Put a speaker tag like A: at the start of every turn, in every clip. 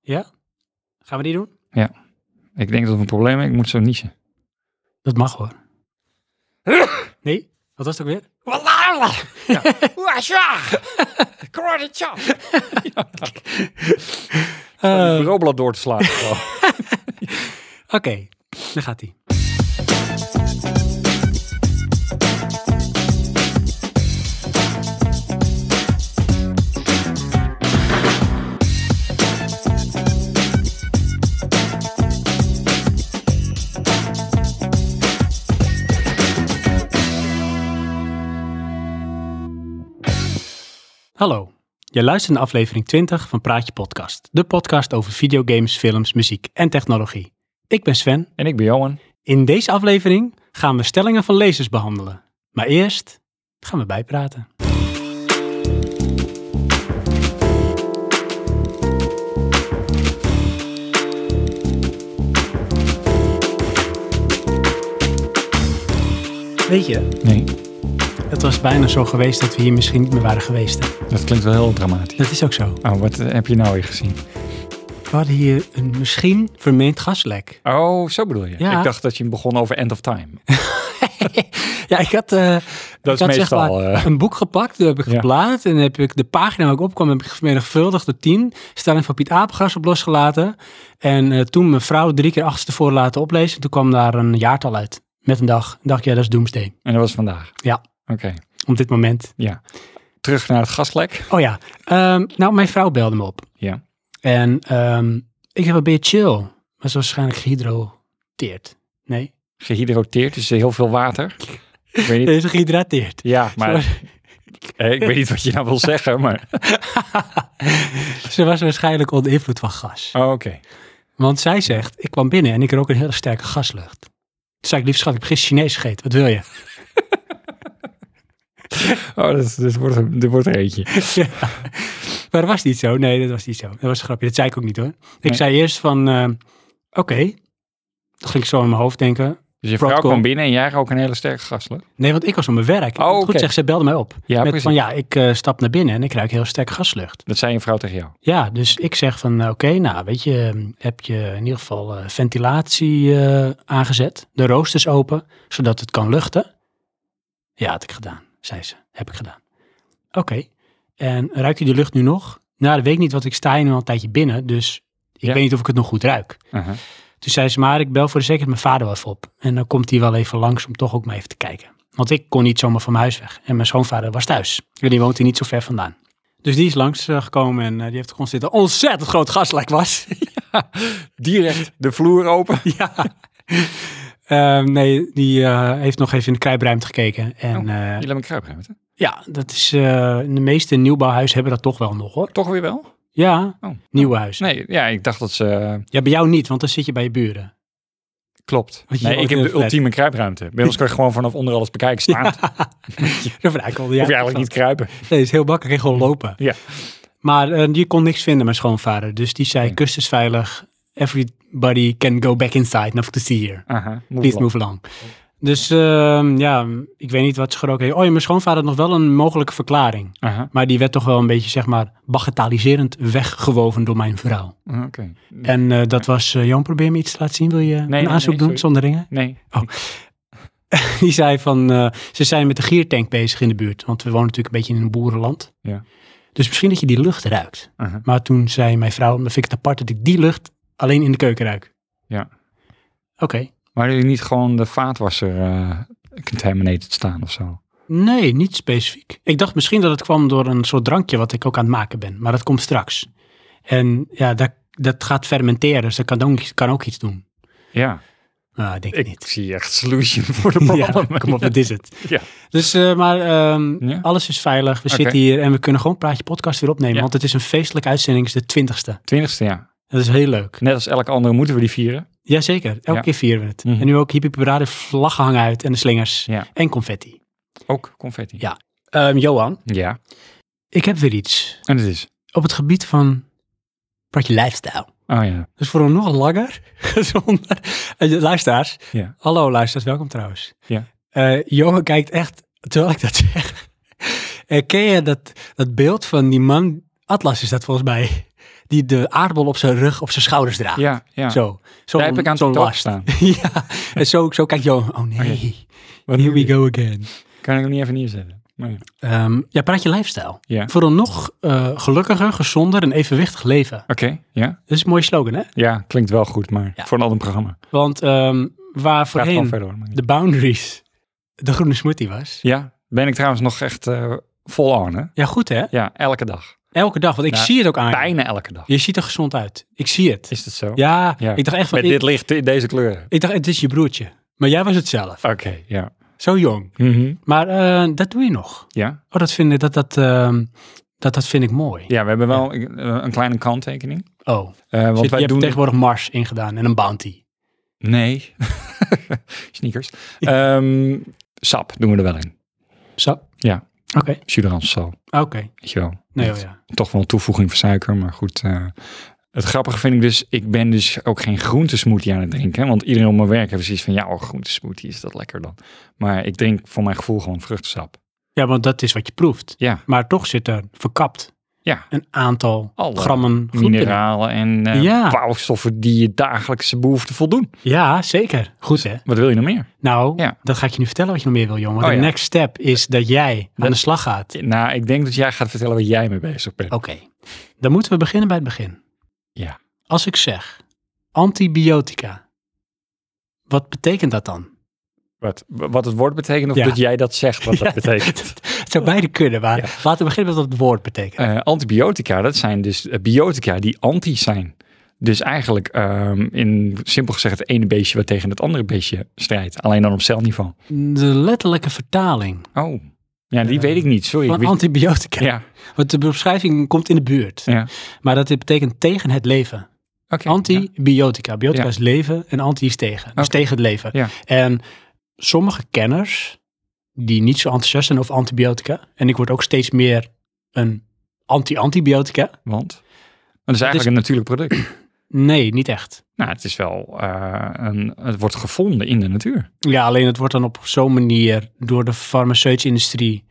A: Ja? Gaan we die doen?
B: Ik denk dat we een probleem hebben. Ik moet zo niezen.
A: Dat mag hoor. Nee? Wat was het ook weer?
B: Uh,
A: Eh,
B: bureaublad door te slaan. Oh.
A: Oké, daar gaat hij. Hallo, je luistert naar aflevering 20 van Praatje Podcast, de podcast over videogames, films, muziek en technologie. Ik ben Sven.
B: en ik ben Johan.
A: In deze aflevering gaan we stellingen van lezers behandelen. Maar eerst gaan we bijpraten. Weet je,
B: Nee,
A: het was bijna zo geweest dat we hier misschien niet meer waren geweest. hè?
B: dat klinkt wel heel dramatisch.
A: Dat is ook zo.
B: Oh, wat eh, heb je nou weer gezien?
A: We hadden hier een misschien vermeend gaslek.
B: Oh, zo bedoel je.
A: Ja.
B: Ik dacht dat je begon over End of Time.
A: Ja, ik had, eh,
B: Dat
A: ik had
B: is
A: zeg
B: meestal...
A: maar
B: eh,
A: een boek gepakt, dat heb ik
B: Ja.
A: geplaatst. En heb ik de pagina waar ik opkwam, heb ik vermenigvuldigd door 10. Stelling van Piet Aapgas op losgelaten. En eh, toen mijn vrouw drie keer achterstevoren laten oplezen. Toen kwam daar een jaartal uit. Met een dag. Ik dacht, ja, dat is doomsday.
B: en dat was vandaag.
A: Ja.
B: Oké,
A: Op dit moment.
B: ja. Terug naar het gaslek.
A: Oh ja. ehm, nou, mijn vrouw belde me op.
B: Ja.
A: En ehm, ik heb een beetje chill. Maar ze was waarschijnlijk gehydroteerd. Nee?
B: Gehydroteerd, dus heel veel water. Ik weet niet.
A: Ze is gehydrateerd.
B: Ja, maar... eh, Ik weet niet wat je nou wil zeggen, maar...
A: Ze was waarschijnlijk onder invloed van gas.
B: Oh, Oké.
A: Want zij zegt, ik kwam binnen en ik rook een hele sterke gaslucht. Toen zei ik, lief schat, ik heb gisteren Chinees gegeten. Wat wil je?
B: Oh, dit, dit, wordt, dit wordt er eentje.
A: Ja. Maar dat was niet zo. Nee, dat was niet zo. Dat was een grapje. Dat zei ik ook niet hoor. Ik
B: Nee.
A: zei eerst van, eh, oké. Toen ging ik zo in mijn hoofd denken.
B: Dus je vrouw
A: Broadcom.
B: kwam binnen en jij ook een hele sterke gaslucht.
A: Nee, want ik was op mijn werk.
B: Oh,
A: Goed
B: oké.
A: zeg, ze belde mij op.
B: Ja,
A: met
B: precies.
A: van, ja, ik eh, stap naar binnen en ik ruik heel sterk gaslucht.
B: Dat zei je vrouw tegen jou.
A: Ja, dus ik zeg van, oké, nou weet je, eh, heb je in ieder geval eh, ventilatie eh, aangezet. De roosters open, zodat het kan luchten. Ja, had ik gedaan, zei ze. Heb ik gedaan. Oké, en ruikt u de lucht nu nog? Nou, dat weet ik niet, want ik sta hier nu al een tijdje binnen, dus ik
B: Ja.
A: weet niet of ik het nog goed ruik.
B: Aha.
A: Toen zei ze, maar ik bel voor de zekerheid mijn vader wel even op. En dan komt hij wel even langs om toch ook maar even te kijken. Want ik kon niet zomaar van mijn huis weg. En mijn schoonvader was thuis. En die woont hier niet zo ver vandaan. Dus die is langs eh, gekomen en eh, die heeft geconstateerd dat het een ontzettend groot gaslek was.
B: Direct de vloer open.
A: ja. Ehm, nee, die eh, heeft nog even in de kruipruimte gekeken. En eh,
B: Jullie hebben een kruipruimte.
A: ja, dat is, eh, de meeste nieuwbouwhuizen hebben dat toch wel nog hoor.
B: Toch weer wel?
A: Ja,
B: Oh.
A: nieuwe huizen.
B: Nee, ja, ik dacht dat ze... eh,
A: Ja, bij jou niet, want dan zit je bij je buren.
B: klopt.
A: Want je
B: Nee,
A: woont
B: ik
A: in
B: heb de
A: een flat.
B: ultieme kruipruimte. Bij ons kan je gewoon vanaf onder alles bekijken staan.
A: Dat vind ik al, ja.
B: Hoef je eigenlijk niet kruipen.
A: Nee, het is heel makkelijk. Gewoon lopen.
B: Ja.
A: Maar eh, die kon niks vinden, mijn schoonvader. Dus die zei, kust is veilig. Everybody can go back inside. Nothing to see here.
B: Aha,
A: Please move along. Dus ehm, ja, ik weet niet wat ze geroken heeft. Oh ja, mijn schoonvader had nog wel een mogelijke verklaring.
B: Aha,
A: Maar die werd toch wel een beetje, zeg maar, bagatelliserend weggewoven door mijn vrouw.
B: Oh, oké.
A: En eh, dat was, eh Johan, probeer me iets te laten zien. Wil je
B: nee,
A: een aanzoek
B: nee,
A: doen
B: sorry.
A: zonder ringen?
B: Nee.
A: Die zei van, eh, ze zijn met de giertank bezig in de buurt. Want we wonen natuurlijk een beetje in een boerenland.
B: Ja.
A: Dus misschien dat je die lucht ruikt.
B: Aha.
A: Maar toen zei mijn vrouw, dan vind ik het apart dat ik die lucht alleen in de keuken ruik.
B: Ja.
A: Oké.
B: Maar jullie niet gewoon de vaatwasser eh contaminated staan of zo?
A: Nee, niet specifiek. Ik dacht misschien dat het kwam door een soort drankje wat ik ook aan het maken ben. Maar dat komt straks. En ja, dat, dat gaat fermenteren. Dus dat kan ook, kan ook iets doen.
B: Ja,
A: Nou, ik denk
B: ik
A: ik niet.
B: zie echt solution voor de
A: Ja,
B: problemen.
A: kom op, dat is het.
B: Ja.
A: Dus, eh, maar ehm,
B: Ja.
A: alles is veilig. We
B: Oké.
A: zitten hier en we kunnen gewoon Praatje Podcast weer opnemen.
B: Ja.
A: Want het is een feestelijke uitzending. Het is de twintigste.
B: Twintigste, ja.
A: Dat is heel leuk.
B: Net als elke andere moeten we die vieren.
A: Jazeker, elke
B: Ja.
A: keer vieren we het.
B: Mhm.
A: En nu ook hippie parade vlaggen hangen uit en de slingers
B: Ja.
A: en confetti.
B: Ook confetti.
A: Ja. Ehm, Johan,
B: ja.
A: ik heb weer iets
B: En het is.
A: op het gebied van praatje lifestyle.
B: Oh ja.
A: Dus voor een nog langer, gezonder. En je- luisteraars,
B: Ja.
A: hallo luisteraars, welkom trouwens.
B: Ja.
A: Eh, Johan kijkt echt, terwijl ik dat eh, zeg, herken je dat, dat beeld van die man, Atlas is dat volgens mij, die de aardbol op zijn rug, op zijn schouders draagt.
B: Ja, ja.
A: Zo. zo
B: Daar heb ik aan
A: zo'n
B: te
A: last.
B: staan.
A: ja, en zo, zo kijkt Johan, oh nee,
B: Oh Wat
A: here
B: nu
A: we go again.
B: Kan ik hem niet even neerzetten? Maar ja.
A: Ehm, ja, praat je lifestyle.
B: Ja.
A: Voor een nog eh, gelukkiger, gezonder en evenwichtig leven.
B: Oké, ja.
A: Dat is een mooie slogan, hè?
B: Ja, klinkt wel goed, maar
A: Ja.
B: voor een ander programma.
A: Want ehm, waar
B: Gaat gewoon
A: voorheen
B: verder hoor. maar niet.
A: de boundaries de groene smoothie was.
B: Ja, ben ik trouwens nog echt eh vol on, hè?
A: Ja, goed hè?
B: Ja, elke dag.
A: Elke dag, want ik
B: Ja,
A: zie het ook aan je.
B: Bijna elke dag.
A: Je ziet er gezond uit. Ik zie het.
B: Is dat zo?
A: Ja,
B: Ja.
A: ik dacht echt van,
B: Met
A: ik,
B: dit licht, in deze kleur.
A: ik dacht het is je broertje. Maar jij was het zelf.
B: Oké, ja.
A: Zo jong.
B: Mhm.
A: Maar eh, dat doe je nog.
B: ja.
A: Oh, dat vind ik, dat, dat, ehm, dat, dat vind ik mooi.
B: Ja, we hebben wel eh, een kleine kanttekening.
A: Oh,
B: Eh, want
A: Zit-
B: wij
A: je
B: doen...
A: hebt tegenwoordig Mars ingedaan en een Bounty.
B: Nee. Sneakers. Ehm, sap doen we er wel in.
A: Zo?
B: Ja.
A: Oké.
B: Suderans sap,
A: Oké.
B: weet je wel.
A: Nee,
B: Met
A: oh ja.
B: Toch wel een toevoeging van suiker, maar goed. eh, het grappige vind ik dus, ik ben dus ook geen groentesmoothie aan het drinken. hè, Want iedereen op mijn werk heeft zoiets van, ja, oh, groentesmoothie is dat lekker dan. Maar ik drink voor mijn gevoel gewoon vruchtensap.
A: Ja, want dat is wat je proeft.
B: Ja.
A: Maar toch zit er verkapt
B: Ja.
A: een aantal
B: Alle
A: grammen goed in.
B: Mineralen en eh
A: Ja.
B: bouwstoffen die je dagelijkse behoeften voldoen.
A: Ja, zeker. Goed hè?
B: Wat wil je nog meer?
A: Nou,
B: Ja.
A: dat ga ik je nu vertellen wat je nog meer wil, jongen. Want
B: Oh,
A: de
B: ja.
A: next step is dat jij aan
B: Dat-
A: de slag gaat.
B: Nou, ik denk dat jij gaat vertellen waar jij mee bezig bent.
A: Oké, dan moeten we beginnen bij het begin.
B: Ja.
A: Als ik zeg antibiotica, wat betekent dat dan?
B: Wat, wat het woord betekent of
A: Ja.
B: dat jij dat zegt wat
A: Ja.
B: dat betekent.
A: Het zou beide kunnen, maar
B: Ja.
A: laten we beginnen met wat het woord betekent.
B: Eh, antibiotica, dat zijn dus eh, biotica die anti zijn. Dus eigenlijk ehm, in simpel gezegd het ene beestje wat tegen het andere beestje strijdt. Alleen dan op celniveau.
A: De letterlijke vertaling
B: Oh, ja, die
A: Ja.
B: weet ik niet. Sorry. ik
A: Eh, van
B: wist-
A: antibiotica.
B: ja,
A: Want de beschrijving komt in de buurt.
B: ja.
A: Maar dat betekent tegen het leven.
B: Oké. ja.
A: Antibiotica. Biotica
B: Ja.
A: is leven en anti is tegen. Dus
B: Oké.
A: tegen het leven.
B: Ja.
A: En sommige kenners die niet zo enthousiast zijn over antibiotica. En ik word ook steeds meer een anti-antibiotica.
B: Want? Dat is eigenlijk een natuurlijk product.
A: Nee, niet echt.
B: nou, het is wel eh, een, het wordt gevonden in de natuur.
A: Ja, alleen het wordt dan op zo'n manier door de farmaceutische industrie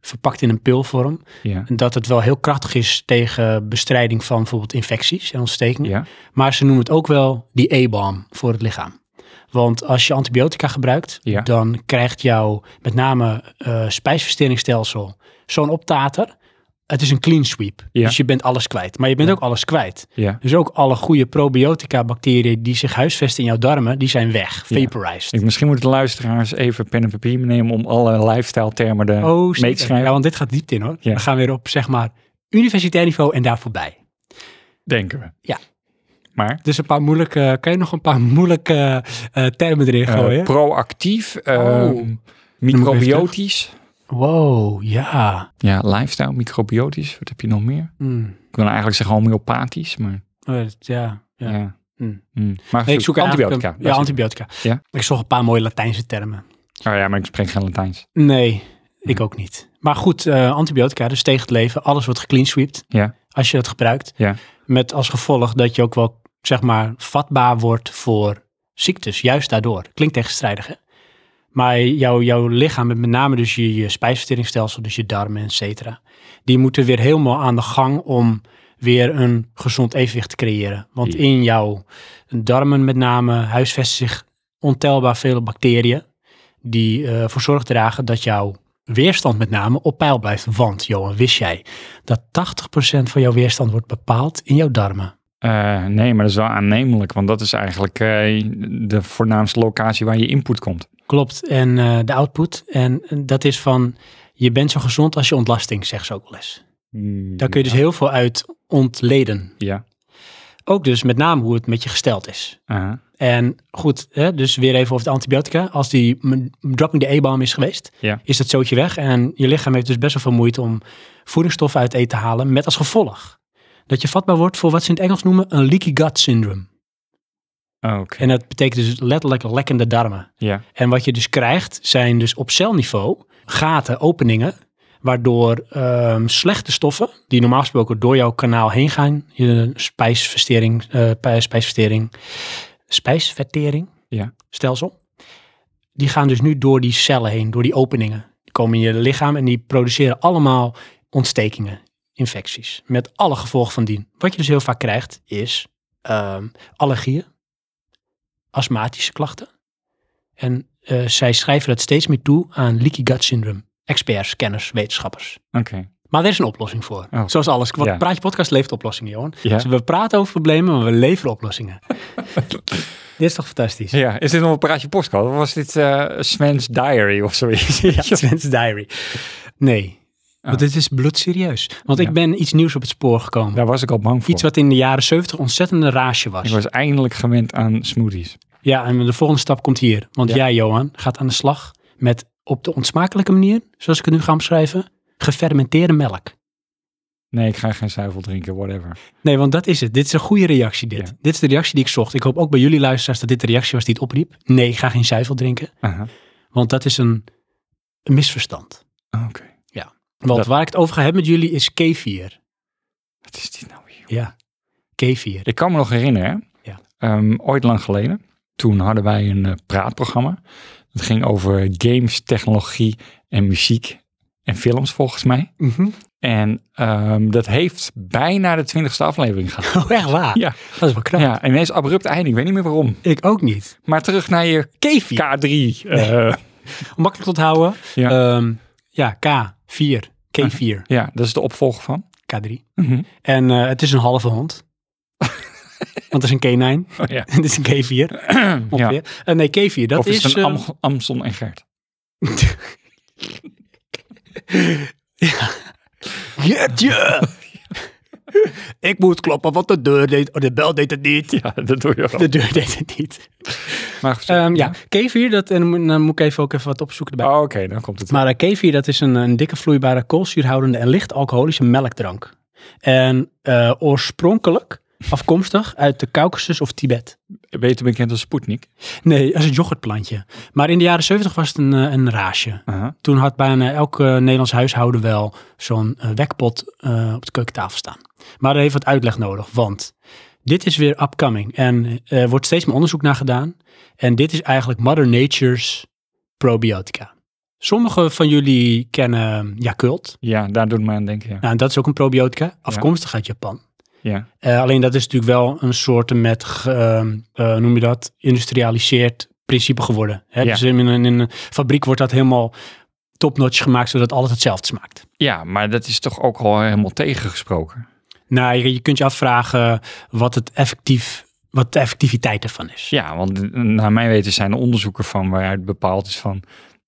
A: verpakt in een pilvorm.
B: Ja.
A: Dat het wel heel krachtig is tegen bestrijding van bijvoorbeeld infecties en ontstekingen.
B: Ja.
A: Maar ze noemen het ook wel die E-balm voor het lichaam. Want als je antibiotica gebruikt,
B: Ja.
A: dan krijgt jouw met name eh spijsverteringsstelsel zo'n optater. Het is een clean sweep.
B: Ja.
A: Dus je bent alles kwijt. Maar je bent ook alles kwijt.
B: ja.
A: Dus ook alle goede probiotica bacteriën die zich huisvesten in jouw darmen, die zijn weg.
B: Ja.
A: Vaporized.
B: Ik, misschien moeten de luisteraars even pen en papier nemen om alle lifestyle termen er
A: Oh,
B: mee
A: zeker.
B: te schrijven.
A: Ja, want dit gaat diep in hoor.
B: Ja.
A: We gaan weer op, zeg maar, universitair niveau en daar voorbij.
B: Denken we.
A: Ja.
B: Maar?
A: Dus een paar moeilijke, kan je nog een paar moeilijke eh, termen erin
B: eh,
A: gooien?
B: proactief, eh,
A: Oh.
B: microbiotisch.
A: wow, ja.
B: Ja, lifestyle, microbiotisch. Wat heb je nog meer?
A: Hmm.
B: Ik wil eigenlijk zeggen homeopathisch, maar
A: Oh, dat- Ja, ja.
B: ja.
A: Hmm.
B: Hmm.
A: Nee,
B: Maar
A: ik
B: goed,
A: zoek
B: antibiotica.
A: eigenlijk een- ja,
B: dat is het.
A: antibiotica.
B: Ja.
A: Ik zocht een paar mooie Latijnse termen.
B: Oh ja, maar ik spreek geen Latijns.
A: Nee, ik
B: Hmm.
A: ook niet. Maar goed, eh, antibiotica, dus tegen het leven. Alles wordt gecleansweept
B: Ja.
A: als je dat gebruikt.
B: Ja.
A: Met als gevolg dat je ook wel, zeg maar, vatbaar wordt voor ziektes. Juist daardoor. Klinkt tegenstrijdig, hè? Maar jouw, jouw lichaam, en met name dus je, je spijsverteringsstelsel, dus je darmen, et cetera. Die moeten weer helemaal aan de gang om weer een gezond evenwicht te creëren. Want
B: Ja.
A: in jouw darmen met name huisvesten zich ontelbaar veel bacteriën. Die eh, ervoor zorg dragen dat jouw weerstand met name op peil blijft. Want Johan, wist jij dat 80% van jouw weerstand wordt bepaald in jouw darmen?
B: Eh, nee, maar dat is wel aannemelijk, want dat is eigenlijk eh, de voornaamste locatie waar je input komt.
A: Klopt. En eh, de output. En dat is van, je bent zo gezond als je ontlasting, zegt ze ook wel eens. Daar kun je dus heel veel uit ontleden.
B: Ja.
A: Ook dus met name hoe het met je gesteld is.
B: Aha.
A: En goed, hè, dus weer even over de antibiotica. Als die m- dropping de E-balm is geweest,
B: Ja.
A: is dat zootje weg. En je lichaam heeft dus best wel veel moeite om voedingsstoffen uit eten te halen. Met als gevolg dat je vatbaar wordt voor wat ze in het Engels noemen een leaky gut syndrome.
B: Oh, Oké.
A: En dat betekent dus letterlijk lekkende darmen.
B: Ja.
A: En wat je dus krijgt zijn dus op celniveau gaten, openingen, waardoor ehm, slechte stoffen, die normaal gesproken door jouw kanaal heen gaan, je spijsvertering, eh, pij- spijsvertering, spijsvertering
B: Ja.
A: stelsel, die gaan dus nu door die cellen heen, door die openingen. Die komen in je lichaam en die produceren allemaal ontstekingen. infecties. Met alle gevolgen van dien. Wat je dus heel vaak krijgt is ehm, allergieën, astmatische klachten. En eh, zij schrijven dat steeds meer toe aan leaky gut syndrome. Experts, kenners, wetenschappers.
B: Oké.
A: Maar er is een oplossing voor.
B: Oh.
A: Zoals alles. Wat
B: Ja.
A: Praat je podcast levert oplossingen, Johan.
B: Ja.
A: Dus we praten over problemen, maar we leveren oplossingen. Dit is toch fantastisch?
B: Ja, is dit nog een praatje podcast? Of was dit eh Sven's Diary of zoiets?
A: Ja, Twents Diary. Nee, want dit is bloedserieus. Want
B: Ah. Ja.
A: ik ben iets nieuws op het spoor gekomen.
B: Daar was ik al bang voor.
A: Iets wat in de jaren 70 ontzettende rage was.
B: Ik was eindelijk gewend aan smoothies.
A: Ja, en de volgende stap komt hier. Want
B: Ja.
A: jij, Johan, gaat aan de slag met op de ontsmakelijke manier, zoals ik het nu ga omschrijven, gefermenteerde melk.
B: Nee, ik ga geen zuivel drinken, whatever.
A: Nee, want dat is het. Dit is een goede reactie, dit.
B: Ja.
A: Dit is de reactie die ik zocht. Ik hoop ook bij jullie luisteraars dat dit de reactie was die het opriep. Nee, ik ga geen zuivel drinken,
B: Aha.
A: want dat is een, een misverstand.
B: Oké.
A: Want
B: Dat-
A: waar ik het over ga hebben met jullie is kefir.
B: Wat is dit nou weer?
A: Ja, kefir.
B: Ik kan me nog herinneren,
A: Ja.
B: ehm, ooit lang geleden, toen hadden wij een eh, praatprogramma. Dat ging over games, technologie en muziek en films volgens mij. En ehm, dat heeft bijna de twintigste aflevering gehad.
A: Oh, echt waar?
B: Ja.
A: Dat is wel knap.
B: Ja, ineens abrupt einde. Ik weet niet meer waarom.
A: Ik ook niet.
B: Maar terug naar je
A: K4.
B: K3. eh,
A: Om Makkelijk te onthouden.
B: Ja.
A: Ehm, ja, K4. K4.
B: Ja, dat is de opvolger van.
A: K3.
B: Mhm.
A: En eh, het is een halve hond. Want het is een K9.
B: Oh, ja.
A: Het is een K4.
B: ja.
A: Ongeveer. Eh, nee, K4. Dat
B: of is het een
A: eh,
B: Am- Amson en Gert?
A: Jeetje! Ik moet kloppen, want de deur deed... oh, de bel deed het niet.
B: Ja, dat doe je
A: De deur deed het niet.
B: Maar,
A: Ehm, ja, K4, dat, en dan moet- dan moet ik even ook even wat opzoeken erbij.
B: Oh, Oké, dan komt het.
A: Maar eh, kefir, dat is een, een dikke vloeibare koolzuurhoudende en licht alcoholische melkdrank. En eh, oorspronkelijk afkomstig uit de Caucasus of Tibet.
B: Beter bekend als Sputnik.
A: Nee, dat is een yoghurtplantje. Maar in de jaren 70 was het een, eh, een raasje.
B: Aha.
A: Toen had bijna elk eh, Nederlands huishouden wel zo'n eh, wekpot eh, op de keukentafel staan. Maar daar heeft wat uitleg nodig, want dit is weer upcoming. En er wordt steeds meer onderzoek naar gedaan. En dit is eigenlijk Mother Nature's probiotica. Sommigen van jullie kennen Yakult.
B: Ja, daar doet me aan denken. Ja.
A: Nou, en dat is ook een probiotica, afkomstig uit Japan.
B: ja.
A: Eh, alleen dat is natuurlijk wel een soort met, ge- ehm, eh, noem je dat, industrialiseerd principe geworden. Hè?
B: Ja.
A: Dus in een, in een fabriek wordt dat helemaal topnotch gemaakt, zodat alles hetzelfde smaakt.
B: ja, maar dat is toch ook al helemaal tegengesproken.
A: Nou, je, je kunt je afvragen wat, het effectief, wat de effectiviteit ervan is.
B: Ja, want eh, naar mijn weten zijn er onderzoeken van waaruit bepaald is van...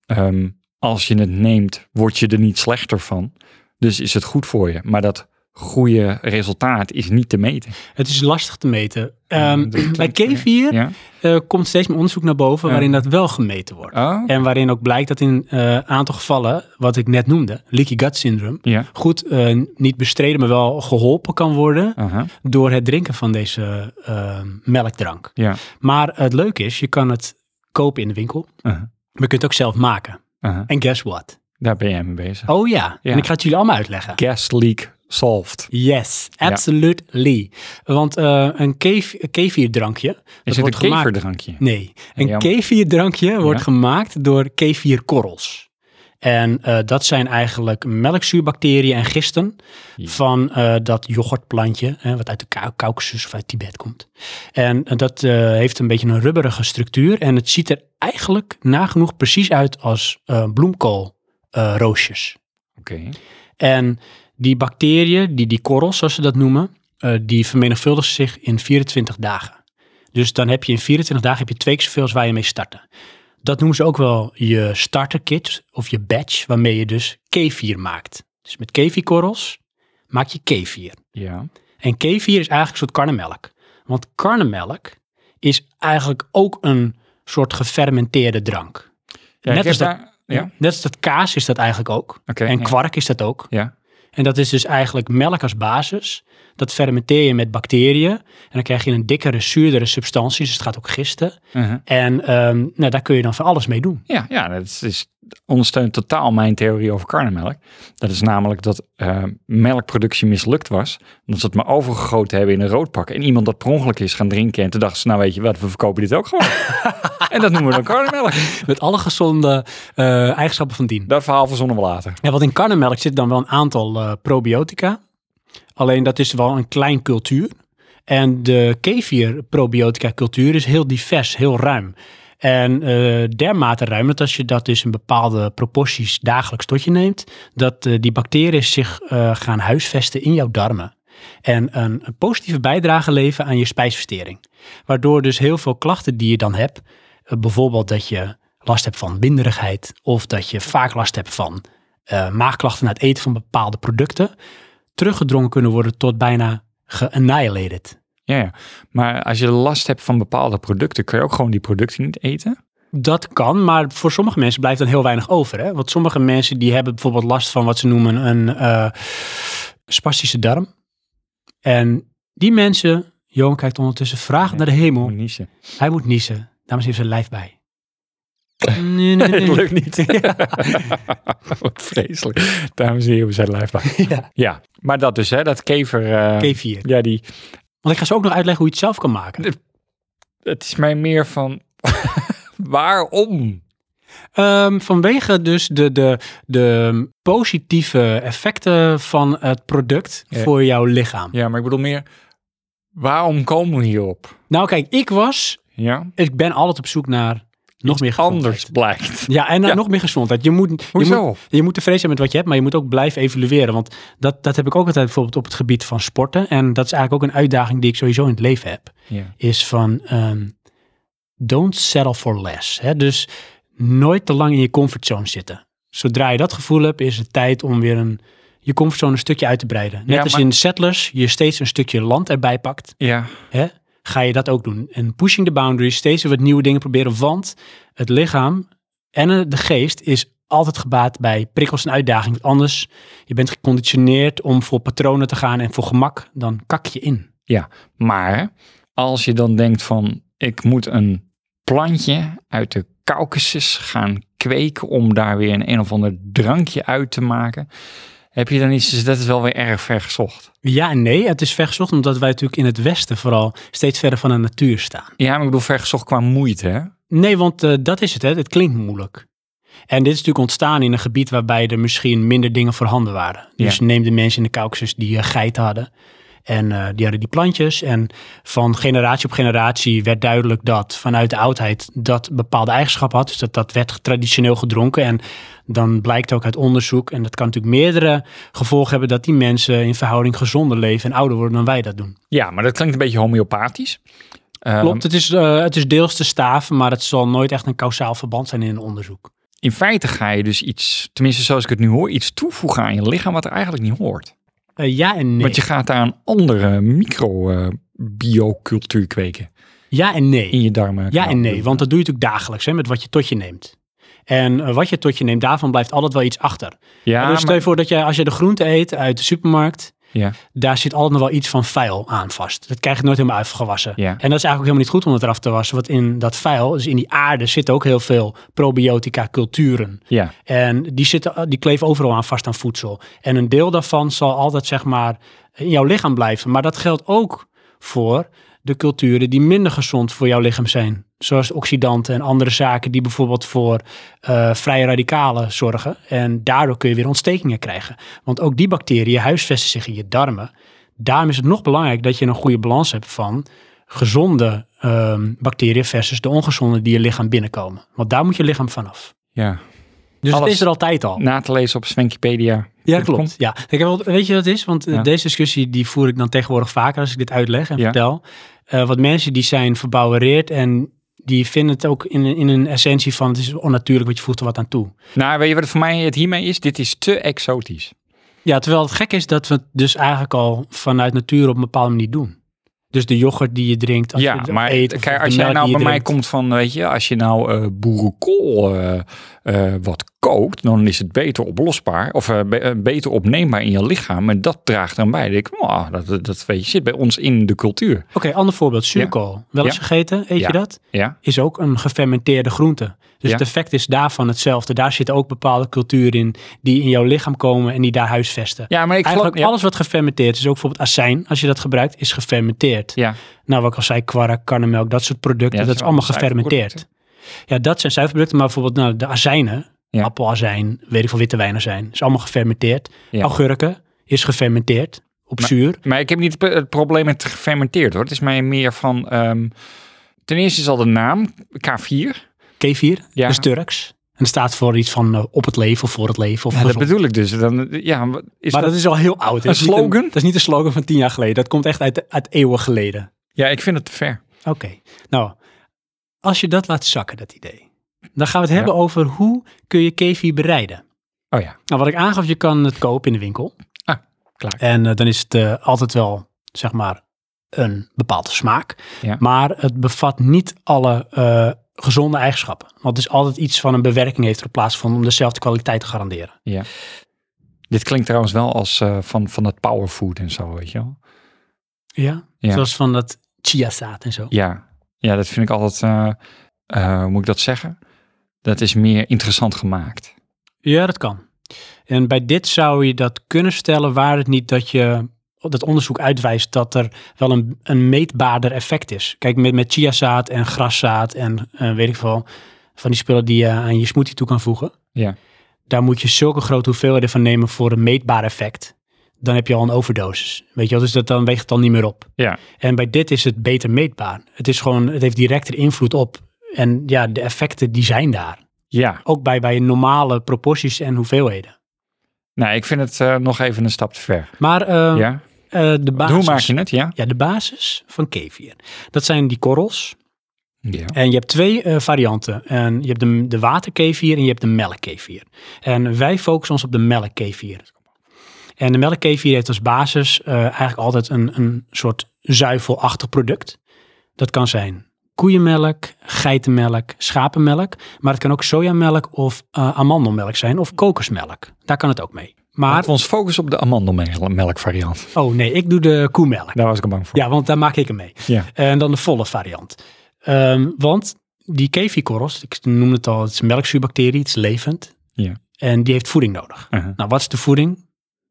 B: ehm, als je het neemt, word je er niet slechter van. Dus is het goed voor je. Maar dat goede resultaat is niet te meten.
A: Het is lastig te meten. Ehm,
B: dat klinkt
A: bij
B: weer-
A: kefir
B: Ja?
A: eh, komt steeds meer onderzoek naar boven
B: Ja.
A: waarin dat wel gemeten wordt.
B: Oh,
A: En waarin ook blijkt dat in een aantal gevallen, wat ik net noemde, leaky gut syndroom,
B: ja.
A: goed, eh, niet bestreden, maar wel geholpen kan worden
B: Aha.
A: door het drinken van deze eh, melkdrank.
B: Ja.
A: Maar het leuke is, je kan het kopen in de winkel.
B: Aha.
A: Maar je kunt het ook zelf maken.
B: Aha.
A: En guess what?
B: Daar ben jij mee bezig.
A: Oh ja,
B: Ja.
A: en ik ga het jullie allemaal uitleggen.
B: Gas leak solved.
A: Yes,
B: Ja.
A: absolutely. Want eh, een kef- kevirdrankje... dat
B: Is het
A: wordt
B: een
A: gemaakt-
B: keverdrankje?
A: Nee, een
B: jammer.
A: kefirdrankje wordt
B: Ja.
A: gemaakt door kefirkorrels. En eh, dat zijn eigenlijk melkzuurbacteriën en gisten
B: Ja.
A: van eh, dat yoghurtplantje, hè, wat uit de Kau- Caucasus of uit Tibet komt. En eh, dat eh, heeft een beetje een rubberige structuur en het ziet er eigenlijk nagenoeg precies uit als eh, bloemkoolroosjes.
B: Oké.
A: En die bacteriën, die, die korrels zoals ze dat noemen, eh, die vermenigvuldigen zich in 24 dagen. Dus dan heb je in 24 dagen heb je twee keer zoveel als waar je mee startte. Dat noemen ze ook wel je starterkit of je batch, waarmee je dus kefir maakt. Dus met kefirkorrels maak je kefir.
B: Ja.
A: En kefir is eigenlijk een soort karnemelk. Want karnemelk is eigenlijk ook een soort gefermenteerde drank.
B: ja
A: Net
B: ik
A: als
B: heb
A: dat-
B: daar- Ja. Oké.
A: Net als dat kaas is dat eigenlijk ook. en
B: ja.
A: kwark is dat ook.
B: Ja.
A: En dat is dus eigenlijk melk als basis. Dat fermenteer je met bacteriën. En dan krijg je een dikkere, zuurdere substantie. Dus het gaat ook gisten.
B: Aha.
A: En ehm, nou, daar kun je dan van alles mee doen.
B: Ja, ja, dat is, is- ondersteunt totaal mijn theorie over karnemelk. Dat is namelijk dat eh, melkproductie mislukt was. Dat ze het maar overgegoten hebben in een roodpak. En iemand dat per ongeluk is gaan drinken. En toen dachten ze, nou weet je wat, we verkopen dit ook gewoon. en dat noemen we dan karnemelk.
A: Met alle gezonde eh, eigenschappen van dien.
B: Dat verhaal verzonnen we later.
A: Ja, want in karnemelk zitten dan wel een aantal eh, probiotica. Alleen dat is wel een klein cultuur. En de kefir probiotica cultuur is heel divers, heel ruim. En eh, dermate ruim dat als je dat dus in bepaalde proporties dagelijks tot je neemt, dat eh, die bacteriën zich eh, gaan huisvesten in jouw darmen. En een, een positieve bijdrage leveren aan je spijsvertering. Waardoor dus heel veel klachten die je dan hebt, eh, bijvoorbeeld dat je last hebt van binderigheid of dat je vaak last hebt van eh, maagklachten na het eten van bepaalde producten, teruggedrongen kunnen worden tot bijna geannihilated.
B: Ja, ja. maar als je last hebt van bepaalde producten, kun je ook gewoon die producten niet eten?
A: Dat kan, maar voor sommige mensen blijft dan heel weinig over. Hè? Want sommige mensen die hebben bijvoorbeeld last van wat ze noemen een eh, spastische darm. En die mensen, Johan kijkt ondertussen vragen
B: Ja.
A: naar de hemel.
B: Moet niezen.
A: Hij moet niezen. Dames heeft zijn lijf bij. Nee, nee, nee.
B: Het lukt niet. Wat vreselijk. Dames en heren, we zijn live bij.
A: Ja.
B: Ja, maar dat dus, hè, dat kever. eh,
A: K4.
B: Ja, die,
A: Want ik ga ze ook nog uitleggen hoe je het zelf kan maken.
B: het is mij meer van, waarom?
A: Ehm, vanwege dus de, de, de positieve effecten van het product
B: Ja.
A: voor jouw lichaam.
B: Ja, maar ik bedoel meer, waarom komen we hierop?
A: Nou kijk, ik was,
B: Ja,
A: ik ben altijd op zoek naar nog meer gezondheid.
B: anders blijkt.
A: Ja, en dan
B: Ja.
A: nog meer gezondheid. Je moet, je
B: Hoezo?
A: moet, je moet tevreden zijn met wat je hebt, maar je moet ook blijven evalueren. Want dat, dat heb ik ook altijd bijvoorbeeld op het gebied van sporten. En dat is eigenlijk ook een uitdaging die ik sowieso in het leven heb.
B: Ja.
A: Is van ehm, don't settle for less. Hè? Dus nooit te lang in je comfortzone zitten. Zodra je dat gevoel hebt, is het tijd om weer een, je comfortzone een stukje uit te breiden. Net
B: Ja,
A: als
B: maar-
A: in Settlers je steeds een stukje land erbij pakt
B: ja,
A: hè, ga je dat ook doen. En pushing the boundaries, steeds weer wat nieuwe dingen proberen. Want het lichaam en eh, de geest is altijd gebaat bij prikkels en uitdaging. Want anders, je bent geconditioneerd om voor patronen te gaan en voor gemak, dan kak je in.
B: maar als je dan denkt van, ik moet een plantje uit de Caucasus gaan kweken om daar weer een een of ander drankje uit te maken, heb je dan iets, dus dat is wel weer erg ver gezocht.
A: Ja en nee, het is vergezocht omdat wij natuurlijk in het Westen vooral steeds verder van de natuur staan.
B: Ja, maar ik bedoel ver gezocht qua moeite, hè?
A: Nee, want eh, dat is het, hè. het klinkt moeilijk. En dit is natuurlijk ontstaan in een gebied waarbij er misschien minder dingen voorhanden waren.
B: Ja.
A: Dus neem de mensen in de Caucasus die eh, geiten hadden. En eh, die hadden die plantjes. En van generatie op generatie werd duidelijk dat vanuit de oudheid dat bepaalde eigenschappen had. Dus dat, dat werd traditioneel gedronken. En dan blijkt ook uit onderzoek, en dat kan natuurlijk meerdere gevolgen hebben, dat die mensen in verhouding gezonder leven en ouder worden dan wij dat doen.
B: Ja, maar dat klinkt een beetje homeopathisch. Ehm,
A: Klopt, het is, eh, het is deels te staven, maar het zal nooit echt een kausaal verband zijn in een onderzoek.
B: in feite ga je dus iets, tenminste zoals ik het nu hoor, iets toevoegen aan je lichaam wat er eigenlijk niet hoort.
A: Eh, ja en nee.
B: Want je gaat daar een andere microbiocultuur kweken
A: Ja en nee.
B: in je darmen.
A: Ja en nee, want dat doe je natuurlijk dagelijks hè, met wat je tot je neemt. En eh, wat je tot je neemt, daarvan blijft altijd wel iets achter.
B: ja,
A: dus stel je voor dat je, als je de groente eet uit de supermarkt,
B: Ja.
A: daar zit altijd nog wel iets van vuil aan vast. Dat krijg je nooit helemaal uitgewassen.
B: Ja.
A: En dat is eigenlijk ook helemaal niet goed om het eraf te wassen. Want in dat vuil, dus in die aarde, zitten ook heel veel probiotica culturen.
B: ja,
A: En die, zitten, die kleven overal aan vast aan voedsel. En een deel daarvan zal altijd, zeg maar, in jouw lichaam blijven. Maar dat geldt ook voor de culturen die minder gezond voor jouw lichaam zijn. Zoals oxidanten en andere zaken die bijvoorbeeld voor eh, vrije radicalen zorgen. En daardoor kun je weer ontstekingen krijgen. Want ook die bacteriën huisvesten zich in je darmen. Daarom is het nog belangrijk dat je een goede balans hebt van gezonde ehm, bacteriën versus de ongezonde die je lichaam binnenkomen. Want daar moet je lichaam vanaf.
B: ja.
A: Dus
B: Alles.
A: het is er altijd al.
B: Na te lezen op Swenkipedia.
A: Ja,
B: Dit
A: klopt.
B: komt.
A: Ja. Ik heb wel, weet je wat het is? Want eh,
B: Ja.
A: deze discussie die voer ik dan tegenwoordig vaker als ik dit uitleg en
B: Ja.
A: vertel. Eh wat mensen die zijn verbouwereerd en die vinden het ook in, in een essentie van het is onnatuurlijk, want je voegt er wat aan toe.
B: Nou, weet je wat het voor mij het hiermee is? Dit is te exotisch.
A: Ja, terwijl het gek is dat we het dus eigenlijk al vanuit natuur op een bepaalde manier doen. Dus de yoghurt die je drinkt, als
B: ja,
A: je
B: maar
A: eet, of
B: kijk,
A: de
B: als jij
A: melk
B: nou
A: die je
B: bij mij
A: drinkt.
B: komt van, weet je, als je nou eh boerenkool eh, eh, wat kookt, dan is het beter oplosbaar of eh, be- eh, beter opneembaar in je lichaam. En dat draagt dan bij. Dan denk ik, wow, dat, dat, dat weet je, zit bij ons in de cultuur.
A: Oké, ander voorbeeld, zuurkool. Wel eens
B: Ja.
A: gegeten, eet
B: Ja.
A: je dat?
B: Ja,
A: is ook een gefermenteerde groente. Dus
B: Ja.
A: het effect is daarvan hetzelfde. Daar zitten ook bepaalde culturen in die in jouw lichaam komen en die daar huisvesten.
B: ja maar ik
A: Eigenlijk
B: geloof... ja.
A: alles wat gefermenteerd is, ook bijvoorbeeld azijn, als je dat gebruikt, is gefermenteerd.
B: Ja,
A: Nou, wat ik al zei, kwark, karnemelk, dat soort producten, dat
B: Ja, dat
A: is
B: zijn
A: allemaal
B: allemaal
A: gefermenteerd. Ja, dat zijn zuivelproducten, maar bijvoorbeeld nou, de azijnen,
B: Ja.
A: appelazijn, weet ik veel, witte wijnazijn, is allemaal gefermenteerd.
B: Ja.
A: Augurken is gefermenteerd. op zuur.
B: Maar ik heb niet het pro- het probleem met gefermenteerd hoor. Het is mij meer van. ehm, ten eerste is al de naam K4.
A: Kefir,
B: Ja.
A: dat is Turks. En dat staat voor iets van eh, op het leven of voor het leven. Of
B: Ja, dat
A: andersom.
B: bedoel ik dus. Dan, ja, wat- is
A: maar
B: dat-
A: dat is al heel oud. hè?
B: Een
A: Dat is niet
B: slogan?
A: dat is niet een slogan van tien jaar geleden. Dat komt echt uit, uit eeuwen geleden.
B: ja, ik vind het te ver.
A: Oké. Nou, als je dat laat zakken, dat idee. Dan gaan we het hebben over hoe kun je kefir bereiden.
B: Oh ja.
A: Nou, wat ik aangaf, je kan het kopen in de winkel.
B: Ah, klaar.
A: En eh, dan is het eh, altijd wel, zeg maar, een bepaalde smaak.
B: Ja.
A: Maar het bevat niet alle eh, gezonde eigenschappen. Want het is altijd iets van een bewerking heeft er plaatsgevonden om dezelfde kwaliteit te garanderen.
B: Dit klinkt trouwens wel als eh, van, van dat powerfood en zo, weet je wel.
A: Ja?
B: Ja.
A: Zoals van dat chiazaad en zo.
B: Ja, ja dat vind ik altijd, eh, eh, hoe moet ik dat zeggen? Dat is meer interessant gemaakt.
A: Ja, dat kan. En bij dit zou je dat kunnen stellen, waar het niet dat je dat onderzoek uitwijst dat er wel een, een meetbaarder effect is. Kijk, met, met chiazaad en graszaad en eh, weet ik veel, van die spullen die je aan je smoothie toe kan voegen.
B: Ja.
A: Daar moet je zulke grote hoeveelheden van nemen voor een meetbaar effect. Dan heb je al een overdosis. Weet je wel, dus dat dan weegt het dan niet meer op.
B: Ja.
A: En bij dit is het beter meetbaar. Het is gewoon, het heeft directer invloed op. En ja, de effecten die zijn daar
B: Ja,
A: ook bij, bij normale proporties en hoeveelheden.
B: nou, ik vind het eh, nog even een stap te ver.
A: Maar eh,
B: ja.
A: eh, de basis...
B: Hoe maak je het? Ja.
A: Ja, de basis van kefir. Dat zijn die korrels.
B: ja.
A: En je hebt twee eh, varianten. En je hebt de, de waterkefir en je hebt de melkkefir. En wij focussen ons op de melkkefir. En de melkkefir heeft als basis eh, eigenlijk altijd een, een soort zuivelachtig product. Dat kan zijn koeienmelk, geitenmelk, schapenmelk. Maar het kan ook sojamelk of eh, amandelmelk zijn of kokosmelk. Daar kan het ook mee. Maar,
B: Laten we ons focussen op de amandelmelkvariant.
A: oh nee, ik doe de koemelk.
B: Daar was ik bang voor.
A: Ja, want daar maak ik hem mee.
B: Ja.
A: En dan de volle variant. Ehm, want die kefikorrels, ik noem het al, het is een melkzuurbacterie, het is levend.
B: Ja.
A: En die heeft voeding nodig.
B: Uh-huh.
A: Nou, wat is de voeding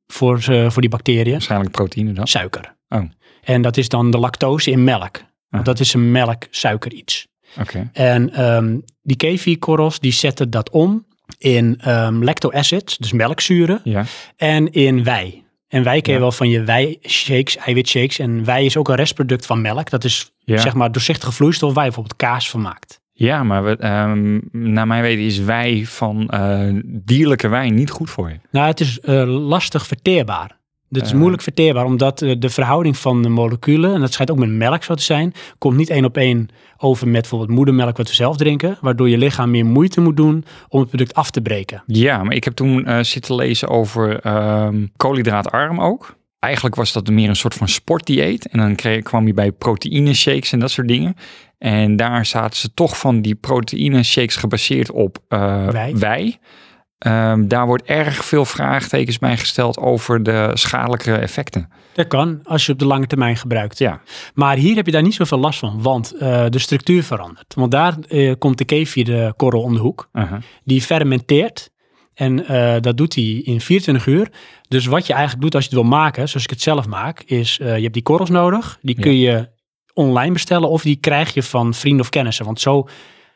A: voor, ze, voor die bacteriën?
B: Waarschijnlijk proteïne dan.
A: Suiker.
B: Oh.
A: En dat is dan de lactose in melk.
B: Ah.
A: Want dat is een melk-suiker iets.
B: Oké.
A: En ehm, die kefikorrels, die zetten dat om in ehm lactoacids, dus melkzuren,
B: Ja.
A: en in wei. En wei ken je
B: Ja.
A: wel van je wei-shakes, eiwitshakes. En wei is ook een restproduct van melk. Dat is
B: Ja.
A: zeg maar doorzichtige vloeistof waar je bijvoorbeeld kaas van maakt.
B: ja, maar we, ehm, naar mijn weten is wij van eh, dierlijke wijn niet goed voor je.
A: Nou, het is eh, lastig verteerbaar. Het is
B: Eh.
A: moeilijk verteerbaar, omdat eh, de verhouding van de moleculen, en dat schijnt ook met melk zo te zijn, komt niet één op één over met bijvoorbeeld moedermelk wat we zelf drinken, waardoor je lichaam meer moeite moet doen om het product af te breken.
B: Ja, maar ik heb toen eh, zitten lezen over ehm, koolhydraatarm ook. Eigenlijk was dat meer een soort van sportdieet. En dan kreeg, kwam je bij proteïne shakes en dat soort dingen. En daar zaten ze toch van die proteïne shakes gebaseerd op eh
A: Wij.
B: wij. Ehm, daar wordt erg veel vraagtekens bij gesteld over de schadelijke effecten.
A: Dat kan, als je op de lange termijn gebruikt.
B: Ja.
A: Maar hier heb je daar niet zoveel last van, want eh, de structuur verandert. Want daar eh, komt de kefir, de korrel om de hoek,
B: Uh-huh.
A: die fermenteert. En eh, dat doet hij in 24 uur. Dus wat je eigenlijk doet als je het wil maken, zoals ik het zelf maak, is eh, je hebt die korrels nodig. Die
B: Ja.
A: kun je online bestellen of die krijg je van vrienden of kennissen. Want zo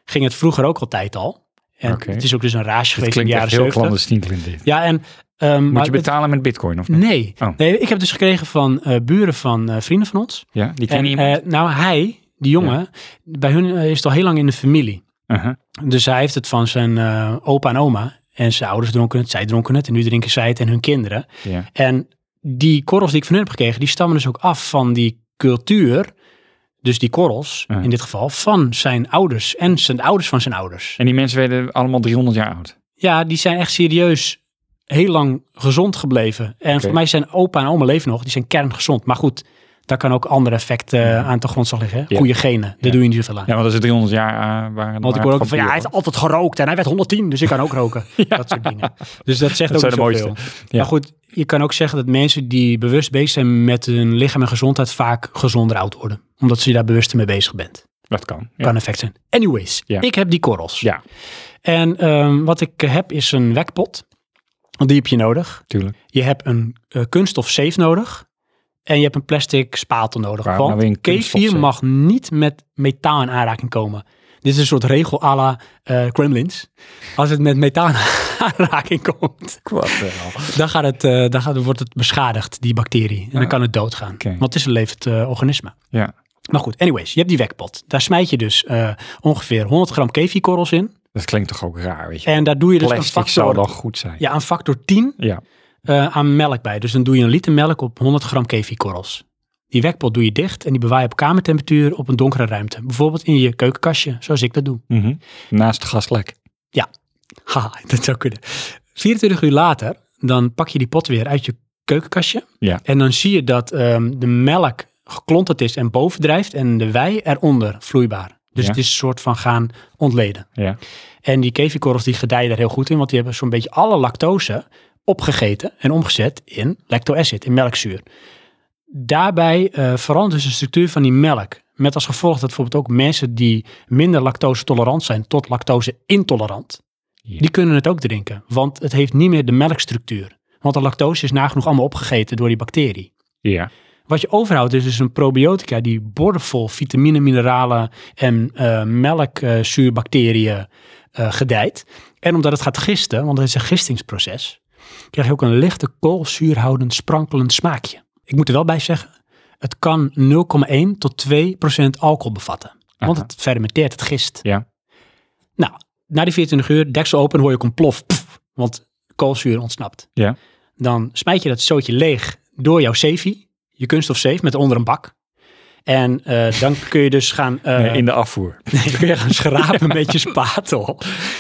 A: ging het vroeger ook altijd al. En
B: Oké.
A: het is ook dus een rage
B: Het
A: geweest in de
B: klinkt
A: jaren
B: echt
A: 70.
B: heel clandestien, klinkt dit.
A: Ja, en... ehm, maar
B: Moet je
A: het-
B: betalen met bitcoin of niet?
A: Nee.
B: Oh.
A: nee, ik heb dus gekregen van eh, buren van eh, vrienden van ons.
B: Ja, die ken
A: En,
B: je iemand?
A: eh, nou, hij, die jongen, bij hun eh, is het al heel lang in de familie.
B: Uh-huh.
A: Dus hij heeft het van zijn eh, opa en oma. En zijn ouders dronken het, zij dronken het en nu drinken zij het en hun kinderen.
B: Ja.
A: En die korrels die ik van hun heb gekregen, die stammen dus ook af van die cultuur. Dus die korrels,
B: Ja.
A: in dit geval, van zijn ouders en zijn ouders van zijn ouders.
B: En die mensen werden allemaal 300 jaar oud.
A: Ja, die zijn echt serieus heel lang gezond gebleven. En
B: Oké.
A: voor mij zijn opa en oma leven nog, die zijn kerngezond. Maar goed, daar kan ook andere effecten eh, aan de grondslag liggen. hè.
B: Ja.
A: Goede genen, daar
B: Ja.
A: doe je niet zoveel aan.
B: Ja, want als ze 300 jaar eh, waren...
A: Want ik hoor ook van, ja, hij heeft altijd gerookt en hij werd 110, dus ik kan ook roken. Dat soort dingen. Dus dat zegt
B: Dat
A: ook
B: zijn de
A: niet zoveel.
B: Ja.
A: Maar goed, je kan ook zeggen dat mensen die bewust bezig zijn met hun lichaam en gezondheid vaak gezonder oud worden. Omdat ze daar bewust mee bezig bent.
B: Dat kan. Ja.
A: Kan effect zijn. Anyways,
B: Ja.
A: ik heb die korrels.
B: Ja,
A: En ehm, wat ik eh, heb is een wekpot. Want die heb je nodig.
B: tuurlijk.
A: Je hebt een eh, kunststof zeef nodig. En je hebt een plastic spatel nodig.
B: Waarom nou weer
A: want
B: een kunststof
A: kefir
B: zeef?
A: mag niet met metaal in aanraking komen. Dit is een soort regel à la eh, Kremlins. Als het met methaan aanraking komt,
B: Wat wel.
A: dan, gaat het, eh, dan gaat, wordt het beschadigd, die bacterie. En dan
B: Ja.
A: kan het doodgaan.
B: Ah. Oké.
A: Want het is een levend eh, organisme.
B: Ja,
A: Maar goed, anyways, je hebt die wekpot. Daar smijt je dus eh, ongeveer 100 gram kefikorrels in.
B: dat klinkt toch ook raar, weet je.
A: En daar doe je dus
B: Plastic
A: een
B: zou
A: factor,
B: dan goed zijn.
A: ja, een factor 10
B: Ja.
A: eh, aan melk bij. Dus dan doe je een liter melk op 100 gram kefikorrels. Die wekpot doe je dicht en die bewaar je op kamertemperatuur op een donkere ruimte. Bijvoorbeeld in je keukenkastje, zoals ik dat doe.
B: Mhm. Naast gaslek.
A: Haha, dat zou kunnen. 24 uur later, dan pak je die pot weer uit je keukenkastje.
B: Ja.
A: En dan zie je dat ehm, de melk geklonterd is en bovendrijft en de wei eronder vloeibaar. Dus
B: Ja.
A: het is een soort van gaan ontleden.
B: Ja.
A: En die kevikorrels die gedijen daar heel goed in, want die hebben zo'n beetje alle lactose opgegeten en omgezet in lactoacid, in melkzuur. Daarbij eh, verandert dus de structuur van die melk. Met als gevolg dat bijvoorbeeld ook mensen die minder lactose tolerant zijn tot lactose intolerant,
B: Ja.
A: die kunnen het ook drinken. Want het heeft niet meer de melkstructuur. Want de lactose is nagenoeg allemaal opgegeten door die bacterie.
B: Ja.
A: Wat je overhoudt is dus een probiotica die bordevol vitamine, mineralen en eh melkzuurbacteriën eh gedijt. En omdat het gaat gisten, want het is een gistingsproces, krijg je ook een lichte koolzuurhoudend sprankelend smaakje. Ik moet er wel bij zeggen, het kan 0,1 tot 2 procent alcohol bevatten. Want
B: Aha.
A: het fermenteert, het gist.
B: Ja.
A: Nou, na die 24 uur, deksel open, hoor je ook een plof. Pff, want koolzuur ontsnapt.
B: Ja.
A: Dan smijt je dat zootje leeg door jouw zeefie, je kunststof zeef, met onder een bak. En eh, dan kun je dus gaan, eh,
B: Nee, in de afvoer.
A: dan kun je gaan schrapen met je spatel. En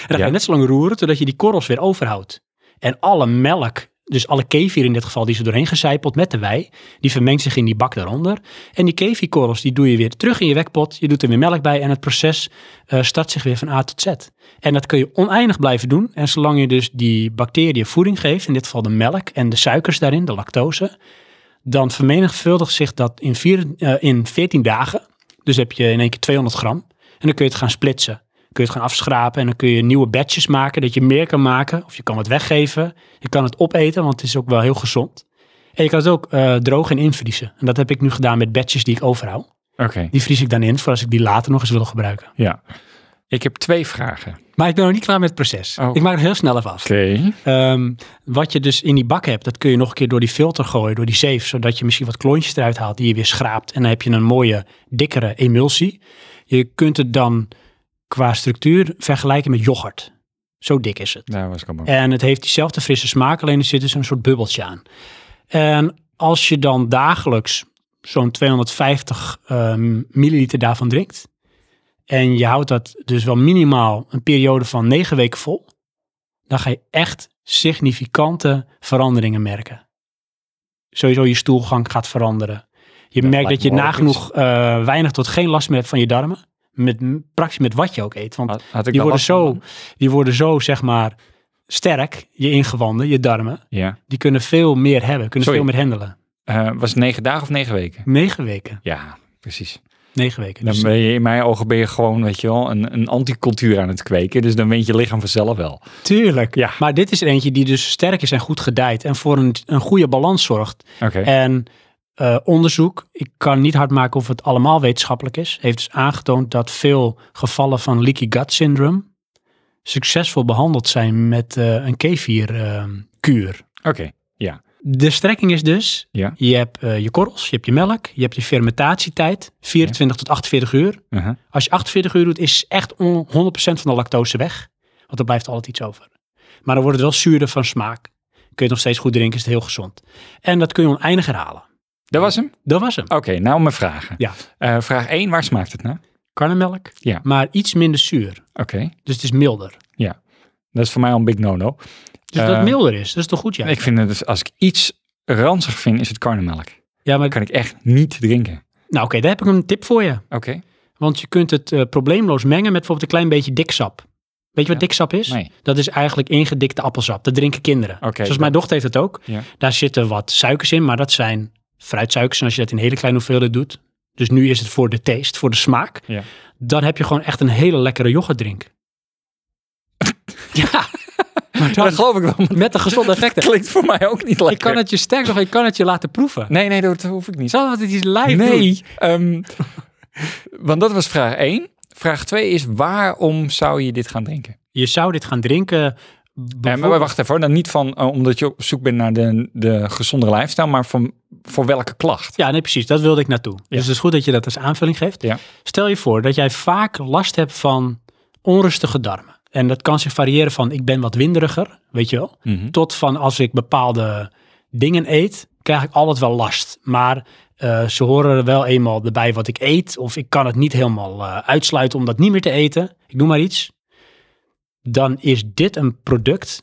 A: dan ga
B: Ja.
A: je net zo lang roeren totdat je die korrels weer overhoudt. En alle melk, dus alle kefir in dit geval, die is er doorheen gecijpeld met de wei, die vermengt zich in die bak daaronder. En die kefikorrels, die doe je weer terug in je wekpot. Je doet er weer melk bij en het proces eh, start zich weer van A tot Z. En dat kun je oneindig blijven doen. En zolang je dus die bacteriën voeding geeft, in dit geval de melk en de suikers daarin, de lactose, dan vermenigvuldigt zich dat in, vier, eh, in 14 dagen. Dus heb je in één keer 200 gram. En dan kun je het gaan splitsen. Kun je het gaan afschrapen en dan kun je nieuwe batches maken, dat je meer kan maken. Of je kan het weggeven. Je kan het opeten, want het is ook wel heel gezond. En je kan het ook eh, droog en invriezen. En dat heb ik nu gedaan met batches die ik overhoud.
B: Oké.
A: Die vries ik dan in voor als ik die later nog eens wil gebruiken.
B: Ja. Ik heb twee vragen. Oké.
A: Maar ik ben nog niet klaar met het proces.
B: Oh.
A: Ik maak het heel snel even af. Ehm, wat je dus in die bak hebt, dat kun je nog een keer door die filter gooien, door die zeef, zodat je misschien wat klontjes eruit haalt die je weer schraapt. En dan heb je een mooie, dikkere emulsie. Je kunt het dan qua structuur vergelijken met yoghurt. Zo dik is het.
B: Daar was ik al bang.
A: En het heeft diezelfde frisse smaak, alleen er zit dus een soort bubbeltje aan. En als je dan dagelijks zo'n 250 ehm, milliliter daarvan drinkt, en je houdt dat dus wel minimaal een periode van negen weken vol, dan ga je echt significante veranderingen merken. Sowieso je stoelgang gaat veranderen. Je
B: Dat
A: merkt dat
B: lijkt
A: je
B: me logisch.
A: nagenoeg eh, weinig tot geen last meer hebt van je darmen. Met praktisch met wat je ook eet. Want
B: Had, had ik
A: die
B: daar
A: worden,
B: last van
A: zo,
B: dan?
A: die worden zo, zeg maar, sterk, je ingewanden, je darmen.
B: Ja.
A: Die kunnen veel meer hebben, kunnen
B: Sorry.
A: veel meer handelen.
B: Eh, was het negen dagen of negen weken?
A: Negen weken.
B: Ja, precies.
A: Negen weken.
B: Dan
A: Dus
B: ben je in mijn ogen ben je gewoon, weet je wel, een, een anticultuur aan het kweken. Dus dan weet je lichaam vanzelf wel.
A: tuurlijk.
B: Ja.
A: Maar dit is er eentje die dus sterk is en goed gedijt en voor een, een goede balans zorgt.
B: Oké.
A: En eh, onderzoek, ik kan niet hard maken of het allemaal wetenschappelijk is, heeft dus aangetoond dat veel gevallen van leaky gut syndrome succesvol behandeld zijn met eh, een kefir-kuur.
B: Oké.
A: De strekking is dus,
B: Ja.
A: je hebt eh, je korrels, je hebt je melk, je hebt je fermentatietijd, 24 tot 48 uur.
B: Uh-huh.
A: Als je 48 uur doet, is echt on- 100% van de lactose weg. Want er blijft altijd iets over. Maar dan wordt het wel zuurder van smaak. Kun je het nog steeds goed drinken, is het heel gezond. En dat kun je oneindig herhalen.
B: Dat was hem?
A: Dat was hem.
B: Oké, nou mijn vragen.
A: Ja.
B: Eh, vraag 1, waar smaakt het naar?
A: Karnemelk,
B: Ja.
A: maar iets minder zuur.
B: Oké,
A: Dus het is milder.
B: dat is voor mij al een big no-no.
A: Dus
B: Eh,
A: dat het milder is, dat is toch goed, ja?
B: Ik vind het, dus- als ik iets ranzig vind, is het karnemelk.
A: ja maar,
B: Dat kan ik echt niet drinken.
A: nou oké, daar heb ik een tip voor je.
B: Oké,
A: Want je kunt het eh, probleemloos mengen met bijvoorbeeld een klein beetje diksap. Weet je wat
B: Ja.
A: diksap is?
B: nee.
A: Dat is eigenlijk ingedikte appelsap. Dat drinken kinderen.
B: Oké,
A: Zoals
B: dat-
A: mijn dochter heeft het ook.
B: Ja.
A: Daar zitten wat suikers in, maar dat zijn fruitsuikers. En als je dat in hele kleine hoeveelheden doet, dus nu is het voor de taste, voor de smaak,
B: Ja.
A: dan heb je gewoon echt een hele lekkere yoghurtdrink. ja, maar
B: Maar dat
A: dan
B: geloof ik wel, maar
A: met de gezonde effecten.
B: dat klinkt voor mij ook niet lekker.
A: Ik kan het je sterk nog, ik kan het je laten proeven.
B: Nee, nee, dat hoef ik niet.
A: Zal het iets lijf doen?
B: Nee, ehm, want dat was vraag 1. Vraag 2 is, waarom zou je dit gaan drinken?
A: Je zou dit gaan drinken.
B: Ja, maar wacht even, hoor. dan niet van eh, omdat je op zoek bent naar de, de gezondere lifestyle, maar van, voor welke klacht?
A: Ja, nee, precies. Dat wilde ik naartoe. Dus het is goed dat je dat als aanvulling geeft.
B: Ja.
A: Stel je voor dat jij vaak last hebt van onrustige darmen. En dat kan zich variëren van ik ben wat winderiger, weet je wel.
B: Mhm.
A: Tot van als ik bepaalde dingen eet, krijg ik altijd wel last. Maar eh, ze horen er wel eenmaal bij wat ik eet. Of ik kan het niet helemaal eh, uitsluiten om dat niet meer te eten. Ik noem maar iets. Dan is dit een product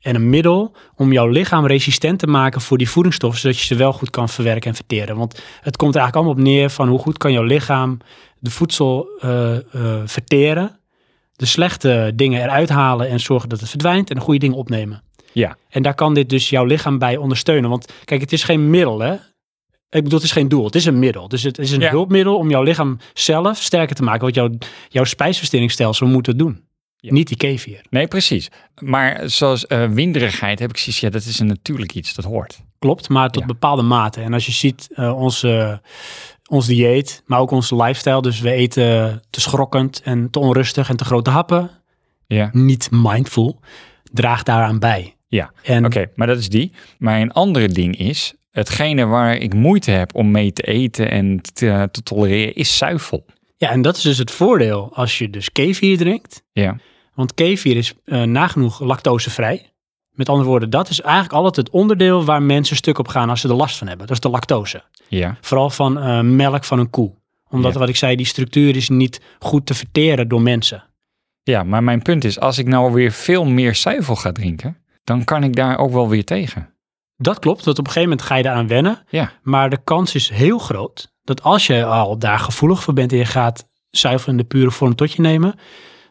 A: en een middel om jouw lichaam resistent te maken voor die voedingsstoffen. Zodat je ze wel goed kan verwerken en verteren. Want het komt er eigenlijk allemaal op neer van hoe goed kan jouw lichaam de voedsel eh, eh, verteren. De slechte dingen eruit halen en zorgen dat het verdwijnt. En de goede dingen opnemen.
B: Ja,
A: En daar kan dit dus jouw lichaam bij ondersteunen. Want kijk, het is geen middel, hè? Ik bedoel, het is geen doel, het is een middel. Dus het is een
B: Ja.
A: hulpmiddel om jouw lichaam zelf sterker te maken. Wat jouw, jouw spijsverteringsstelsel moet het doen.
B: Ja.
A: Niet die kefir.
B: nee, precies. Maar zoals eh, winderigheid heb ik zoiets, ja, dat is een natuurlijk iets, dat hoort.
A: Klopt, maar tot
B: Ja.
A: bepaalde mate. En als je ziet eh, onze, ons dieet, maar ook onze lifestyle. Dus we eten te schrokkend en te onrustig en te grote happen.
B: Ja.
A: Niet mindful. Draagt daaraan bij.
B: Ja,
A: En
B: Oké, maar dat is die. Maar een andere ding is, hetgene waar ik moeite heb om mee te eten en te, te tolereren, is zuivel.
A: Ja, en dat is dus het voordeel als je dus kefir drinkt.
B: Ja.
A: Want kefir is eh, nagenoeg lactosevrij. Met andere woorden, dat is eigenlijk altijd het onderdeel waar mensen stuk op gaan als ze er last van hebben. Dat is de lactose.
B: Ja,
A: Vooral van eh, melk van een koe. Omdat,
B: Ja.
A: wat ik zei, die structuur is niet goed te verteren door mensen.
B: ja, maar mijn punt is, als ik nou weer veel meer zuivel ga drinken, dan kan ik daar ook wel weer tegen.
A: Dat klopt, want op een gegeven moment ga je daaraan wennen.
B: Ja.
A: Maar de kans is heel groot dat als je al daar gevoelig voor bent en je gaat zuivel in de pure vorm tot je nemen,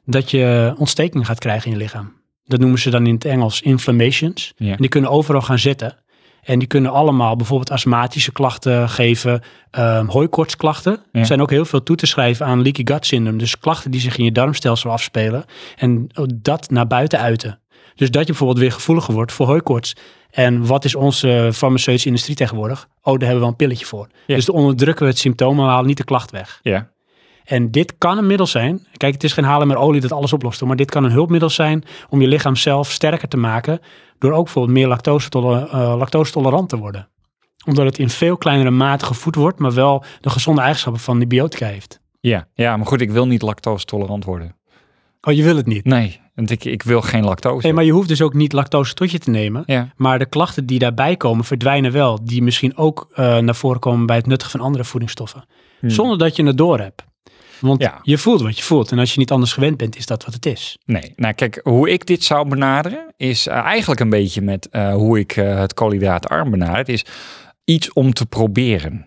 A: dat je ontsteking gaat krijgen in je lichaam. Dat noemen ze dan in het Engels inflammations.
B: Ja.
A: En die kunnen overal gaan zitten. En die kunnen allemaal bijvoorbeeld astmatische klachten geven, ehm hooikoortsklachten.
B: Ja.
A: Er zijn ook heel veel toe te schrijven aan leaky gut syndrome. Dus klachten die zich in je darmstelsel afspelen en dat naar buiten uiten. Dus dat je bijvoorbeeld weer gevoeliger wordt voor hooikoorts. En wat is onze farmaceutische industrie tegenwoordig? Oh, daar hebben we wel een pilletje voor.
B: Ja.
A: Dus dan onderdrukken we het symptoom, maar we halen niet de klacht weg.
B: Ja,
A: En dit kan een middel zijn. Kijk, het is geen halen met olie dat alles oplost. hoor, Maar dit kan een hulpmiddel zijn om je lichaam zelf sterker te maken. Door ook bijvoorbeeld meer lactose, tolerant te worden. Omdat het in veel kleinere mate gevoed wordt, maar wel de gezonde eigenschappen van die biotica heeft.
B: ja, ja, maar goed, ik wil niet lactose tolerant worden.
A: Oh, je wil het niet.
B: Nee, want ik, ik wil geen lactose.
A: Nee, maar je hoeft dus ook niet lactose tot je te nemen.
B: Ja,
A: Maar de klachten die daarbij komen verdwijnen wel. Die misschien ook eh, naar voren komen bij het nuttigen van andere voedingsstoffen.
B: Hmm.
A: Zonder dat je het door hebt. Want
B: Ja.
A: je voelt wat je voelt. En als je niet anders gewend bent, is dat wat het is.
B: nee. Nou kijk, hoe ik dit zou benaderen is eh, eigenlijk een beetje met eh, hoe ik eh, het koolhydraatarm benader. Het is iets om te proberen.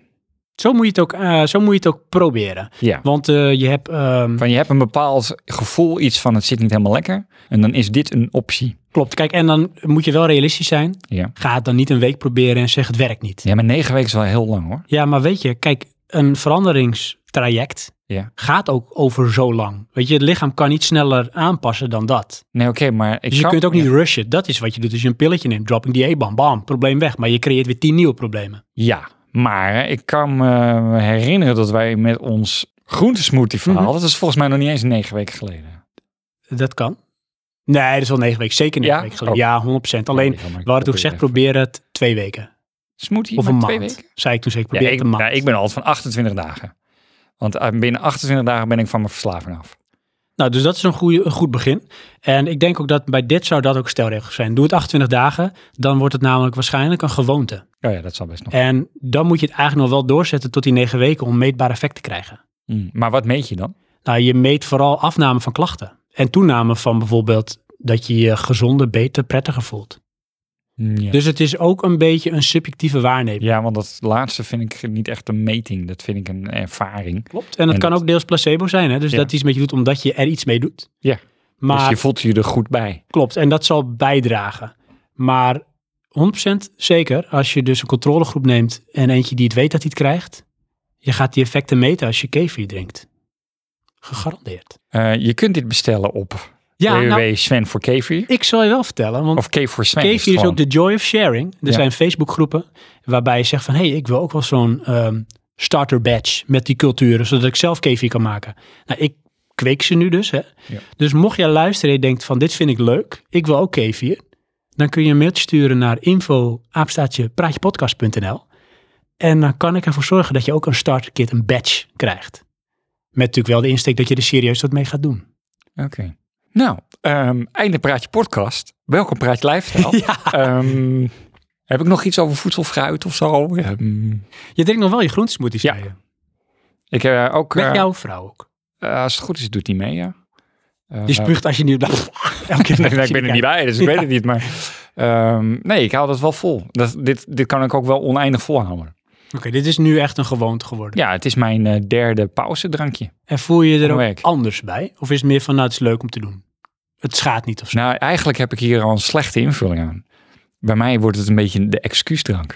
A: Zo moet je het ook, eh, zo moet je het ook proberen.
B: Ja.
A: Want eh, je hebt. ehm,
B: Van je hebt een bepaald gevoel, iets van het zit niet helemaal lekker. En dan is dit een optie.
A: klopt. Kijk, en dan moet je wel realistisch zijn.
B: Ja.
A: Ga het dan niet een week proberen en zeg het werkt niet. Ja,
B: Ja, maar negen weken is wel heel lang hoor.
A: maar weet je, kijk, een veranderingstraject
B: Ja.
A: gaat ook over zo lang. Weet je, het lichaam kan niet sneller aanpassen dan dat.
B: Nee, oké, maar ik
A: Dus je
B: zou-
A: kunt ook niet
B: Ja.
A: rushen. Dat is wat je doet. Als je een pilletje neemt, dropping die bam, bam, probleem weg. Maar je creëert weer tien nieuwe problemen.
B: Ja, maar eh, ik kan me herinneren dat wij met ons groentesmoothie verhaal,
A: Mhm.
B: dat is volgens mij nog niet eens negen weken geleden.
A: Dat kan. Nee, dat is wel negen weken. Zeker negen
B: Ja?
A: weken geleden. Ja, 100%. Alleen,
B: Ja, maar ik
A: we hadden toen
B: probeer
A: gezegd,
B: even.
A: probeer het twee weken.
B: Smoothie
A: Of
B: maar
A: een
B: twee
A: maand.
B: weken?
A: Zei ik toen, zei ik,
B: Ja,
A: probeer
B: ik,
A: het een maand.
B: nou, ik ben altijd van 28 dagen. Want eh, binnen 28 dagen ben ik van mijn verslaving af.
A: Nou, dus dat is een, goeie, een goed begin. En ik denk ook dat bij dit zou dat ook stelregels zijn. Doe het 28 dagen, dan wordt het namelijk waarschijnlijk een gewoonte.
B: Oh ja, dat zal best nog.
A: En dan moet je het eigenlijk nog wel doorzetten tot die negen weken om meetbaar effect te krijgen.
B: Mm. Maar wat meet je dan?
A: Nou, je meet vooral afname van klachten. En toename van bijvoorbeeld dat je je gezonder, beter, prettiger voelt.
B: Ja.
A: Dus het is ook een beetje een subjectieve waarneming.
B: ja, want dat laatste vind ik niet echt een meting. Dat vind ik een ervaring.
A: Klopt. En het
B: En
A: kan
B: dat-
A: ook deels placebo zijn. Hè? Dus
B: Ja.
A: dat iets met je doet omdat je er iets mee doet.
B: Ja.
A: Maar
B: Dus je voelt je er goed bij.
A: Klopt, en dat zal bijdragen. Maar 100% zeker, als je dus een controlegroep neemt en eentje die het weet dat hij het krijgt, je gaat die effecten meten als je kefir drinkt. Gegarandeerd.
B: Eh, je kunt dit bestellen op
A: Ja,
B: www.sven
A: nou,
B: voor Kefir.
A: ik zal je wel vertellen, want
B: Of K voor Sven.
A: kefir
B: is
A: is,
B: het gewoon.
A: ook de joy of sharing. Er
B: Ja.
A: zijn Facebookgroepen waarbij je zegt van, hé, hey, ik wil ook wel zo'n ehm, starter badge met die culturen, zodat ik zelf kefir kan maken. Nou, ik kweek ze nu dus. Hè?
B: Ja.
A: Dus mocht jij luisteren en je denkt van dit vind ik leuk, ik wil ook kefir. Dan kun je een mailtje sturen naar info apenstaartje praatjepodcast.nl. En dan kan ik ervoor zorgen dat je ook een starterkit, een badge krijgt. Met natuurlijk wel de insteek dat je er serieus wat mee gaat doen.
B: Oké. Nou, ehm, einde Praatje Podcast. Welkom Praatje Lifestyle. Ehm, heb ik nog iets over voedsel, fruit of zo? Ehm,
A: Je drinkt nog wel je groentesmoothies,
B: Ja.
A: zei je.
B: ik heb eh, ook... eh,
A: Met jouw vrouw ook.
B: eh, als het goed is, doet hij mee, ja. Eh,
A: Die spuugt als je nu... Elke keer als je
B: Nee, nee, ik ben er
A: kijkt.
B: niet bij, dus ik weet het niet. Maar ehm, nee, ik haal dat wel vol. Dat, dit, dit kan ik ook wel oneindig volhouden.
A: Oké, dit is nu echt een gewoonte geworden.
B: Ja, het is mijn eh, derde pauzedrankje.
A: En voel je je er
B: Van
A: ook
B: werk.
A: anders bij? Of is het meer van, nou, het is leuk om te doen? Het schaadt niet of zo.
B: Nou, eigenlijk heb ik hier al een slechte invulling aan. Bij mij wordt het een beetje de excuusdrank.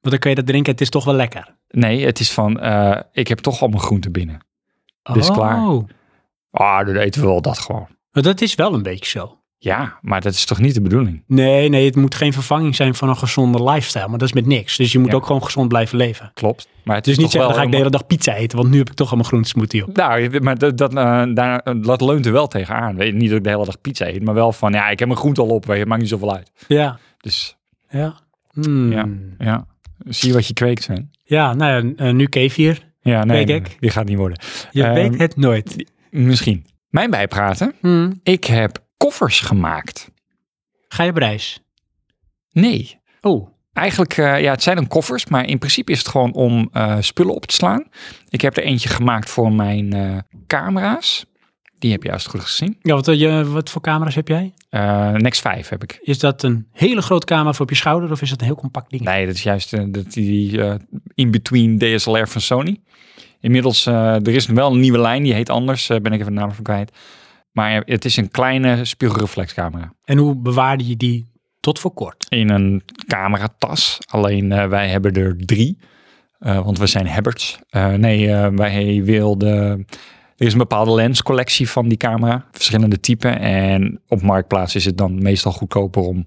A: Want dan kun je dat drinken, het is toch wel lekker.
B: Nee, het is van, eh, ik heb toch al mijn groenten binnen. Dit is klaar.
A: Oh,
B: Ah, dan eten we wel dat gewoon.
A: maar dat is wel een beetje zo.
B: Ja, maar dat is toch niet de bedoeling?
A: Nee, nee, het moet geen vervanging zijn van een gezonde lifestyle. Maar dat is met niks. Dus je moet
B: Ja.
A: ook gewoon gezond blijven leven.
B: Klopt. Maar het
A: Dus niet
B: toch
A: zeggen, dan ga
B: wel
A: ik de hele dag pizza eten. Want nu heb ik toch al mijn groentesmoothie op.
B: Nou, maar dat, dat, eh, daar, dat leunt er wel tegenaan. Weet je, niet dat ik de hele dag pizza eet, maar wel van, ja, ik heb mijn groente al op, weet je, het maakt niet zoveel uit.
A: Ja,
B: Dus
A: ja. Hmm.
B: Ja.
A: Ja.
B: ja, zie wat je kweekt, Sven.
A: nou ja, eh, nu kefir.
B: Ja, nee,
A: Kweek ik?
B: nee, die gaat niet worden.
A: Je
B: Ehm,
A: weet het nooit.
B: Misschien. Mijn bijpraten.
A: Hmm.
B: Ik heb koffers gemaakt.
A: Ga je op reis?
B: Nee.
A: Oh,
B: Eigenlijk, eh, ja, het zijn dan koffers, maar in principe is het gewoon om eh, spullen op te slaan. Ik heb er eentje gemaakt voor mijn eh, camera's. Die heb je juist goed gezien.
A: ja, wat, eh, je, wat voor camera's heb jij?
B: Eh Next 5 heb ik.
A: Is dat een hele grote camera voor op je schouder of is dat een heel compact ding?
B: Nee, dat is juist eh, dat die eh, in-between DSLR van Sony. Inmiddels, eh, er is wel een nieuwe lijn, die heet anders. eh, ben ik even de naam van kwijt. Maar eh, het is een kleine spiegelreflexcamera.
A: En hoe bewaarde je die tot voor kort?
B: In een cameratas. Alleen eh, wij hebben er drie. eh, want we zijn hebberts. Eh, nee, eh, wij wilden... Er is een bepaalde lenscollectie van die camera. Verschillende typen. En op Marktplaats is het dan meestal goedkoper om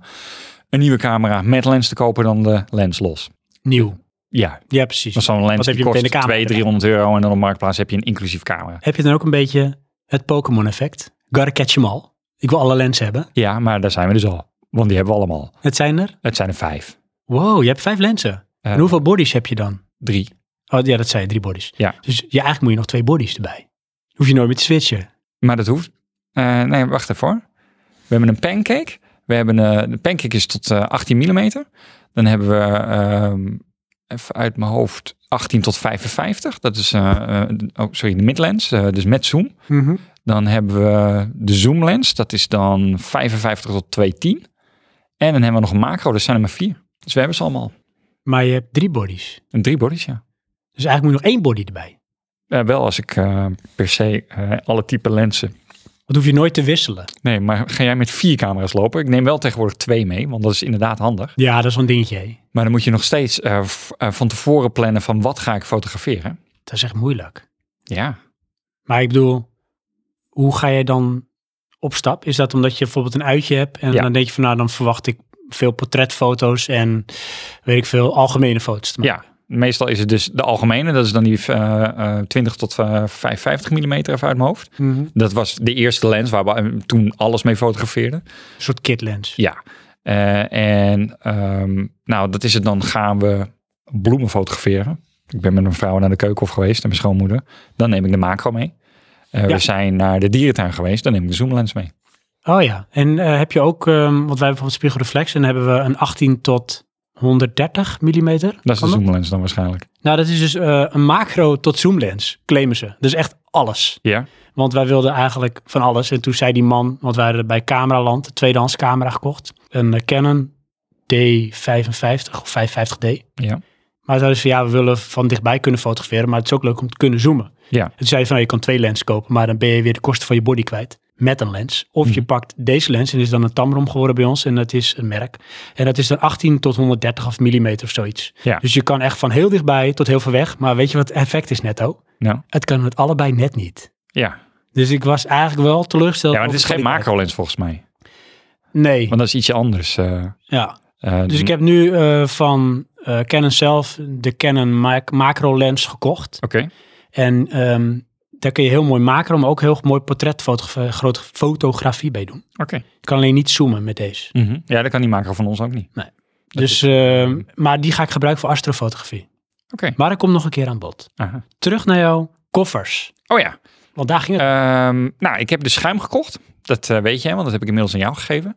B: een nieuwe camera met lens te kopen dan de lens los.
A: Nieuw.
B: Ja,
A: Ja, precies.
B: maar zo'n
A: Wat
B: lens
A: heb
B: die
A: je meteen
B: kost
A: de camera
B: 200, 300 euro en dan op Marktplaats heb je een inclusief camera.
A: Heb je dan ook een beetje het Pokémon effect? Gotta catch 'em all. Ik wil alle lenzen hebben.
B: Ja, maar daar zijn we dus al. Want die hebben we allemaal.
A: Het zijn er?
B: Het zijn er vijf.
A: Wow, je hebt vijf lenzen.
B: Eh,
A: En hoeveel bodies heb je dan?
B: Drie.
A: Oh ja, dat zei je, drie bodies.
B: Ja.
A: Dus ja, eigenlijk moet je nog twee bodies erbij. Hoef je nooit meer te switchen.
B: Maar dat hoeft. eh, nee, wacht even hoor. We hebben een pancake. We hebben eh, de pancake is tot eh, 18 mm. Dan hebben we ehm, even uit mijn hoofd 18 tot 55. Dat is eh, eh, oh, sorry, de midlens, eh, dus met zoom. Dan hebben we de zoomlens. Dat is dan 55 tot 210. En dan hebben we nog een macro. Dat zijn er maar vier. Dus we hebben ze allemaal.
A: Maar je hebt drie bodies.
B: Een drie bodies, ja.
A: Dus eigenlijk moet je nog één body erbij.
B: Eh, wel als ik eh, per se eh, alle type lenzen.
A: Want hoef je nooit te wisselen.
B: Nee, maar ga jij met vier camera's lopen? Ik neem wel tegenwoordig twee mee, want dat is inderdaad handig.
A: Ja, dat is wel een dingetje. hè.
B: Maar dan moet je nog steeds eh, v- eh, van tevoren plannen van wat ga ik fotograferen.
A: Dat is echt moeilijk.
B: Ja.
A: Maar ik bedoel, hoe ga jij dan op stap? Is dat omdat je bijvoorbeeld een uitje hebt en
B: Ja.
A: dan denk je van nou, dan verwacht ik veel portretfoto's en weet ik veel algemene foto's te maken.
B: ja. Meestal is het dus de algemene. Dat is dan die eh, eh, 20 tot eh, 55 mm even uit mijn hoofd.
A: Mhm.
B: Dat was de eerste lens waar we eh, toen alles mee fotografeerden.
A: Een soort kitlens.
B: Ja. Eh, en ehm, nou, dat is het dan. Gaan we bloemen fotograferen. Ik ben met mijn vrouw naar de keukenhof geweest en mijn schoonmoeder. Dan neem ik de macro mee. Eh,
A: Ja.
B: We zijn naar de dierentuin geweest. Dan neem ik de zoomlens mee.
A: Oh ja, en eh, heb je ook, ehm, want wij hebben bijvoorbeeld spiegelreflex en dan hebben we een 18 tot 130 mm.
B: Dat is de zoomlens dan waarschijnlijk.
A: Nou, dat is dus eh, een macro tot zoomlens, claimen ze. Dus echt alles.
B: Ja.
A: Want wij wilden eigenlijk van alles. En toen zei die man, want wij hadden bij Cameraland, de tweedehands camera gekocht. Een eh, Canon D55 of 55D.
B: Ja.
A: Maar zeiden ze van ja, we willen van dichtbij kunnen fotograferen, maar het is ook leuk om te kunnen zoomen.
B: Ja.
A: En toen zei je van nou, je kan twee lenzen kopen, maar dan ben je weer de kosten van je body kwijt met een lens. Of
B: Mhm.
A: je pakt deze lens en is dan een Tamron geworden bij ons en dat is een merk. En dat is dan 18 tot 130 of millimeter of zoiets.
B: Ja.
A: Dus je kan echt van heel dichtbij tot heel ver weg, maar weet je wat het effect is netto?
B: Nou.
A: Het kan met allebei net niet.
B: Ja.
A: Dus ik was eigenlijk wel teleurgesteld.
B: ja, maar het is
A: over
B: geen
A: de kwaliteit.
B: macro lens volgens mij.
A: Nee,
B: Want dat is ietsje anders. eh,
A: ja.
B: eh,
A: Dus ik heb nu eh, van eh, Canon zelf de Canon mac macro lens gekocht.
B: Oké.
A: En ehm, daar kun je heel mooi macro, maar ook heel mooi portretfotografie, grote fotografie bij doen.
B: Oké.
A: Je kan alleen niet zoomen met deze.
B: Mhm. Ja, dat kan die maker van ons ook niet. Dat
A: Dus, ehm, maar die ga ik gebruiken voor astrofotografie.
B: Oké.
A: Maar ik kom nog een keer aan bod.
B: Aha.
A: Terug naar jouw koffers.
B: Oh ja.
A: Want daar ging het.
B: Ehm, nou, ik heb de schuim gekocht. Dat eh, weet je, hè, want dat heb ik inmiddels aan jou gegeven.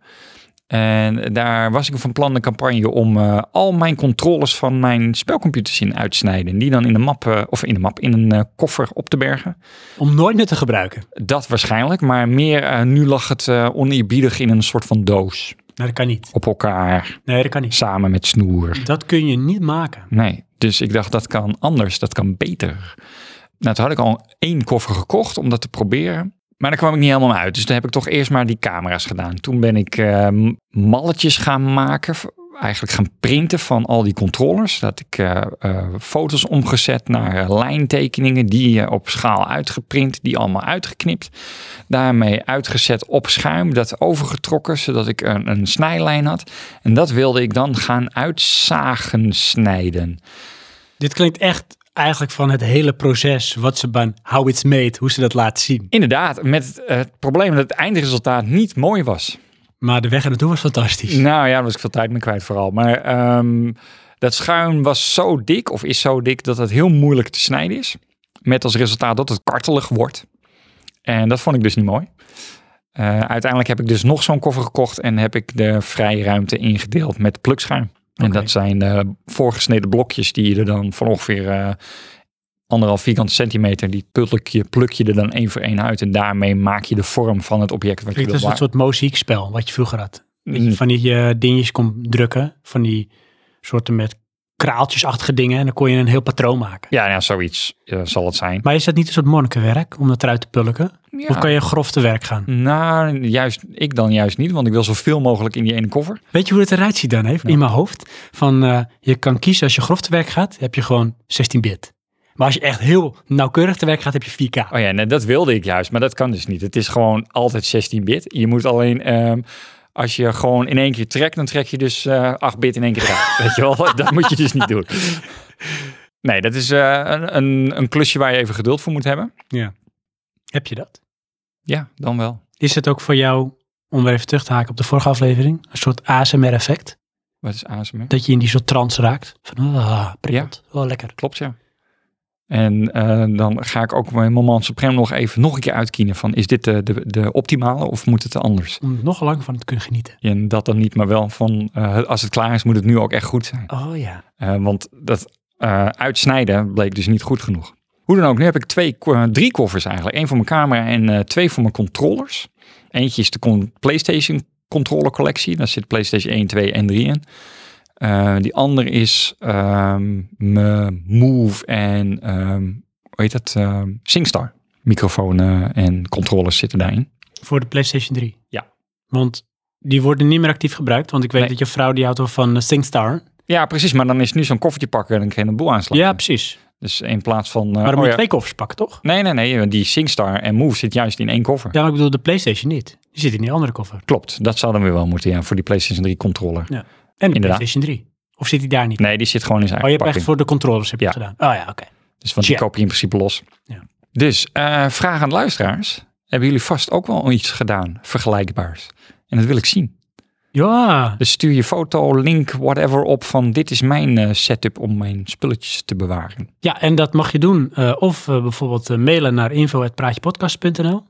B: En daar was ik van plan de campagne om eh, al mijn controles van mijn spelcomputers in uit te snijden. En die dan in de map, eh, of in de map, in een eh, koffer op te bergen.
A: om nooit meer te gebruiken.
B: Dat waarschijnlijk, maar meer eh, nu lag het eh, oneerbiedig in een soort van doos.
A: Nou, dat kan niet.
B: Op elkaar,
A: Nee, dat kan niet.
B: samen met snoer.
A: Dat kun je niet maken.
B: Nee, dus ik dacht dat kan anders, dat kan beter. Nou, toen had ik al één koffer gekocht om dat te proberen. Maar daar kwam ik niet helemaal uit. Dus toen heb ik toch eerst maar die camera's gedaan. Toen ben ik eh, malletjes gaan maken. v- Eigenlijk gaan printen van al die controllers. Dat ik eh, eh, foto's omgezet naar eh, lijntekeningen. Die eh, op schaal uitgeprint. Die allemaal uitgeknipt. Daarmee uitgezet op schuim. Dat overgetrokken zodat ik een, een snijlijn had. En dat wilde ik dan gaan uitzagen snijden.
A: Dit klinkt echt eigenlijk van het hele proces, wat ze bij How It's Made, hoe ze dat laten zien.
B: Inderdaad, met het, eh, het probleem dat het eindresultaat niet mooi was.
A: Maar de weg er naartoe was fantastisch.
B: Nou ja, daar was ik veel tijd mee kwijt vooral. Maar ehm, dat schuim was zo dik, of is zo dik, dat het heel moeilijk te snijden is. Met als resultaat dat het kartelig wordt. En dat vond ik dus niet mooi. Eh, uiteindelijk heb ik dus nog zo'n koffer gekocht en heb ik de vrije ruimte ingedeeld met plukschuim. En
A: Oké.
B: dat zijn eh, voorgesneden blokjes die je er dan van ongeveer eh, anderhalf vierkante centimeter, die pluk je, pluk je er dan één voor één uit. En daarmee maak je de vorm van het object wat je
A: Klinkt
B: wilt
A: als een soort mozaïekspel wat je vroeger had. Dat je
B: Mm.
A: van die eh, dingetjes kon drukken, van die soorten met kraaltjesachtige dingen. En dan kon je een heel patroon maken.
B: Ja, nou, zoiets eh, zal het zijn.
A: Maar is dat niet een soort monnikenwerk om dat eruit te pulken?
B: Ja.
A: Of kan je grof te werk gaan?
B: Nou, juist, ik dan juist niet, want ik wil zoveel mogelijk in die ene koffer.
A: Weet je hoe het eruit ziet dan even in mijn hoofd? Van eh, je kan kiezen als je grof te werk gaat, heb je gewoon 16 bit. Maar als je echt heel nauwkeurig te werk gaat, heb je 4K.
B: Oh ja, nee, dat wilde ik juist, maar dat kan dus niet. Het is gewoon altijd 16-bit. Je moet alleen, ehm, als je gewoon in één keer trekt, dan trek je dus eh 8-bit in één keer uit. Weet je wel, dat moet je dus niet doen. Nee, dat is eh, een, een, een klusje waar je even geduld voor moet hebben.
A: Heb je dat?
B: Ja, dan wel.
A: Is het ook voor jou, om weer even terug te haken op de vorige aflevering, een soort ASMR-effect?
B: Wat is ASMR?
A: Dat je in die soort trance raakt. Van, ah, prikkeld. Wel lekker.
B: Klopt, ja. En eh, dan ga ik ook mijn moment supreme nog even nog een keer uitkienen van is dit de, de, de optimale of moet het anders?
A: Om nog lang van het kunnen genieten.
B: En dat dan niet, maar wel van eh, als het klaar is, moet het nu ook echt goed zijn.
A: Oh ja.
B: Eh, want dat eh, uitsnijden bleek dus niet goed genoeg. Hoe dan ook, nu heb ik twee, ko- eh, drie koffers eigenlijk. Eén voor mijn camera en eh, twee voor mijn controllers. Eentje is de con- PlayStation controller collectie. Daar zit PlayStation 1, 2 en 3 in. Eh, die andere is ehm, mijn Move en ehm, hoe heet dat? Ehm, SingStar. Microfoon eh, en controllers zitten daarin.
A: Voor de PlayStation 3.
B: Ja.
A: Want die worden niet meer actief gebruikt. Want ik weet
B: Nee.
A: dat je vrouw die auto van eh, SingStar.
B: Ja, precies. Maar dan is nu zo'n koffertje pakken en dan kan je een boel aanslaan.
A: Ja, precies.
B: Dus in plaats van... eh,
A: Maar dan
B: oh
A: moet je
B: ja.
A: twee koffers pakken, toch?
B: Nee, nee, nee. Die SingStar en Move zit juist in één koffer.
A: Ja, maar ik bedoel de PlayStation niet. Die zit in die andere koffer.
B: Klopt, dat zouden we wel moeten, ja, voor die PlayStation 3 controller.
A: En de
B: Inderdaad.
A: PlayStation 3. Of zit die daar niet?
B: Nee, die zit gewoon in zijn
A: oh, je
B: eigen
A: hebt echt
B: pakking.
A: voor de controllers heb je
B: Ja.
A: het gedaan. Oh ja, oké.
B: Dus want die
A: Check.
B: koop je in principe los.
A: Ja.
B: Dus, eh, vraag aan de luisteraars. Hebben jullie vast ook wel iets gedaan vergelijkbaars? En dat wil ik zien.
A: Ja,
B: Dus stuur je foto, link, whatever op van dit is mijn eh, setup om mijn spulletjes te bewaren.
A: Ja, en dat mag je doen. eh, of eh, bijvoorbeeld eh, mailen naar info.praatjepodcast.nl.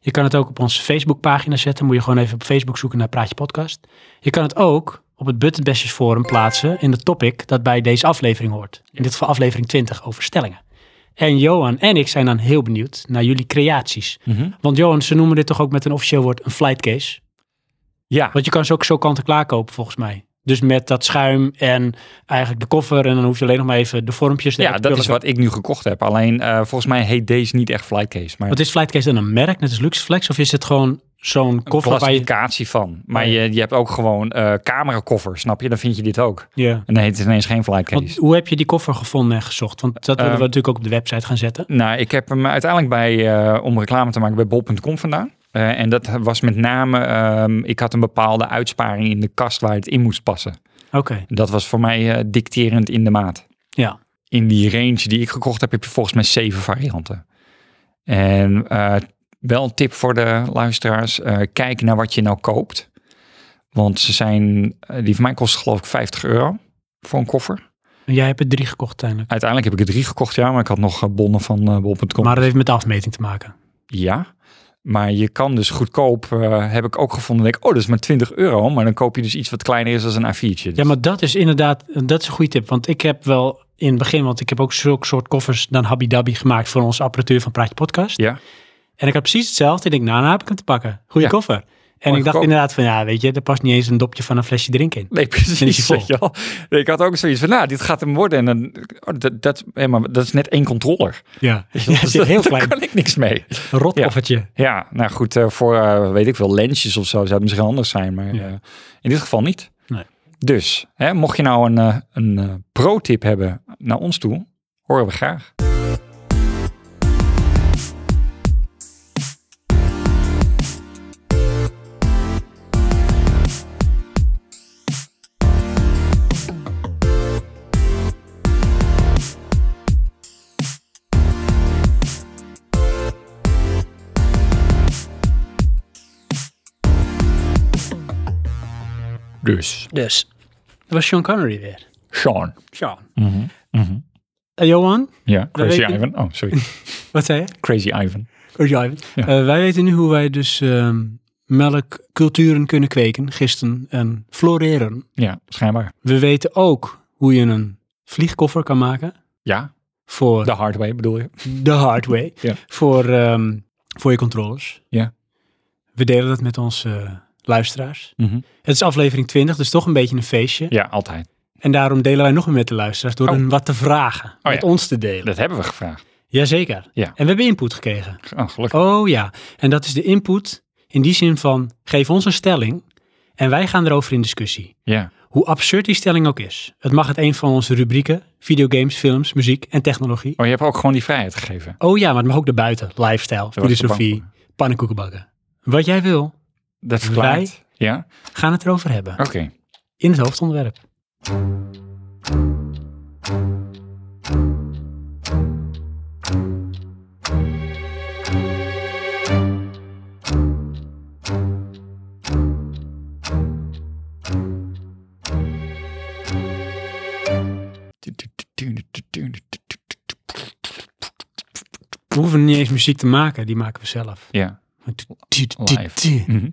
A: Je kan het ook op onze Facebookpagina zetten. Moet je gewoon even op Facebook zoeken naar Praatje Podcast. Je kan het ook op het Buttonbashers Forum plaatsen in de topic dat bij deze aflevering hoort. In dit geval aflevering 20 over stellingen. En Johan en ik zijn dan heel benieuwd naar jullie creaties. Want Johan, ze noemen dit toch ook met een officieel woord een flightcase?
B: Ja,
A: Want je kan ze ook zo kant-en-klaar kopen, volgens mij. Dus met dat schuim en eigenlijk de koffer. En dan hoef je alleen nog maar even de vormpjes.
B: ja,
A: eruit te
B: dat is
A: pulken.
B: wat ik nu gekocht heb. Alleen, eh, volgens mij heet deze niet echt flycase, maar
A: Wat is Flightcase dan een merk, net als Luxflex? Of is het gewoon zo'n koffer waar je...
B: classificatie van. Maar je, je hebt ook gewoon eh camerakoffer, snap je? Dan vind je dit ook.
A: Ja.
B: En dan heet het ineens geen flycase.
A: Want hoe heb je die koffer gevonden en gezocht? Want dat willen we
B: Eh,
A: natuurlijk ook op de website gaan zetten.
B: Nou, ik heb hem uiteindelijk bij, eh, om reclame te maken, bij bol.com vandaan. Eh, en dat was met name, ehm, ik had een bepaalde uitsparing in de kast waar het in moest passen.
A: Oké,
B: Dat was voor mij eh, dicterend in de maat.
A: ja.
B: In die range die ik gekocht heb, heb je volgens mij zeven varianten. En eh, wel een tip voor de luisteraars. eh, kijk naar wat je nou koopt. Want ze zijn, eh, die van mij kost geloof ik 50 euro voor een koffer.
A: En jij hebt er drie gekocht uiteindelijk.
B: Uiteindelijk heb ik er drie gekocht, ja. Maar ik had nog eh, bonnen van eh, bol.com.
A: Maar dat heeft met de afmeting te maken.
B: Ja, maar je kan dus goedkoop, eh, heb ik ook gevonden, denk ik, oh, dat is maar 20 euro. Maar dan koop je dus iets wat kleiner is als een A4'tje. Dus-
A: Ja, maar dat is inderdaad, dat is een goede tip. Want ik heb wel in het begin, want ik heb ook zulke soort koffers dan Habi Dabi gemaakt voor onze apparatuur van Praatje Podcast.
B: Ja.
A: En ik had precies hetzelfde. Ik denk, nou, nou heb ik hem te pakken. Goede
B: Ja.
A: koffer. En
B: Mooi
A: ik dacht
B: goedkoop.
A: inderdaad van, ja, weet je, er past niet eens een dopje van een flesje drink in.
B: Nee,
A: is
B: precies.
A: hij vol.
B: weet je wel. Ik had ook zoiets van, nou, dit gaat hem worden. En dan, oh, dat, dat, hé, maar dat is net één controller.
A: Ja,
B: Weet je
A: ja
B: wel,
A: het
B: dus
A: zit heel
B: daar
A: klein.
B: kan ik niks mee.
A: Een rotkoffertje.
B: Ja, nou goed, eh, voor, eh, weet ik veel, lensjes of zo zou het misschien anders zijn. Maar
A: Ja.
B: eh, in dit geval niet.
A: Nee.
B: Dus, hè, mocht je nou een, eh, een eh, pro-tip hebben naar ons toe, horen we graag. Dus,
A: Dus. Dat was Sean Connery weer.
B: Sean.
A: Sean.
B: Mhm, mhm.
A: Eh, Johan,
B: Ja, Crazy
A: weet je-
B: Ivan. Oh, sorry.
A: wat zei je?
B: Crazy Ivan.
A: Oh, ja. Eh, wij weten nu hoe wij dus ehm, melkculturen kunnen kweken, gisten en floreren.
B: Ja, schijnbaar.
A: We weten ook hoe je een vliegkoffer kan maken
B: Ja,
A: voor
B: de hard way bedoel je.
A: de hard way.
B: Ja.
A: Voor, ehm, voor je controllers.
B: Ja.
A: We delen dat met onze eh, luisteraars. Het is aflevering 20, dus toch een beetje een feestje.
B: Ja, altijd.
A: En daarom delen wij nog meer met de luisteraars door
B: Oh.
A: hun wat te vragen.
B: ja.
A: met ons te delen.
B: Dat hebben we gevraagd.
A: Jazeker.
B: Ja.
A: En we hebben input gekregen.
B: Oh, gelukkig.
A: Oh ja, en dat is de input in die zin van geef ons een stelling en wij gaan erover in discussie.
B: Ja.
A: Hoe absurd die stelling ook is. Het mag uit een van onze rubrieken, videogames, films, muziek en technologie.
B: Oh, je hebt ook gewoon die vrijheid gegeven.
A: Oh ja, maar het mag ook daarbuiten. Lifestyle,
B: Daar was ik
A: filosofie,
B: bang
A: pannenkoekenbakken. Wat jij wil,
B: voor. Dat verklaart. Ja,
A: gaan het erover hebben.
B: oké.
A: In het hoofdonderwerp. We hoeven niet eens muziek te maken, die maken we zelf.
B: Ja. Live.
A: Ik
B: Mhm.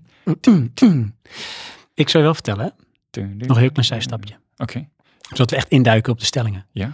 A: zou je wel vertellen, hè? nog een heel klein zijstapje.
B: Oké.
A: Zodat we echt induiken op de stellingen.
B: Ja.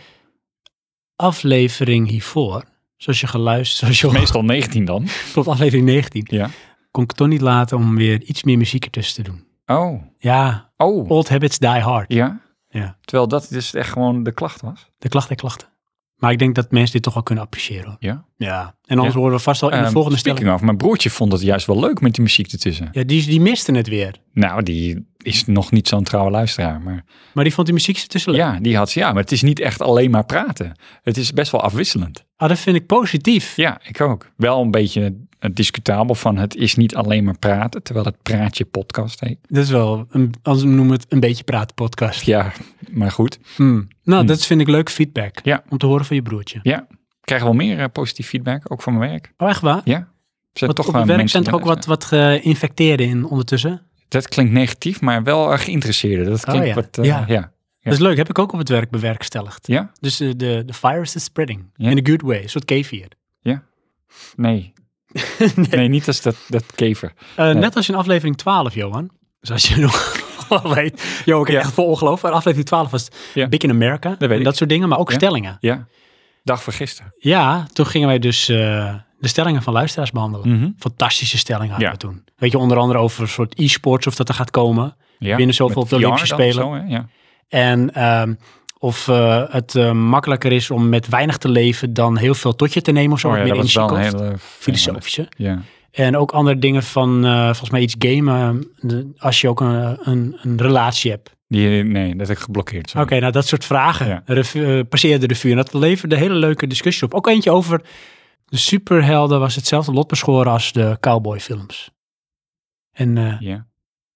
A: Aflevering hiervoor, zoals je geluisterd, zoals je
B: Meestal 19 dan.
A: tot aflevering 19,
B: Ja.
A: kon ik het toch niet laten om weer iets meer muziek ertussen te doen.
B: Oh.
A: Ja,
B: Oh.
A: old habits die hard.
B: Ja.
A: Ja.
B: Terwijl dat dus echt gewoon de klacht was.
A: De klachten, klachten. Maar ik denk dat mensen dit toch wel kunnen appreciëren. hoor.
B: Ja.
A: Ja. En anders
B: Ja.
A: horen we vast wel in de
B: Ehm,
A: volgende
B: speaking
A: stelling.
B: of, mijn broertje vond het juist wel leuk met die muziek ertussen.
A: Ja, die, die miste het weer.
B: Nou, die is nog niet zo'n trouwe luisteraar, maar...
A: Maar die vond die muziek ertussen leuk.
B: Ja, die had ze. Ja, maar het is niet echt alleen maar praten. Het is best wel afwisselend.
A: Ah, dat vind ik positief.
B: Ja, ik ook. Wel een beetje eh, discutabel van het is niet alleen maar praten, terwijl het praatje podcast heet.
A: Dat is wel, een, als we noemen het een beetje praten podcast.
B: Ja, maar goed.
A: Hmm. Nou,
B: Hmm.
A: dat vind ik leuk feedback.
B: Ja.
A: Om te horen van je broertje.
B: Ja, ik krijg wel meer eh, positief feedback, ook van mijn werk.
A: Oh, echt waar?
B: Ja. Er zijn
A: Want
B: toch
A: op
B: wel
A: het werk zijn
B: mensen
A: toch
B: die
A: ook wat, wat geïnfecteerden in ondertussen?
B: Dat klinkt negatief, maar wel eh, geïnteresseerden. Dat klinkt
A: Oh, ja.
B: wat... eh,
A: Ja.
B: ja.
A: Dat is leuk, heb ik ook op het werk bewerkstelligd.
B: Ja?
A: Dus eh, de, de virus is spreading.
B: Ja.
A: In a good way, een soort kefir. Eh,
B: Nee. nee. niet als dat, dat kever.
A: Eh, Net als in aflevering 12, Johan. Zoals je nog wel weet. Johan, ik heb
B: Ja.
A: echt vol ongeloof. Maar aflevering 12 was het
B: Ja.
A: Big in America.
B: weet
A: en
B: ik.
A: dat soort dingen, maar ook
B: Ja.
A: stellingen.
B: Ja. Dag voor gisteren.
A: Ja, toen gingen wij dus eh, de stellingen van luisteraars behandelen.
B: Mhm.
A: Fantastische stellingen hadden
B: Ja.
A: we toen. Weet je, onder andere over een soort e-sports of dat er gaat komen.
B: Ja.
A: Binnen zoveel
B: Met
A: op de Olympische
B: VR dan of
A: Spelen.
B: zo, hè? ja.
A: En ehm, of eh, het eh, makkelijker is om met weinig te leven dan heel veel tot je te nemen of zo.
B: Oh
A: wat
B: ja,
A: meer
B: dat was
A: energie
B: wel een
A: kost.
B: hele...
A: Filosofische.
B: Ja.
A: En ook andere dingen van, eh, volgens mij iets gamen, eh, de- als je ook een, een, een relatie hebt.
B: Die, nee, dat heb ik geblokkeerd.
A: Oké,
B: sorry.
A: nou dat soort vragen
B: Mm. Ja.
A: revu- eh, passeer de revue. En dat leverde hele leuke discussies op. Ook eentje over de superhelden was hetzelfde lot beschoren als de cowboyfilms. En eh,
B: Ja.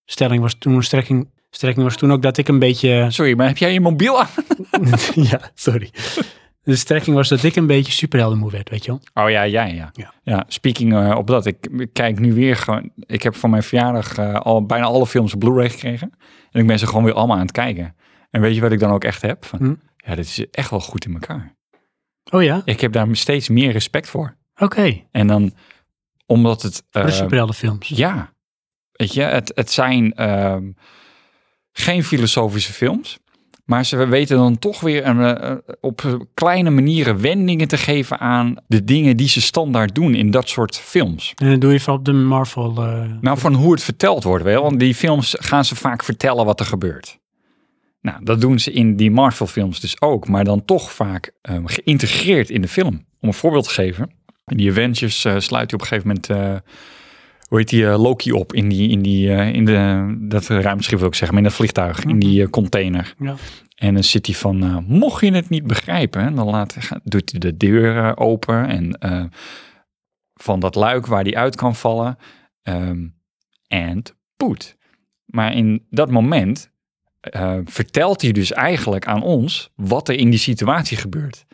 A: stelling was toen, strekking, strekking was toen ook dat ik een beetje...
B: Sorry, maar heb jij je mobiel aan?
A: ja, sorry. De strekking was dat ik een beetje superheldenmoe werd, weet je wel.
B: Oh ja, jij ja.
A: Ja.
B: Ja, speaking eh, op dat. Ik, ik kijk nu weer gewoon... Ik heb voor mijn verjaardag eh, al bijna alle films op Blu-ray gekregen. En ik ben ze gewoon weer allemaal aan het kijken. En weet je wat ik dan ook echt heb? Van,
A: Hm.
B: Ja, dit is echt wel goed in elkaar.
A: Oh ja?
B: Ik heb daar steeds meer respect voor.
A: Oké.
B: En dan omdat het... eh,
A: Voor de superheldenfilms.
B: ja, weet je, het, het zijn ehm, geen filosofische films. Maar ze weten dan toch weer een, eh, eh, op kleine manieren wendingen te geven aan de dingen die ze standaard doen in dat soort films.
A: En dat doe je vooral op de Marvel... eh,
B: Nou, van hoe het verteld wordt wel. Want die films gaan ze vaak vertellen wat er gebeurt. Nou, dat doen ze in die Marvel-films dus ook. Maar dan toch vaak ehm, geïntegreerd in de film. Om een voorbeeld te geven. In die Avengers eh, sluit hij op een gegeven moment... eh, hoe heet die eh, Loki op in, die, in, die, eh, in de, dat ruimteschip wil ik zeggen, maar in dat vliegtuig, in die eh, container.
A: ja.
B: En dan zit hij van, eh, mocht je het niet begrijpen, hè, dan laat, ga- doet hij de deur eh, open en eh, van dat luik waar hij uit kan vallen. ehm, En poet. Maar in dat moment eh, vertelt hij dus eigenlijk aan ons wat er in die situatie gebeurt.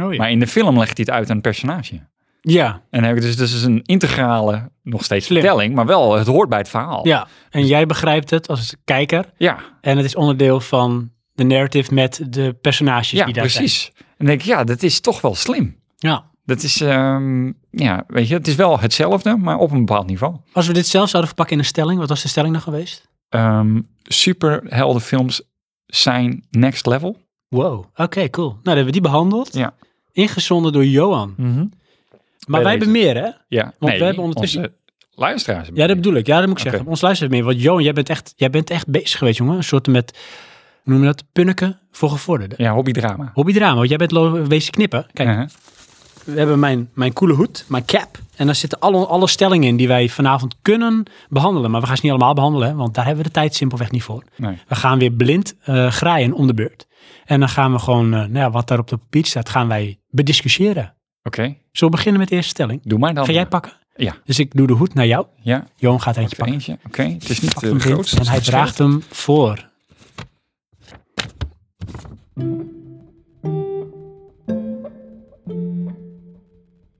A: Oh ja.
B: Maar in de film legt hij het uit aan het personage.
A: ja.
B: En dan heb ik dus, dus is een integrale, nog steeds
A: Slim.
B: vertelling, maar wel, het hoort bij het verhaal.
A: Ja.
B: Dus-
A: En jij begrijpt het als kijker.
B: ja.
A: En het is onderdeel van de narrative met de personages
B: Ja,
A: die daar
B: precies. En dan denk ik, ja, dat is toch wel slim.
A: zijn. Ja.
B: Dat is, ehm, ja, weet je, het is wel hetzelfde, maar op een bepaald niveau.
A: Als we dit zelf zouden verpakken in een stelling, wat was de stelling nou geweest?
B: Ehm, superheldenfilms zijn next level.
A: Wow. Oké, cool. Nou, dan hebben we die behandeld.
B: Ja.
A: Ingezonden door Johan. Maar
B: Bij
A: wij
B: deze.
A: hebben meer, hè?
B: Ja, nee,
A: Mhm. we hebben ondertussen-
B: onze luisteraars.
A: Ja, dat bedoel ik. Ja, dat moet ik
B: Oké.
A: zeggen. Ons luistert meer. Want Johan, jij bent echt, jij bent echt bezig geweest, jongen. Een soort met, hoe noem je dat? Punneken voor gevorderden.
B: Ja, hobbydrama.
A: Hobbydrama, want jij bent lo- wezen knippen. Kijk,
B: Uh-huh.
A: we hebben mijn, mijn coole hoed, mijn cap. En daar zitten alle, alle stellingen in die wij vanavond kunnen behandelen. Maar we gaan ze niet allemaal behandelen, hè, want daar hebben we de tijd simpelweg niet voor.
B: Nee.
A: We gaan weer blind eh, graaien om de beurt. En dan gaan we gewoon, eh, nou ja, wat daar op de papier staat, gaan wij bediscussiëren.
B: Oké,
A: Zullen we beginnen met de eerste stelling?
B: doe maar dan.
A: Ga jij pakken?
B: Ja.
A: Dus ik doe de hoed naar jou.
B: Ja,
A: Johan gaat eentje
B: Even
A: pakken.
B: eentje. Oké, het is niet
A: Pakt
B: de
A: hem blind
B: grootste.
A: en hij draagt hem voor.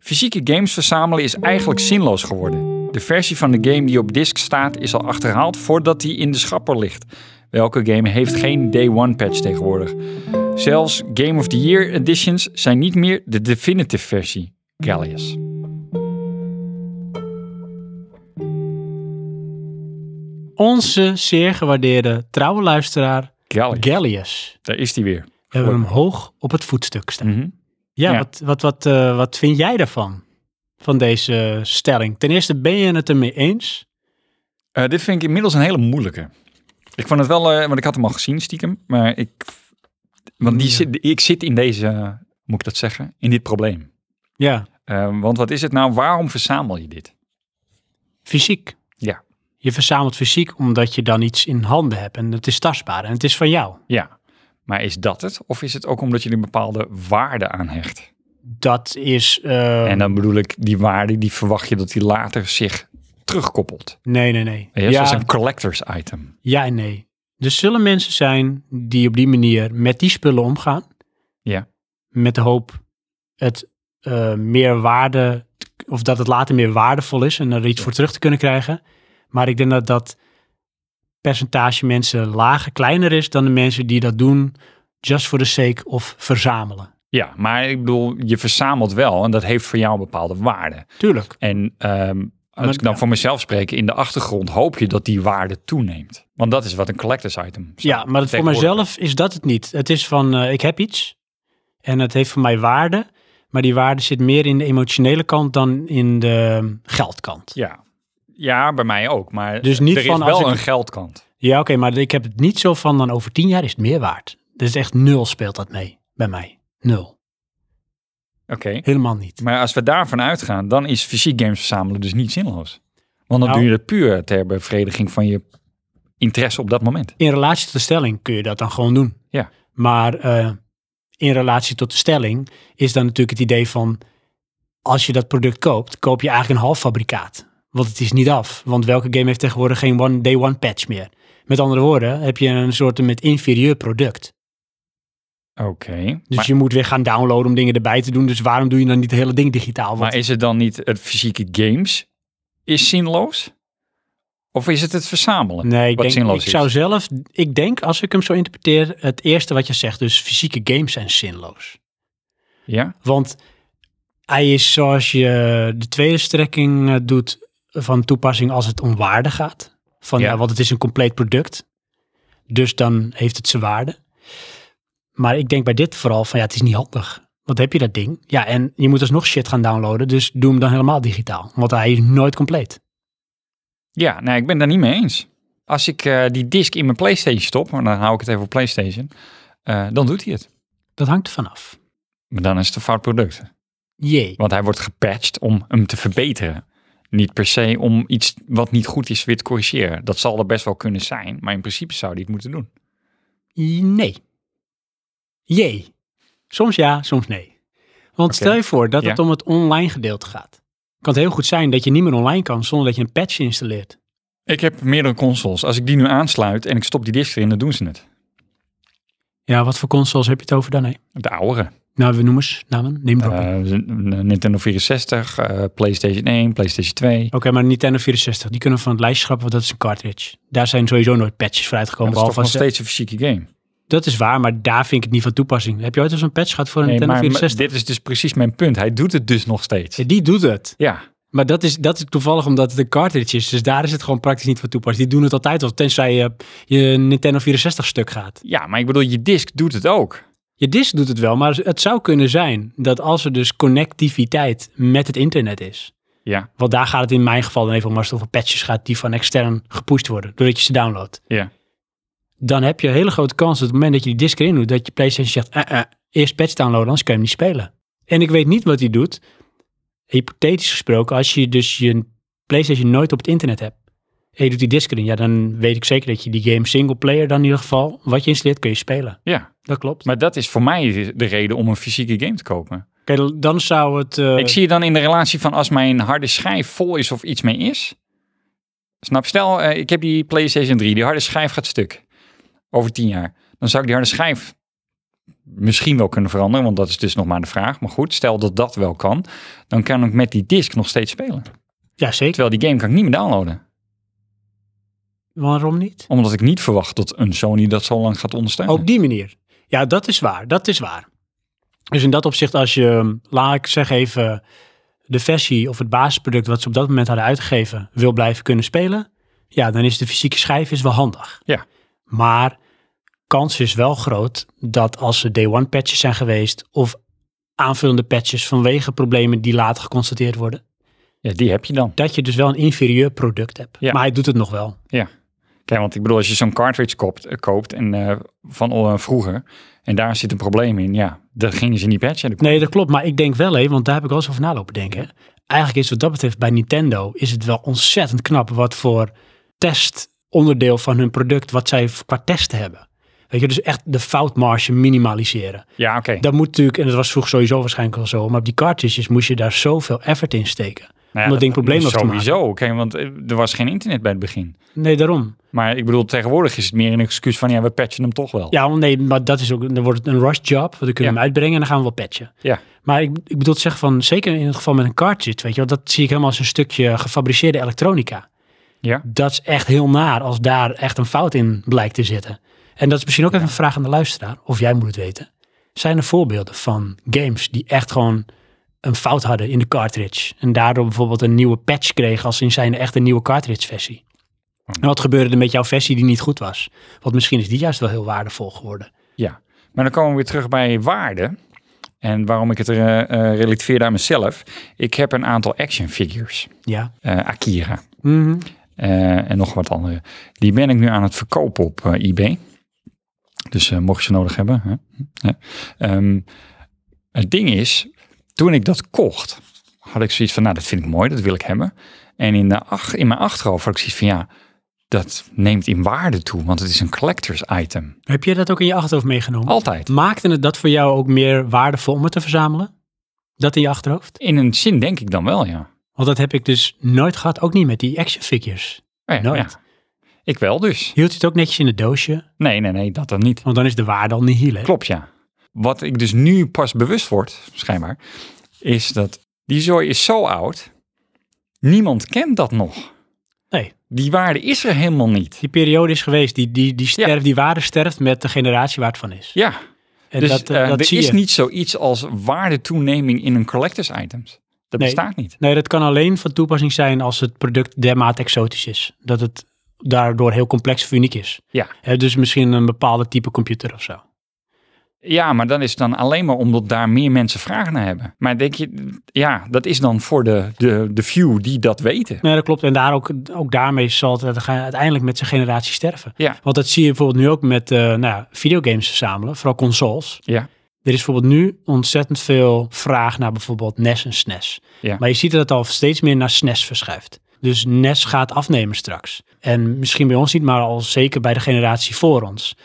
B: Fysieke games verzamelen is eigenlijk zinloos geworden. De versie van de game die op disk staat is al achterhaald voordat die in de schapper ligt. Welke game heeft geen day one patch tegenwoordig? Zelfs Game of the Year editions zijn niet meer de definitive versie. Gallius.
A: Onze zeer gewaardeerde trouwe luisteraar
B: Gallius.
A: Gallius.
B: Daar is die weer.
A: We hebben hem hoog op het voetstuk staan.
B: Mhm.
A: Ja,
B: Ja.
A: wat, wat, wat, eh, wat vind jij daarvan? Van deze stelling. Ten eerste, ben je het ermee eens?
B: Eh, dit vind ik inmiddels een hele moeilijke. Ik vond het wel, eh, want ik had hem al gezien stiekem, maar ik, want die
A: Ja.
B: zit, ik zit in deze, eh, moet ik dat zeggen, in dit probleem.
A: Ja,
B: Eh, want wat is het nou? Waarom verzamel je dit?
A: fysiek.
B: Ja.
A: Je verzamelt fysiek omdat je dan iets in handen hebt en het is tastbaar en het is van jou.
B: Ja, maar is dat het? Of is het ook omdat je er een bepaalde waarde aan hecht?
A: Dat is. eh,
B: En dan bedoel ik die waarde, die verwacht je dat die later zich terugkoppelt.
A: nee, nee, nee.
B: Ja, Zoals een collectors item.
A: Ja en nee. Er zullen mensen zijn die op die manier met die spullen omgaan.
B: Ja.
A: Met de hoop het eh, meer waarde, of dat het later meer waardevol is en er iets voor terug te kunnen krijgen. Maar ik denk dat dat percentage mensen lager, kleiner is dan de mensen die dat doen just for the sake of verzamelen.
B: Ja, maar ik bedoel, je verzamelt wel en dat heeft voor jou een bepaalde waarde.
A: Tuurlijk.
B: En ehm, als
A: Maar-
B: ik dan voor mezelf spreek, in de achtergrond hoop je dat die waarde toeneemt. Want dat is wat een collectors item is.
A: Ja, maar dat voor
B: Tegenwoordig.
A: mijzelf is dat het niet. Het is van, eh, ik heb iets en het heeft voor mij waarde. Maar die waarde zit meer in de emotionele kant dan in de ehm, geldkant.
B: Ja. ja, bij mij ook. Maar
A: Dus niet
B: er
A: van
B: is
A: als
B: wel
A: ik-
B: een geldkant.
A: Ja, oké, maar ik heb het niet zo van dan over tien jaar is het meer waard. Dus echt nul speelt dat mee bij mij. Nul.
B: Oké.
A: Helemaal niet.
B: Maar als we daarvan uitgaan, dan is fysiek games verzamelen dus niet zinloos. Want dan
A: Nou.
B: doe je dat puur ter bevrediging van je interesse op dat moment.
A: In relatie tot de stelling kun je dat dan gewoon doen.
B: Ja.
A: Maar eh, in relatie tot de stelling is dan natuurlijk het idee van... als je dat product koopt, koop je eigenlijk een halffabrikaat. Want het is niet af. Want welke game heeft tegenwoordig geen one day one patch meer? Met andere woorden, heb je een soort met inferieur product.
B: Oké.
A: Dus
B: maar,
A: je moet weer gaan downloaden om dingen erbij te doen. Dus waarom doe je dan niet het hele ding digitaal? Want
B: maar is het dan niet het fysieke games is zinloos? Of is het het verzamelen?
A: Nee, ik,
B: wat
A: denk,
B: zinloos
A: ik zou
B: is?
A: zelf, ik denk als ik hem zo interpreteer, het eerste wat je zegt, dus fysieke games zijn zinloos.
B: Ja?
A: Want hij is zoals je de tweede strekking eh, doet van toepassing als het om waarde gaat. Van,
B: Ja.
A: ja. want het is een compleet product. Dus dan heeft het zijn waarde. Maar ik denk bij dit vooral van ja, het is niet handig. Want heb je dat ding? Ja, en je moet alsnog shit gaan downloaden. Dus doe hem dan helemaal digitaal. Want hij is nooit compleet.
B: Ja, nee, ik ben daar niet mee eens. Als ik eh, die disc in mijn PlayStation stop, maar dan hou ik het even op PlayStation, eh, dan doet hij het.
A: Dat hangt er vanaf.
B: Maar dan is het een fout product.
A: Jee.
B: Want hij wordt gepatcht om hem te verbeteren. Niet per se om iets wat niet goed is weer te corrigeren. Dat zal er best wel kunnen zijn, maar in principe zou hij het moeten doen.
A: Nee. Jee. Soms ja, soms nee. Want
B: Oké.
A: stel je voor dat
B: Ja.
A: het om het online gedeelte gaat. Kan het heel goed zijn dat je niet meer online kan zonder dat je een patch installeert.
B: Ik heb meerdere consoles. Als ik die nu aansluit en ik stop die disc erin, dan doen ze het.
A: Ja, wat voor consoles heb je het over dan? Hè?
B: De oudere.
A: Nou, we noemen eens namen. Neem erop. Oké,
B: Eh, Nintendo 64, eh, PlayStation 1, PlayStation 2.
A: maar Nintendo 64, die kunnen we van het lijstje schrappen, want dat is een cartridge. Daar zijn sowieso nooit patches voor uitgekomen.
B: dat is toch
A: behalve
B: nog
A: als
B: steeds een fysieke game.
A: dat is waar, maar daar vind ik het niet van toepassing. Heb je ooit eens een patch gehad voor een
B: Nee,
A: Nintendo
B: maar maar
A: 64?
B: dit is dus precies mijn punt. Hij doet het dus nog steeds.
A: Ja, Die doet het.
B: Ja,
A: Maar dat is, dat is toevallig omdat het een cartridge is. Dus daar is het gewoon praktisch niet van toepassing. Die doen het altijd al, tenzij je, je Nintendo 64 stuk gaat.
B: ja, maar ik bedoel, je disc doet het ook.
A: Je disk doet het wel, maar het zou kunnen zijn dat als er dus connectiviteit met het internet is.
B: Ja,
A: Want daar gaat het in mijn geval dan even om als het over patches gaat die van extern gepusht worden, doordat je ze downloadt.
B: ja.
A: Dan heb je een hele grote kans dat op het moment dat je die disk erin doet, dat je PlayStation zegt, eh, eh, eerst patch downloaden, anders kun je hem niet spelen. En ik weet niet wat hij doet, hypothetisch gesproken, als je dus je PlayStation nooit op het internet hebt. En je doet die disk erin, ja, dan weet ik zeker dat je die game single player dan in ieder geval, wat je installeert, kun je spelen.
B: ja.
A: Dat klopt.
B: Maar dat is voor mij de reden om een fysieke game te kopen.
A: Oké, dan zou het... eh,
B: Ik zie je dan in de relatie van als mijn harde schijf vol is of iets mee is. Snap, stel eh, ik heb die PlayStation 3, die harde schijf gaat stuk. Over tien jaar. Dan zou ik die harde schijf misschien wel kunnen veranderen, want dat is dus nog maar de vraag. Maar goed, stel dat dat wel kan, dan kan ik met die disc nog steeds spelen.
A: Ja, zeker.
B: Terwijl die game kan ik niet meer downloaden.
A: Waarom niet?
B: Omdat ik niet verwacht dat een Sony dat zo lang gaat ondersteunen.
A: Op die manier. Ja, dat is waar. Dat is waar. Dus in dat opzicht, als je, laat ik zeggen even, de versie of het basisproduct wat ze op dat moment hadden uitgegeven, wil blijven kunnen spelen, ja, dan is de fysieke schijf is wel handig.
B: Ja.
A: Maar kans is wel groot dat als er day one patches zijn geweest of aanvullende patches vanwege problemen die later geconstateerd worden,
B: Ja, die heb je dan.
A: dat je dus wel een inferieur product hebt.
B: Ja.
A: Maar hij doet het nog wel.
B: Kijk, want ik bedoel, als je zo'n cartridge koopt, eh, koopt en, eh, van eh, vroeger en daar zit een probleem in, ja, dat gingen ze niet patchen. Dat-
A: Nee, dat klopt. Maar ik denk wel, hè, want daar heb ik wel eens over nalopen denken. hè. Eigenlijk is wat dat betreft bij Nintendo is het wel ontzettend knap wat voor testonderdeel van hun product, wat zij v- qua testen hebben. Weet je, dus echt de foutmarge minimaliseren.
B: Ja, oké. Nou
A: Dat moet natuurlijk, en dat was vroeger sowieso waarschijnlijk al zo, maar op die cartridges moest je daar zoveel effort in steken.
B: Nou ja,
A: Om dat ding probleem af te maken.
B: Sowieso, oké, want eh, er was geen internet bij het begin.
A: Nee, daarom.
B: Maar ik bedoel, tegenwoordig is het meer een excuus van, ja, we patchen hem toch wel.
A: Ja, want nee, maar dat is ook, dan wordt het een rush job. Want dan kunnen we
B: Ja.
A: hem uitbrengen en dan gaan we wel patchen.
B: Ja.
A: Maar ik, ik bedoel te zeggen van, zeker in het geval met een cartridge, weet je wel, dat zie ik helemaal als een stukje gefabriceerde elektronica.
B: Ja.
A: dat is echt heel naar als daar echt een fout in blijkt te zitten. En dat is misschien ook even een vraag aan de luisteraar, of jij moet het weten. Zijn er voorbeelden van games die echt gewoon een fout hadden in de cartridge en daardoor bijvoorbeeld een nieuwe patch kregen als in zijn echt een nieuwe cartridge versie? En wat gebeurde er met jouw versie die niet goed was? Want misschien is die juist wel heel waardevol geworden.
B: Ja. Maar dan komen we weer terug bij waarde. En waarom ik het er, eh, eh, relateer aan mezelf. Ik heb een aantal action figures.
A: Ja.
B: Eh, Akira.
A: Mhm.
B: Eh, en nog wat andere. Die ben ik nu aan het verkopen op eh, eBay. Dus eh, mocht je ze nodig hebben. Hè? Ja. Ehm, het ding is, toen ik dat kocht, had ik zoiets van, nou dat vind ik mooi, dat wil ik hebben. En in, de ach- in mijn achterhoofd had ik zoiets van, ja, dat neemt in waarde toe, want het is een collectors item.
A: Heb je dat ook in je achterhoofd meegenomen?
B: Altijd.
A: Maakte het dat voor jou ook meer waardevol om het te verzamelen? Dat in je achterhoofd?
B: In een zin denk ik dan wel, ja.
A: Want dat heb ik dus nooit gehad, ook niet met die action figures.
B: Oh ja,
A: Nooit.
B: ja. Ik wel dus.
A: Hield je het ook netjes in het doosje?
B: Nee, nee, nee, dat dan niet.
A: Want dan is de waarde al nihil. hè?
B: Klopt, ja. Wat ik dus nu pas bewust word, schijnbaar, is dat die zooi is zo oud. Niemand kent dat nog.
A: Nee.
B: Die waarde is er helemaal niet.
A: Die periode is geweest, die, die, die, sterft, die waarde sterft met de generatie waar het van is.
B: Ja,
A: En
B: dus
A: dat, eh,
B: eh,
A: dat
B: er
A: zie
B: is
A: je.
B: niet zoiets als waardetoeneming in een collectors items. Dat
A: Nee.
B: bestaat niet.
A: Nee, dat kan alleen van toepassing zijn als het product dermate exotisch is. Dat het daardoor heel complex of uniek is.
B: Ja.
A: Hè, dus misschien een bepaalde type computer of zo.
B: Ja, maar dan is het dan alleen maar omdat daar meer mensen vragen naar hebben. Maar denk je, ja, dat is dan voor de, de, de few die dat weten.
A: Nee, dat klopt. En daar ook, ook daarmee zal het uite- uiteindelijk met zijn generatie sterven.
B: Ja.
A: Want dat zie je bijvoorbeeld nu ook met eh, nou, ja, videogames verzamelen, vooral consoles.
B: Ja.
A: Er is bijvoorbeeld nu ontzettend veel vraag naar bijvoorbeeld NES en SNES.
B: Ja.
A: Maar je ziet dat het al steeds meer naar SNES verschuift. Dus NES gaat afnemen straks. En misschien bij ons niet, maar al zeker bij de generatie voor ons.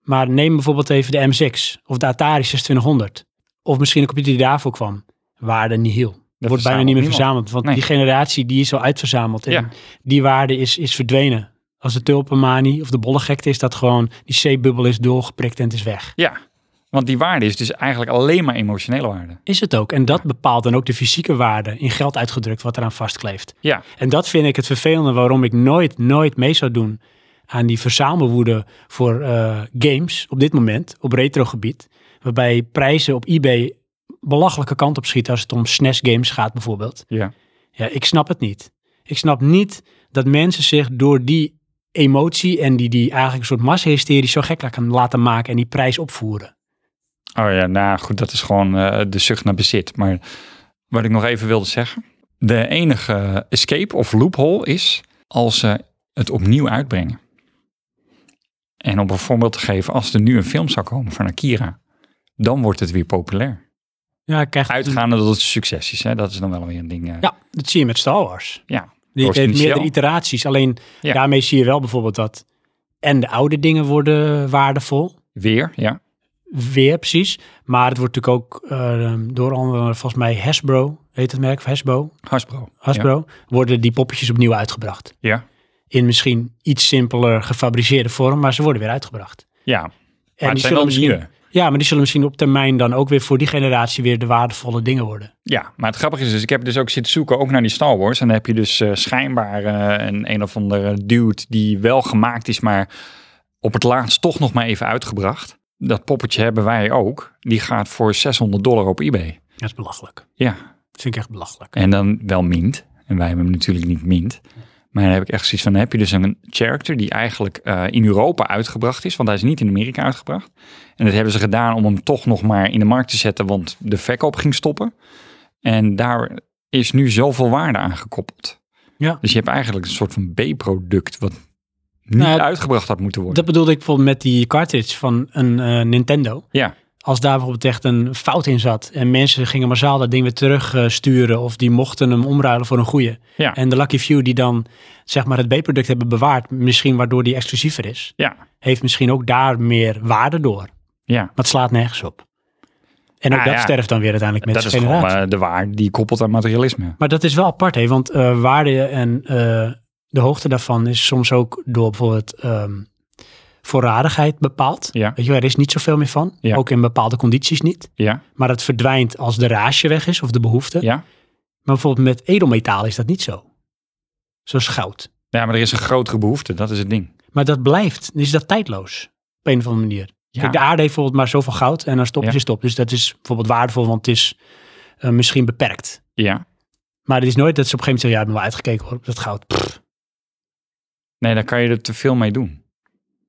A: Maar neem bijvoorbeeld even de M6 of de Atari 2600. Of misschien een computer die daarvoor kwam. Waarde nihil.
B: Dat
A: wordt bijna niet meer
B: verzamelt
A: verzameld. Want
B: Nee.
A: die generatie die is al uitverzameld. En
B: Ja.
A: die waarde is, is verdwenen. Als de tulpenmanie of de bollegekte is dat gewoon... die C-bubbel is doorgeprikt en het is weg.
B: Ja, want die waarde is dus eigenlijk alleen maar emotionele waarde.
A: Is het ook. En dat bepaalt dan ook de fysieke waarde in geld uitgedrukt wat eraan vastkleeft.
B: Ja,
A: En dat vind ik het vervelende waarom ik nooit, nooit mee zou doen aan die verzamelwoede voor eh, games op dit moment, op retrogebied. Waarbij prijzen op eBay belachelijke kant op schieten als het om SNES games gaat bijvoorbeeld.
B: ja.
A: Ja, ik snap het niet. Ik snap niet dat mensen zich door die emotie en die, die eigenlijk een soort massahysterie zo gek laten- laten maken en die prijs opvoeren.
B: Oh ja, nou goed, dat is gewoon eh, de zucht naar bezit. Maar wat ik nog even wilde zeggen. De enige escape of loophole is als ze het opnieuw uitbrengen. En om een voorbeeld te geven, als er nu een film zou komen van Akira, dan wordt het weer populair.
A: Ja, ik krijg
B: Uitgaande dat het succes is, hè? dat is dan wel weer een ding. eh,
A: Ja, dat zie je met Star Wars.
B: ja.
A: Die
B: Ghost in
A: heeft
B: the Shell.
A: meerdere iteraties. Alleen
B: Ja.
A: daarmee zie je wel bijvoorbeeld dat en de oude dingen worden waardevol.
B: Weer, ja.
A: Weer precies. Maar het wordt natuurlijk ook eh, door andere, volgens mij Hasbro, heet het merk, of Hasbro,
B: Hasbro.
A: Hasbro worden die poppetjes opnieuw uitgebracht.
B: Ja. ja.
A: In misschien iets simpeler gefabriceerde vorm, maar ze worden weer uitgebracht.
B: Ja. Maar
A: En
B: het zijn wel nieuwe.
A: Ja, maar die zullen misschien op termijn dan ook weer voor die generatie weer de waardevolle dingen worden.
B: Ja, maar het grappige is dus, ik heb dus ook zitten zoeken ook naar die Star Wars. En dan heb je dus eh, schijnbaar eh, een een of andere dude die wel gemaakt is, maar op het laatst toch nog maar even uitgebracht. Dat poppetje hebben wij ook. Die gaat voor 600 dollar op eBay.
A: Dat is belachelijk.
B: Ja,
A: Dat vind ik echt belachelijk.
B: en dan wel mint. En wij hebben hem natuurlijk niet mint. Maar dan heb ik echt zoiets van, dan heb je dus een character die eigenlijk eh, in Europa uitgebracht is. Want hij is niet in Amerika uitgebracht. En dat hebben ze gedaan om hem toch nog maar in de markt te zetten, want de verkoop ging stoppen. En daar is nu zoveel waarde aan gekoppeld.
A: Ja.
B: Dus je hebt eigenlijk een soort van B-product wat niet
A: Nou,
B: uitgebracht had moeten worden.
A: Dat bedoelde ik bijvoorbeeld met die cartridge van een eh, Nintendo.
B: Ja,
A: als daar bijvoorbeeld echt een fout in zat en mensen gingen massaal dat ding weer terugsturen of die mochten hem omruilen voor een goeie.
B: Ja.
A: En de Lucky Few die dan zeg maar het B-product hebben bewaard, misschien waardoor die exclusiever is,
B: ja,
A: heeft misschien ook daar meer waarde door. Maar
B: ja.
A: het slaat nergens op. En ook
B: Ah,
A: dat
B: ja.
A: sterft dan weer uiteindelijk met
B: Dat
A: de
B: is
A: generatie.
B: gewoon eh, de waarde die koppelt aan materialisme.
A: Maar dat is wel apart, hè? want eh, waarde en eh, de hoogte daarvan is soms ook door bijvoorbeeld ehm, voorradigheid bepaald.
B: Ja.
A: Weet je, wel, er is niet zoveel meer van,
B: Ja.
A: ook in bepaalde condities niet.
B: Ja,
A: Maar het verdwijnt als de rage weg is of de behoefte.
B: ja.
A: Maar bijvoorbeeld met edelmetaal is dat niet zo. Zoals goud.
B: Ja, maar er is een grotere behoefte, dat is het ding.
A: Maar dat blijft, is dat tijdloos. Op een of andere manier.
B: Ja.
A: Kijk, de aarde heeft bijvoorbeeld maar zoveel goud en dan stop je
B: Ja.
A: is stop. Dus dat is bijvoorbeeld waardevol, want het is eh, misschien beperkt.
B: Ja,
A: Maar het is nooit dat ze op een gegeven moment zeggen, ja, ik ben wel uitgekeken hoor, op dat goud. Pff,
B: nee, daar kan je er te veel mee doen.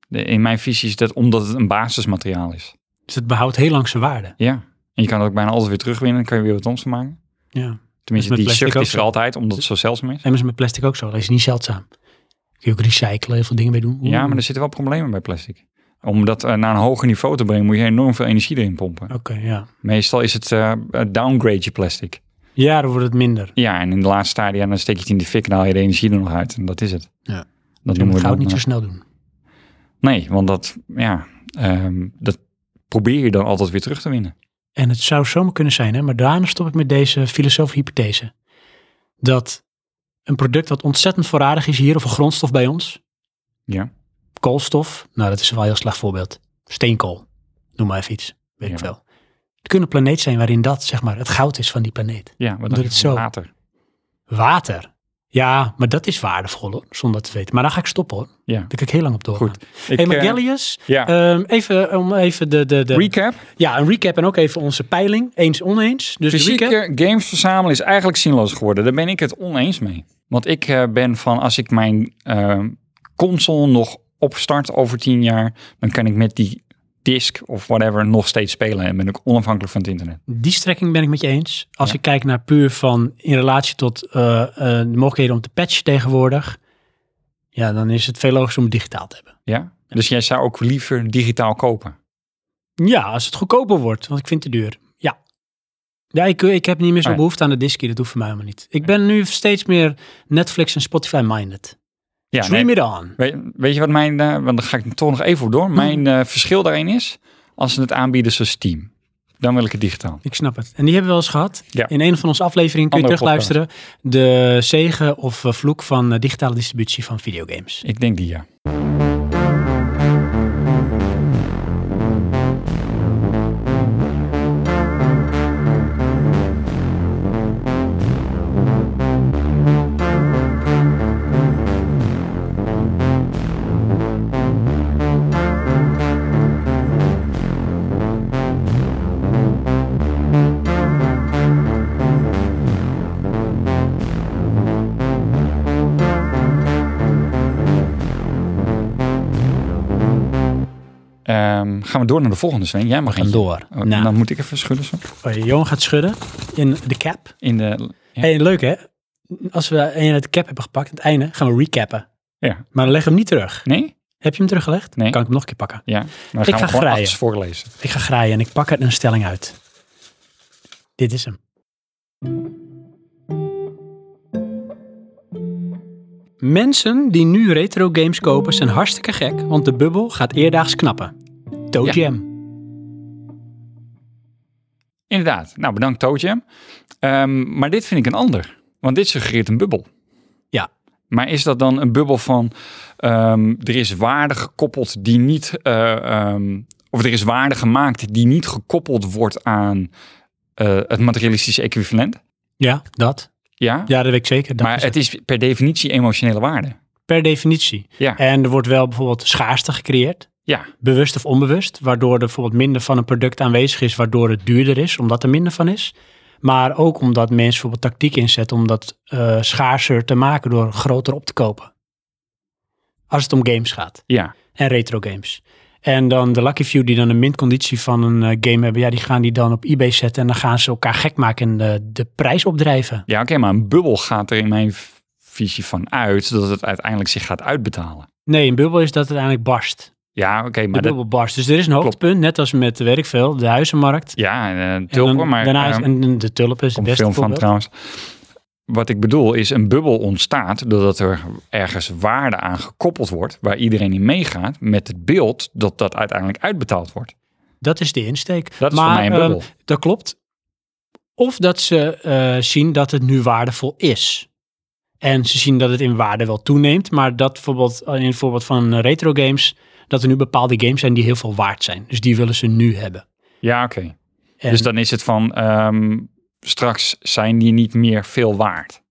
B: De- In mijn visie is dat omdat het een basismateriaal is.
A: dus het behoudt heel lang zijn waarde.
B: Ja, en je kan het ook bijna altijd weer terugwinnen. Dan kan je weer wat ons van maken.
A: Ja.
B: Tenminste,
A: Dus met
B: die
A: plastic
B: zucht
A: ook
B: is er
A: zo.
B: altijd, omdat het zo zeldzaam is.
A: En is met plastic ook zo, dat is niet zeldzaam. Kun je ook recyclen, heel veel dingen mee doen. Oeh.
B: Ja, maar er zitten wel problemen bij plastic. Om dat eh, naar een hoger niveau te brengen, moet je enorm veel energie erin pompen.
A: Oké, ja.
B: Meestal is het eh, downgrade je plastic.
A: Ja, dan wordt het minder.
B: Ja, en in de laatste stadia dan steek je het in de fik en haal je de energie er nog uit. En dat is het.
A: Ja.
B: Dat
A: Je
B: noemen
A: moet
B: we
A: goud
B: dan,
A: niet zo
B: eh,
A: snel doen.
B: Nee, want dat, ja, ehm, dat probeer je dan altijd weer terug te winnen.
A: En het zou zomaar kunnen zijn, hè, maar daarna stop ik met deze filosofische hypothese. Dat een product wat ontzettend voorradig is hier, of een grondstof bij ons,
B: Ja.
A: koolstof, nou dat is wel een heel slecht voorbeeld. Steenkool, noem maar even iets. weet ik
B: Ja.
A: veel. Het kan een planeet zijn waarin dat, zeg maar, het goud is van die planeet.
B: Ja, maar
A: Doe
B: dan
A: het
B: is
A: zo.
B: het water.
A: Water. Ja, maar dat is waardevol hoor, zonder dat te weten. Maar daar ga ik stoppen hoor.
B: Ja.
A: Daar kan ik heel lang op doorgaan.
B: Goed. Ik,
A: Hey,
B: eh,
A: Magellius,
B: ja.
A: ehm, even om even de, de, de
B: recap.
A: ja, een recap en ook even onze peiling. Eens, oneens. Dus de recap.
B: Fysieke games verzamelen is eigenlijk zinloos geworden. Daar ben ik het oneens mee. Want ik eh, ben van, als ik mijn eh, console nog opstart over tien jaar, dan kan ik met die disc of whatever nog steeds spelen en ben ik onafhankelijk van het internet.
A: Die strekking ben ik met je eens. Als
B: Ja.
A: ik kijk naar puur van in relatie tot eh, eh, de mogelijkheden om te patchen tegenwoordig. Ja, dan is het veel logischer om het digitaal te hebben.
B: Ja? Dus jij zou ook liever digitaal kopen.
A: Ja, als het goedkoper wordt, want ik vind het te duur. Ja. Ja, ik, ik heb niet meer zo'n
B: Nee.
A: behoefte aan de diskie. Dat hoeft voor mij helemaal niet. Ik ben nu steeds meer Netflix en Spotify minded.
B: Ja,
A: Dream
B: nee.
A: it on.
B: weet, weet je wat mijn, eh, want daar ga ik toch nog even op door.
A: Hmm.
B: Mijn eh, verschil daarin is, als ze het aanbieden zoals Steam, dan wil ik het digitaal.
A: Ik snap het. En die hebben we wel eens gehad.
B: Ja.
A: In een van onze afleveringen kun je
B: Andere
A: terugluisteren. De zegen of eh, vloek van eh, digitale distributie van videogames.
B: Ik denk die ja. Ehm, gaan we door naar de volgende, Sven. Jij mag
A: Gaan
B: eentje.
A: door.
B: Oh,
A: Nou.
B: Dan moet ik even schudden zo.
A: Oh, Johan gaat schudden in de cap.
B: In de, ja.
A: Hey, leuk hè? Als we een uit de cap hebben gepakt, aan het einde gaan we recappen.
B: Ja.
A: Maar dan leg hem niet terug.
B: Nee?
A: Heb je hem teruggelegd?
B: Nee.
A: Kan ik hem nog een keer pakken?
B: Ja. Maar
A: Ik
B: dan gaan
A: ga
B: we gewoon
A: graaien.
B: achters voorlezen.
A: Ik ga graaien en ik pak er een stelling uit. Dit is hem. Mensen die nu retro games kopen zijn hartstikke gek, want de bubbel gaat eerdaags knappen. Toe
B: Ja.
A: Jam.
B: Inderdaad. Nou, bedankt Toadjam. Ehm, maar dit vind ik een ander. Want dit suggereert een bubbel.
A: Ja.
B: Maar is dat dan een bubbel van... ehm, er is waarde gekoppeld die niet... eh, ehm, of er is waarde gemaakt die niet gekoppeld wordt aan eh, het materialistische equivalent?
A: Ja, dat.
B: Ja.
A: Ja, dat weet ik zeker. Dat
B: maar
A: is
B: het is per definitie emotionele waarde.
A: Per definitie.
B: Ja.
A: En er wordt wel bijvoorbeeld schaarste gecreëerd.
B: Ja.
A: bewust of onbewust, waardoor er bijvoorbeeld minder van een product aanwezig is, waardoor het duurder is, omdat er minder van is. Maar ook omdat mensen bijvoorbeeld tactiek inzetten om dat eh, schaarser te maken door groter op te kopen. Als het om games gaat
B: Ja.
A: en retro games. En dan de Lucky Few die dan een mint conditie van een eh, game hebben, ja, die gaan die dan op eBay zetten en dan gaan ze elkaar gek maken en eh, de prijs opdrijven.
B: Ja, oké, maar een bubbel gaat er in mijn v- visie van uit dat het uiteindelijk zich gaat uitbetalen.
A: Nee, een bubbel is dat het uiteindelijk barst.
B: Ja, oké,
A: De
B: maar dat,
A: bubbel barst. Dus er is een hoogtepunt, net als met, weet ik veel, de huizenmarkt.
B: ja, eh,
A: En dan
B: tulpen, maar
A: daarna is,
B: ehm,
A: en en de tulpen is het
B: komt
A: beste
B: film van
A: voorbeeld.
B: trouwens. Wat ik bedoel is, een bubbel ontstaat doordat er ergens waarde aan gekoppeld wordt, waar iedereen in meegaat, met het beeld dat dat uiteindelijk uitbetaald wordt.
A: Dat is de insteek.
B: Dat is
A: maar,
B: voor mij een
A: ehm,
B: bubbel.
A: dat klopt. Of dat ze eh, zien dat het nu waardevol is. En ze zien dat het in waarde wel toeneemt. Maar dat bijvoorbeeld eh, in het voorbeeld van eh, retro games. Dat er nu bepaalde games zijn die heel veel waard zijn. Dus die willen ze nu hebben.
B: ja, oké.
A: En
B: Dus dan is het van, ehm, straks zijn die niet meer veel waard.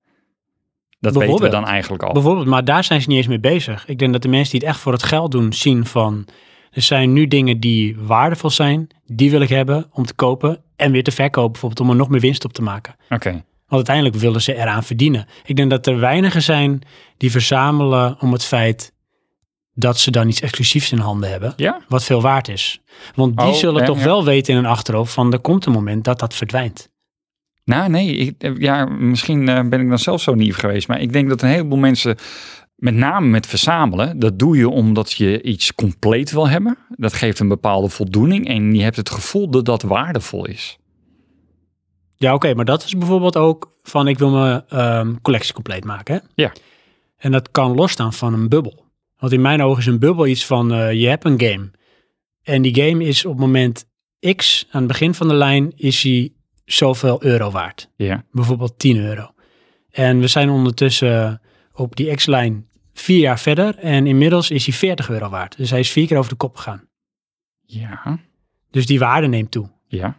B: Dat weten we
A: Bijvoorbeeld.
B: dan eigenlijk al.
A: Bijvoorbeeld, maar daar zijn ze niet eens mee bezig. Ik denk dat de mensen die het echt voor het geld doen, zien van... Er zijn nu dingen die waardevol zijn. Die wil ik hebben om te kopen. En weer te verkopen bijvoorbeeld om er nog meer winst op te maken.
B: Oké,
A: Want uiteindelijk willen ze eraan verdienen. Ik denk dat er weinigen zijn die verzamelen om het feit dat ze dan iets exclusiefs in handen hebben,
B: ja?
A: wat veel waard is. Want die
B: Oh,
A: zullen
B: ja,
A: toch
B: ja.
A: wel weten in hun achterhoofd van er komt een moment dat dat verdwijnt.
B: Nou, nee. Ik, eh, ja, misschien eh, ben ik dan zelf zo nieuw geweest. Maar ik denk dat een heleboel mensen, met name met verzamelen, dat doe je omdat je iets compleet wil hebben. Dat geeft een bepaalde voldoening en je hebt het gevoel dat dat waardevol is.
A: Ja, oké, maar dat is bijvoorbeeld ook van ik wil mijn ehm, collectie compleet maken. Hè?
B: Ja.
A: En dat kan losstaan van een bubbel. Want in mijn ogen is een bubbel iets van eh, je hebt een game. En die game is op moment X, aan het begin van de lijn, is die zoveel euro waard.
B: Ja.
A: bijvoorbeeld 10 euro. En we zijn ondertussen op die X-lijn vier jaar verder en inmiddels is hij 40 euro waard. Dus hij is vier keer over de kop gegaan.
B: Ja.
A: Dus die waarde neemt toe.
B: Ja.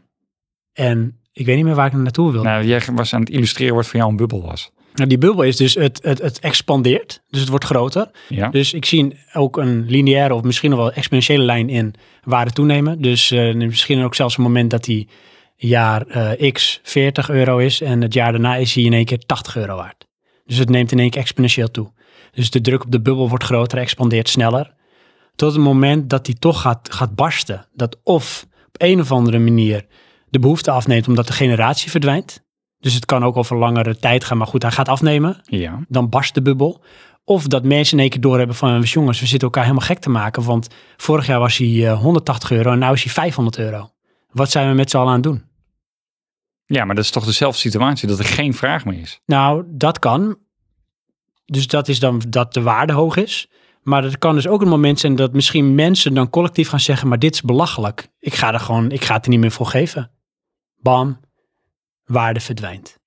A: En ik weet niet meer waar ik naartoe wil.
B: Nou, jij was aan het illustreren wat voor jou een bubbel was.
A: Nou, die bubbel is dus, het, het, het expandeert, dus het wordt groter.
B: Ja.
A: Dus ik zie ook een lineaire of misschien nog wel exponentiële lijn in waarde toenemen. Dus eh, misschien ook zelfs een moment dat die jaar eh, X 40 euro is en het jaar daarna is hij in één keer 80 euro waard. Dus het neemt in één keer exponentieel toe. Dus de druk op de bubbel wordt groter, expandeert sneller. Tot het moment dat die toch gaat, gaat barsten. Dat of op een of andere manier de behoefte afneemt omdat de generatie verdwijnt. Dus het kan ook over langere tijd gaan, maar goed, hij gaat afnemen
B: Ja.
A: dan barst de bubbel. Of dat mensen in één keer doorhebben van, "Jongens, jongens, we zitten elkaar helemaal gek te maken. Want vorig jaar was hij eh, 180 euro en nu is hij 500 euro. Wat zijn we met z'n allen aan het doen?
B: ja, maar dat is toch dezelfde situatie, dat er geen vraag meer is.
A: Nou, dat kan. Dus dat is dan dat de waarde hoog is. Maar het kan dus ook een moment zijn dat misschien mensen dan collectief gaan zeggen, maar dit is belachelijk. Ik ga er gewoon, ik ga het er niet meer voor geven. Bam, waarde verdwijnt.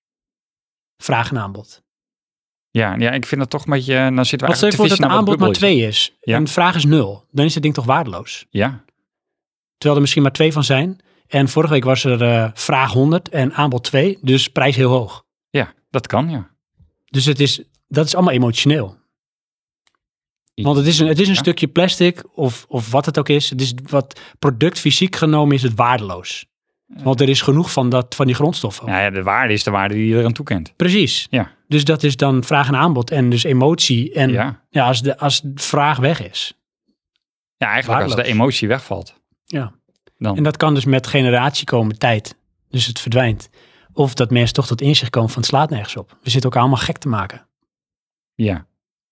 A: Vraag en aanbod.
B: Ja, ja ik vind dat toch een beetje... eh, Nou zitten we
A: Wat stel je
B: eigenlijk
A: voor
B: te
A: dat het
B: vissen naar wat
A: aanbod maar
B: bubbel is.
A: twee is
B: Ja.
A: en vraag is nul? Dan is het ding toch waardeloos?
B: Ja,
A: Terwijl er misschien maar twee van zijn. En vorige week was er eh, vraag 100 en aanbod 2, dus prijs heel hoog.
B: ja, dat kan, ja.
A: Dus het is, dat is allemaal emotioneel.
B: I-
A: Want het is een, het is een
B: Ja.
A: stukje plastic of, of wat het ook is. Het is wat product fysiek genomen is het waardeloos. Want er is genoeg van, dat, van die grondstoffen.
B: Nou ja, de waarde is de waarde die je eraan toekent.
A: Precies.
B: Ja.
A: Dus dat is dan vraag en aanbod en dus emotie. En ja.
B: Ja.
A: als, de, als de vraag weg is.
B: ja, eigenlijk als de
A: Waardeloos.
B: emotie wegvalt.
A: Ja.
B: Dan.
A: En dat kan dus met generatie komen, tijd. Dus het verdwijnt. Of dat mensen toch tot inzicht komen van het slaat nergens op. We zitten elkaar allemaal gek te maken.
B: Ja,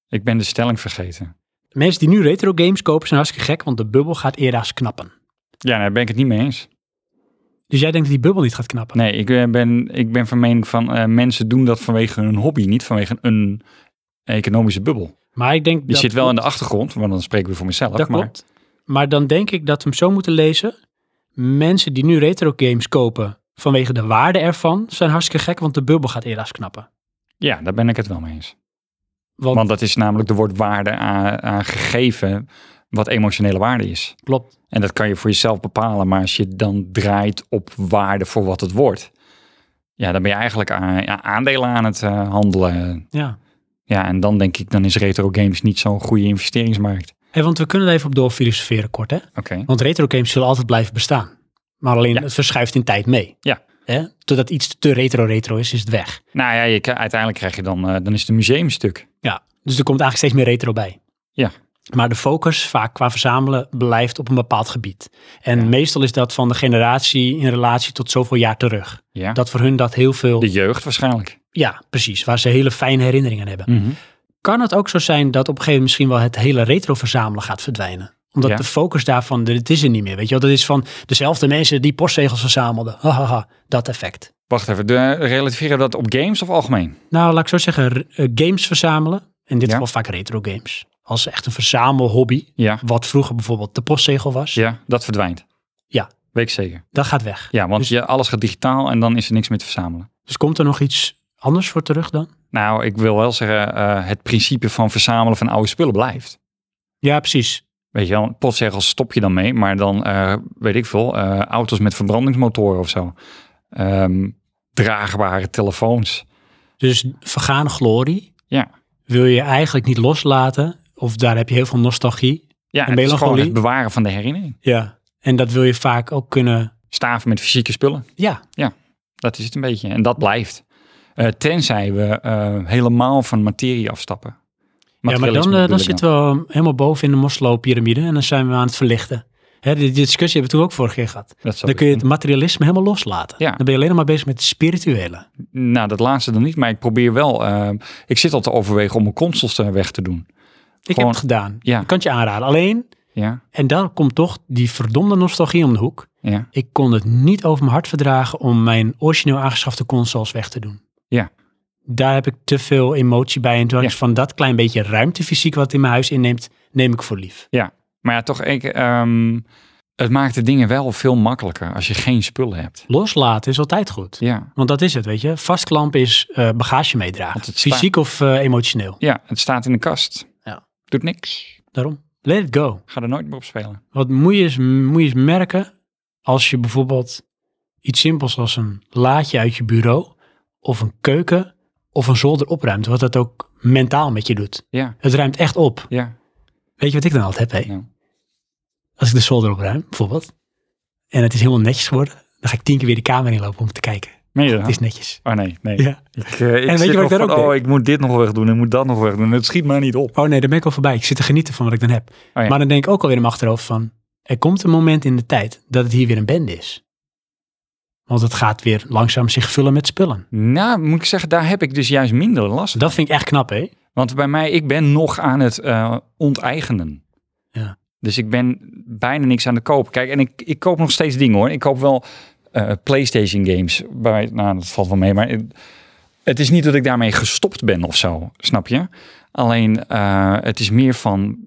B: ik ben de stelling vergeten.
A: De mensen die nu retro games kopen zijn hartstikke gek, want de bubbel gaat eerder knappen.
B: Ja, daar ben ik het niet mee eens.
A: Dus jij denkt dat die bubbel niet gaat knappen?
B: Nee, ik eh, ben, ik ben van mening van eh, mensen doen dat vanwege hun hobby, niet vanwege een economische bubbel.
A: Maar ik denk
B: Die zit wel in de achtergrond, want dan spreek ik weer voor mezelf.
A: Dat
B: maar
A: klopt. Maar dan denk ik dat we hem zo moeten lezen. Mensen die nu retro games kopen vanwege de waarde ervan zijn hartstikke gek, want de bubbel gaat eerder knappen.
B: ja, daar ben ik het wel mee eens.
A: Want,
B: Want dat is namelijk de woord waarde aan, aan gegeven wat emotionele waarde is.
A: klopt.
B: En dat kan je voor jezelf bepalen, maar als je dan draait op waarde voor wat het wordt, ja, dan ben je eigenlijk aan, ja, aandelen aan het eh, handelen.
A: Ja.
B: Ja, en dan denk ik, dan is retro games niet zo'n goede investeringsmarkt.
A: Hey, want we kunnen er even op door filosoferen kort, hè?
B: Oké.
A: Want retro games zullen altijd blijven bestaan. Maar alleen
B: Ja.
A: het verschuift in tijd mee.
B: Ja.
A: Hè? Totdat iets te retro-retro is, is het weg.
B: Nou ja, je, k- uiteindelijk krijg je dan, eh, dan is het een museumstuk.
A: Ja. Dus er komt eigenlijk steeds meer retro bij.
B: Ja.
A: Maar de focus vaak qua verzamelen blijft op een bepaald gebied. En meestal is dat van de generatie in relatie tot zoveel jaar terug.
B: Ja.
A: Dat voor hun dat heel veel...
B: De jeugd waarschijnlijk.
A: Ja, precies. Waar ze hele fijne herinneringen aan hebben.
B: Mhm.
A: Kan het ook zo zijn dat op een gegeven moment misschien wel het hele retro verzamelen gaat verdwijnen? Omdat
B: Ja.
A: de focus daarvan, het is er niet meer. Weet je wel, dat is van dezelfde mensen die postzegels verzamelden. Hahaha, dat effect.
B: Wacht even, de, relativeren we dat op games of algemeen?
A: Nou, laat ik zo zeggen, r- eh, games verzamelen. In dit
B: Ja.
A: geval vaak retro games. Als echt een verzamelhobby.
B: Ja.
A: Wat vroeger bijvoorbeeld de postzegel was.
B: Ja, dat verdwijnt.
A: Ja.
B: Weet ik zeker.
A: Dat gaat weg.
B: Ja, want
A: Dus-
B: je, alles gaat digitaal en dan is er niks meer te verzamelen.
A: Dus komt er nog iets anders voor terug dan?
B: Nou, ik wil wel zeggen, eh, het principe van verzamelen van oude spullen blijft.
A: Ja, precies.
B: Weet je wel, postzegels stop je dan mee, maar dan, eh, weet ik veel, eh, auto's met verbrandingsmotoren of zo. Ehm, draagbare telefoons.
A: Dus vergane glorie
B: Ja.
A: wil je eigenlijk niet loslaten. Of daar heb je heel veel nostalgie.
B: Ja,
A: En
B: het is gewoon
A: melancholie?
B: het bewaren van de herinnering.
A: Ja. En dat wil je vaak ook kunnen...
B: Staven met fysieke spullen,
A: Ja,
B: dat is het een beetje. En dat blijft. Eh, tenzij we eh, helemaal van materie afstappen.
A: Ja, maar dan, eh, dan
B: nou.
A: zitten we helemaal boven in de Moslow-pyramide en dan zijn we aan het verlichten. Hè, die, die discussie hebben we toen ook vorige keer gehad.
B: Dat zou
A: Dan kun je het materialisme helemaal loslaten.
B: Ja.
A: Dan ben je alleen nog maar bezig met het spirituele.
B: Nou, dat laatste dan niet, maar ik probeer wel. eh, ik zit al te overwegen om mijn consoles eh, weg te doen.
A: Ik heb
B: Gewoon-
A: het gedaan.
B: ja.
A: Ik kan het je aanraden. Alleen,
B: Ja,
A: en dan komt toch die verdomde nostalgie om de hoek.
B: ja.
A: Ik kon het niet over mijn hart verdragen om mijn origineel aangeschafte consoles weg te doen.
B: Ja.
A: Daar heb ik te veel emotie bij. En toen had
B: Ja.
A: ik van dat klein beetje ruimtefysiek wat in mijn huis inneemt, neem ik voor lief.
B: Maar ja, toch, ik, ehm, het maakt de dingen wel veel makkelijker als je geen spullen hebt.
A: Loslaten is altijd goed.
B: Ja,
A: Want dat is het, weet je. Vastklampen is eh, bagage meedragen.
B: Want het staat-
A: Fysiek of eh, emotioneel.
B: ja het staat in de kast.
A: Ja.
B: Doet niks.
A: Daarom. Let it go.
B: Ga er nooit meer op spelen.
A: Wat moet je eens, moet je eens merken als je bijvoorbeeld iets simpels als een laadje uit je bureau of een keuken of een zolder opruimt, wat dat ook mentaal met je doet.
B: Ja,
A: Het ruimt echt op.
B: ja.
A: Weet je wat ik dan altijd heb? Hé?
B: Nou.
A: Als ik de zolder opruim, bijvoorbeeld, en het is helemaal netjes geworden, dan ga ik tien keer weer de kamer inlopen om te kijken.
B: Meen je
A: Het
B: dat?
A: is netjes.
B: Oh nee, nee.
A: Ja.
B: Ik, eh, ik
A: En weet je
B: zit
A: wat ik
B: nog
A: daar
B: van,
A: ook
B: Oh, ik moet dit nog wegdoen en moet dat nog wegdoen. Het schiet mij niet op.
A: Oh nee, daar ben ik al voorbij. Ik zit te genieten van wat ik dan heb.
B: Oh, ja.
A: Maar dan denk ik ook alweer in mijn achterhoofd van, er komt een moment in de tijd dat het hier weer een bende is. Want het gaat weer langzaam zich vullen met spullen.
B: Nou, moet ik zeggen, daar heb ik dus juist minder last van.
A: Dat vind ik echt knap, hè?
B: Want bij mij, ik ben nog aan het eh, onteigenen.
A: Ja.
B: Dus ik ben bijna niks aan de koop. Kijk, en ik, ik koop nog steeds dingen hoor. Ik koop wel eh, PlayStation games. Bij, nou, dat valt wel mee. Maar het, het is niet dat ik daarmee gestopt ben of zo. Snap je? Alleen, eh, het is meer van,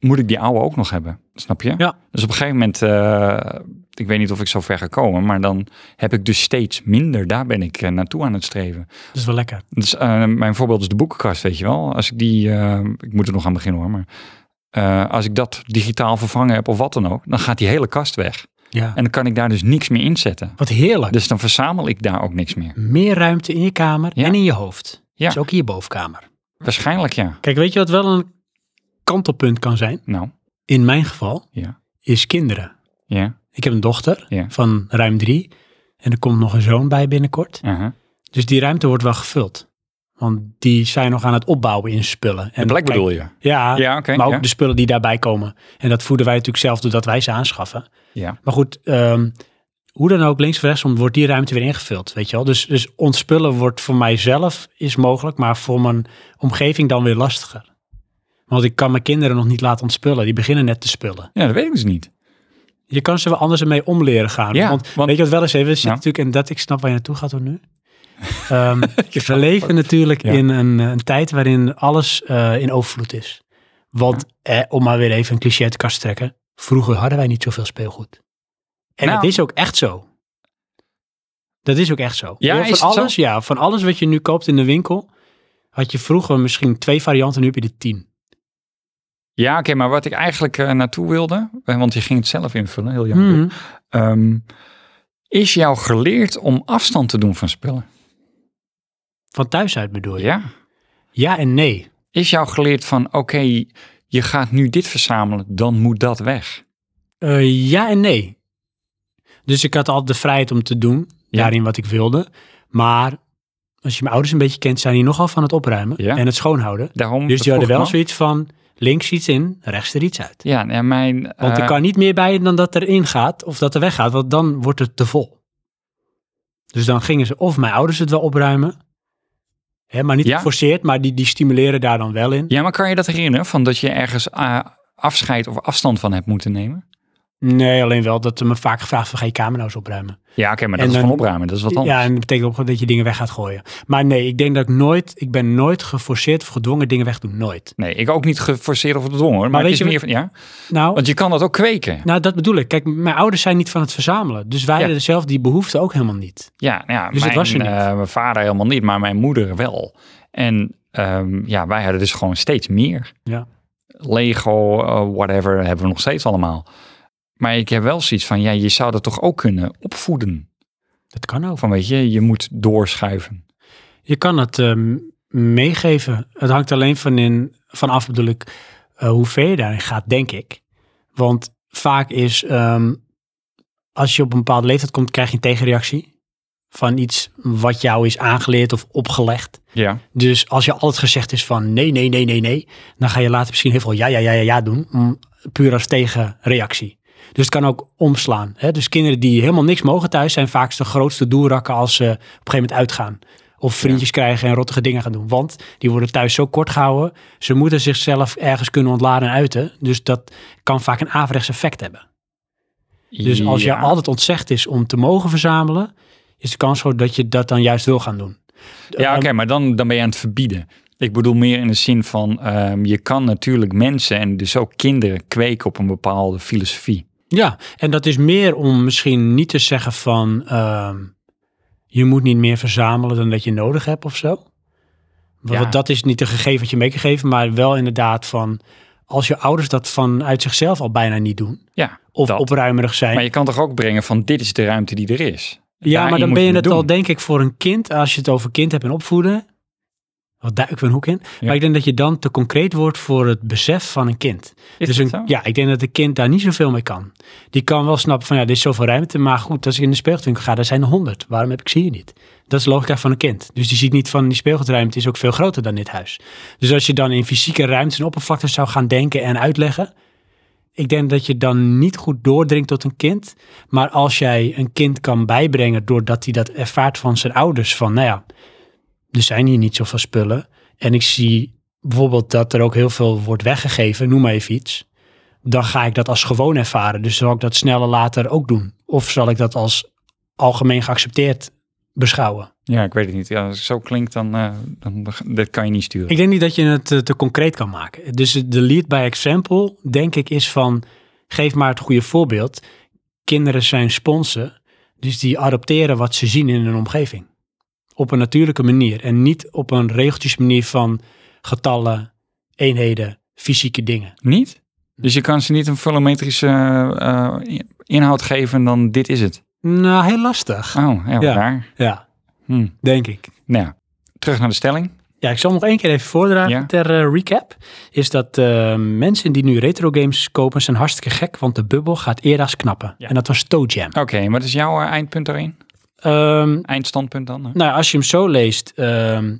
B: moet ik die oude ook nog hebben? Snap je?
A: Ja.
B: Dus op een gegeven moment, eh, ik weet niet of ik zo ver ga komen. Maar dan heb ik dus steeds minder. Daar ben ik eh, naartoe aan het streven.
A: Dat is wel lekker.
B: Dus, eh, mijn voorbeeld is de boekenkast, weet je wel. Als ik die, eh, ik moet er nog aan beginnen hoor, maar eh, als ik dat digitaal vervangen heb of wat dan ook, dan gaat die hele kast weg.
A: Ja.
B: En dan kan ik daar dus niks meer inzetten.
A: Wat heerlijk.
B: Dus dan verzamel ik daar ook niks meer.
A: Meer ruimte in je kamer
B: Ja.
A: en in je hoofd.
B: Ja.
A: Dus ook in je bovenkamer.
B: Waarschijnlijk ja.
A: Kijk, weet je wat wel een kantelpunt kan zijn?
B: Nou,
A: In mijn geval
B: Ja.
A: is kinderen.
B: ja.
A: Ik heb een dochter
B: Ja.
A: van ruim drie. En er komt nog een zoon bij binnenkort.
B: aha.
A: Dus die ruimte wordt wel gevuld. Want die zijn nog aan het opbouwen in spullen.
B: De
A: En kijk,
B: plek bedoel je?
A: Ja,
B: Ja, oké.
A: maar ook dus-
B: ja.
A: de spullen die daarbij komen. En dat voeden wij natuurlijk zelf doordat wij ze aanschaffen.
B: Ja.
A: Maar goed, ehm, hoe dan ook, links of rechtsom wordt die ruimte weer ingevuld, weet je wel. Dus, dus ontspullen wordt voor mijzelf is mogelijk, maar voor mijn omgeving dan weer lastiger. Want ik kan mijn kinderen nog niet laten ontspullen. Die beginnen net te spullen.
B: ja, dat weet ik dus niet.
A: Je kan ze wel anders ermee om leren gaan.
B: Ja,
A: Ah, dus want,
B: want-
A: weet je wat wel eens even zit
B: Ja.
A: natuurlijk, en dat ik snap waar je naartoe gaat hoor nu. Ehm, we leven natuurlijk
B: Ja.
A: in een, eh, een tijd waarin alles eh, in overvloed is. Want eh, om maar weer even een cliché uit de kast te trekken. Vroeger hadden wij niet zoveel speelgoed. En
B: Nou.
A: dat is ook echt zo. Dat is ook echt zo.
B: Ja,
A: van
B: is het zo?
A: alles, Ja, van alles wat je nu koopt in de winkel, had je vroeger misschien twee varianten, nu heb je er tien.
B: Ja, oké, maar wat ik eigenlijk eh, naartoe wilde, eh, want je ging het zelf invullen, heel jammer.
A: Mhm.
B: Ehm, is jou geleerd om afstand te doen van spullen?
A: Van thuis uit bedoel je?
B: Ja.
A: Ja en nee.
B: is jou geleerd van oké, je gaat nu dit verzamelen, dan moet dat weg.
A: Eh, ja en nee. Dus ik had altijd de vrijheid om te doen,
B: Ja.
A: daarin wat ik wilde. Maar als je mijn ouders een beetje kent, zijn die nogal van het opruimen
B: Ja.
A: en het schoonhouden.
B: Daarom
A: Dus die
B: dat
A: hadden
B: vroeg
A: wel
B: ik me
A: zoiets van, links iets in, rechts er iets uit.
B: af. Ja, en mijn.
A: Want
B: eh,
A: er kan niet meer bij dan dat erin gaat of dat er weggaat, want dan wordt het te vol. Dus dan gingen ze of mijn ouders het wel opruimen, hè, maar niet
B: Ja.
A: geforceerd, maar die, die stimuleren daar dan wel in.
B: Ja, maar kan je dat herinneren van dat je ergens ah, afscheid of afstand van hebt moeten nemen?
A: Nee, alleen wel dat er me vaak gevraagd van, ga je kamer nou eens opruimen?
B: Ja, oké, maar dat
A: En
B: is van
A: dan-
B: opruimen, dat is wat anders.
A: Ja, en dat betekent ook dat je dingen weg gaat gooien. Maar nee, ik denk dat ik nooit, ik ben nooit geforceerd of gedwongen dingen weg te doen. Nooit.
B: Nee, ik ook niet geforceerd of gedwongen, hoor, maar,
A: Maar
B: het is
A: weet je
B: meer van ja,
A: Nou,
B: want je kan dat ook kweken.
A: nou, dat bedoel ik. Kijk, mijn ouders zijn niet van het verzamelen. Dus wij
B: Ja.
A: hadden zelf die behoefte ook helemaal niet.
B: Ja, nou ja
A: Dus dat
B: mijn,
A: was er niet.
B: eh, mijn vader helemaal niet, maar mijn moeder wel. En ehm, ja, wij hadden dus gewoon steeds meer.
A: Ja.
B: Lego, eh, whatever, hebben we nog steeds allemaal. Maar ik heb wel zoiets van, ja, je zou dat toch ook kunnen opvoeden.
A: Dat kan ook.
B: Van, weet je, je moet doorschuiven.
A: Je kan het ehm, meegeven. Het hangt alleen van in, vanaf, bedoel ik, eh, hoe ver je daarin gaat, denk ik. Want vaak is, ehm, als je op een bepaalde leeftijd komt, krijg je een tegenreactie. Van iets wat jou is aangeleerd of opgelegd.
B: Ja.
A: Dus als je altijd gezegd is van nee, nee, nee, nee, nee, dan ga je later misschien heel veel ja, ja, ja, ja, ja doen. mm, Puur als tegenreactie. Dus het kan ook omslaan. Hè? Dus kinderen die helemaal niks mogen thuis zijn vaak de grootste doelrakken als ze op een gegeven moment uitgaan. Of vriendjes krijgen en rottige dingen gaan doen. Want die worden thuis zo kort gehouden. Ze moeten zichzelf ergens kunnen ontladen en uiten. Dus dat kan vaak een averechts effect hebben. Dus als
B: Ja.
A: je altijd ontzegd is om te mogen verzamelen, is de kans groot dat je dat dan juist wil gaan doen.
B: Ja,
A: ehm,
B: oké, maar dan, dan ben je aan het verbieden. Ik bedoel meer in de zin van, ehm, je kan natuurlijk mensen en dus ook kinderen kweken op een bepaalde filosofie.
A: Ja, en dat is meer om misschien niet te zeggen van ehm, je moet niet meer verzamelen dan dat je nodig hebt of zo. Want
B: Ja.
A: dat is niet een gegeven wat je mee kan geven, maar wel inderdaad van als je ouders dat vanuit zichzelf al bijna niet doen.
B: Ja,
A: Of
B: dat.
A: opruimerig zijn.
B: Maar je kan toch ook brengen van dit is de ruimte die er is.
A: ja, maar
B: daarin
A: dan
B: moet
A: ben je
B: je
A: het
B: het
A: al,
B: doen.
A: denk ik, voor een kind. Als je het over kind hebt en opvoeden. Wat duik we een hoek in.
B: Ja.
A: Maar ik denk dat je dan te concreet wordt voor het besef van een kind.
B: Is
A: dus
B: dat
A: een,
B: zo?
A: Ja, ik denk dat een kind daar niet zoveel mee kan. Die kan wel snappen van ja, dit is zoveel ruimte. Maar goed, als ik in de speelgoedwinkel ga, daar zijn er honderd. Waarom heb ik ze hier niet? Dat is de logica van een kind. Dus die ziet niet van die speelgoedruimte is ook veel groter dan dit huis. Dus als je dan in fysieke ruimtes en oppervlaktes zou gaan denken en uitleggen. Ik denk dat je dan niet goed doordringt tot een kind. Maar als jij een kind kan bijbrengen doordat hij dat ervaart van zijn ouders. Van nou ja, er zijn hier niet zoveel spullen. En ik zie bijvoorbeeld dat er ook heel veel wordt weggegeven, noem maar even iets. Dan ga ik dat als gewoon ervaren. Dus zal ik dat sneller later ook doen? Of zal ik dat als algemeen geaccepteerd beschouwen?
B: Ja, ik weet het niet. Ja, als het zo klinkt, dan, eh, dan dat kan je niet sturen.
A: Ik denk niet dat je het eh, te concreet kan maken. Dus de lead by example, denk ik, is van geef maar het goede voorbeeld. Kinderen zijn sponsen, dus die adopteren wat ze zien in hun omgeving. Op een natuurlijke manier en niet op een regeltjes manier van getallen, eenheden, fysieke dingen.
B: Niet? Dus je kan ze niet een volumetrische eh, eh, inhoud geven dan dit is het.
A: Nou, heel lastig.
B: Oh, heel
A: Ja.
B: raar.
A: Ja,
B: Hm.
A: denk ik.
B: Nou, ja. terug naar de stelling.
A: Ja, ik zal hem nog één keer even voordragen
B: Ja.
A: ter eh, recap. Is dat eh, mensen die nu retro games kopen zijn hartstikke gek, want de bubbel gaat eerder knappen.
B: Ja.
A: En dat was Toe Jam.
B: Oké, wat is jouw eh, eindpunt daarin?
A: Ehm,
B: Eindstandpunt dan? hè?
A: Nou, als je hem zo leest, ehm,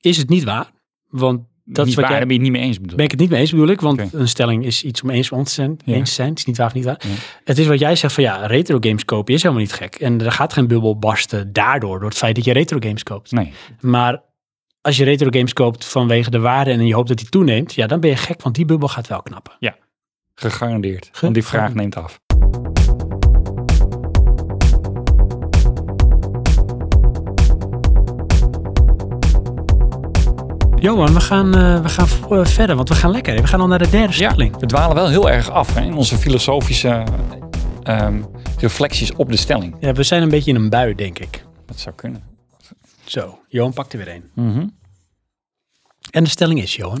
A: is het niet waar. Want dat
B: niet
A: is wat
B: waar,
A: jij-
B: daar ben je het niet mee eens bedoeld.
A: ben ik het niet mee eens, bedoel ik. Want
B: Oké.
A: een stelling is iets om eens om te zijn.
B: Ja.
A: Eens te zijn. Het is niet waar of niet waar.
B: Ja.
A: Het is wat jij zegt van ja, retro games kopen is helemaal niet gek. En er gaat geen bubbel barsten daardoor, door het feit dat je retro games koopt.
B: Nee,
A: Maar als je retro games koopt vanwege de waarde en je hoopt dat die toeneemt, ja, dan ben je gek, want die bubbel gaat wel knappen.
B: gegarandeerd. Want die vraag neemt af.
A: Johan, we gaan, eh, we gaan vo- eh, verder, want we gaan lekker. We gaan al naar de derde
B: Ja,
A: stelling.
B: we dwalen wel heel erg af hè, in onze filosofische ehm, reflecties op de stelling.
A: Ja, we zijn een beetje in een bui, denk ik.
B: Dat zou kunnen.
A: Zo, Johan pakt er weer een.
B: Mhm.
A: En de stelling is, Johan.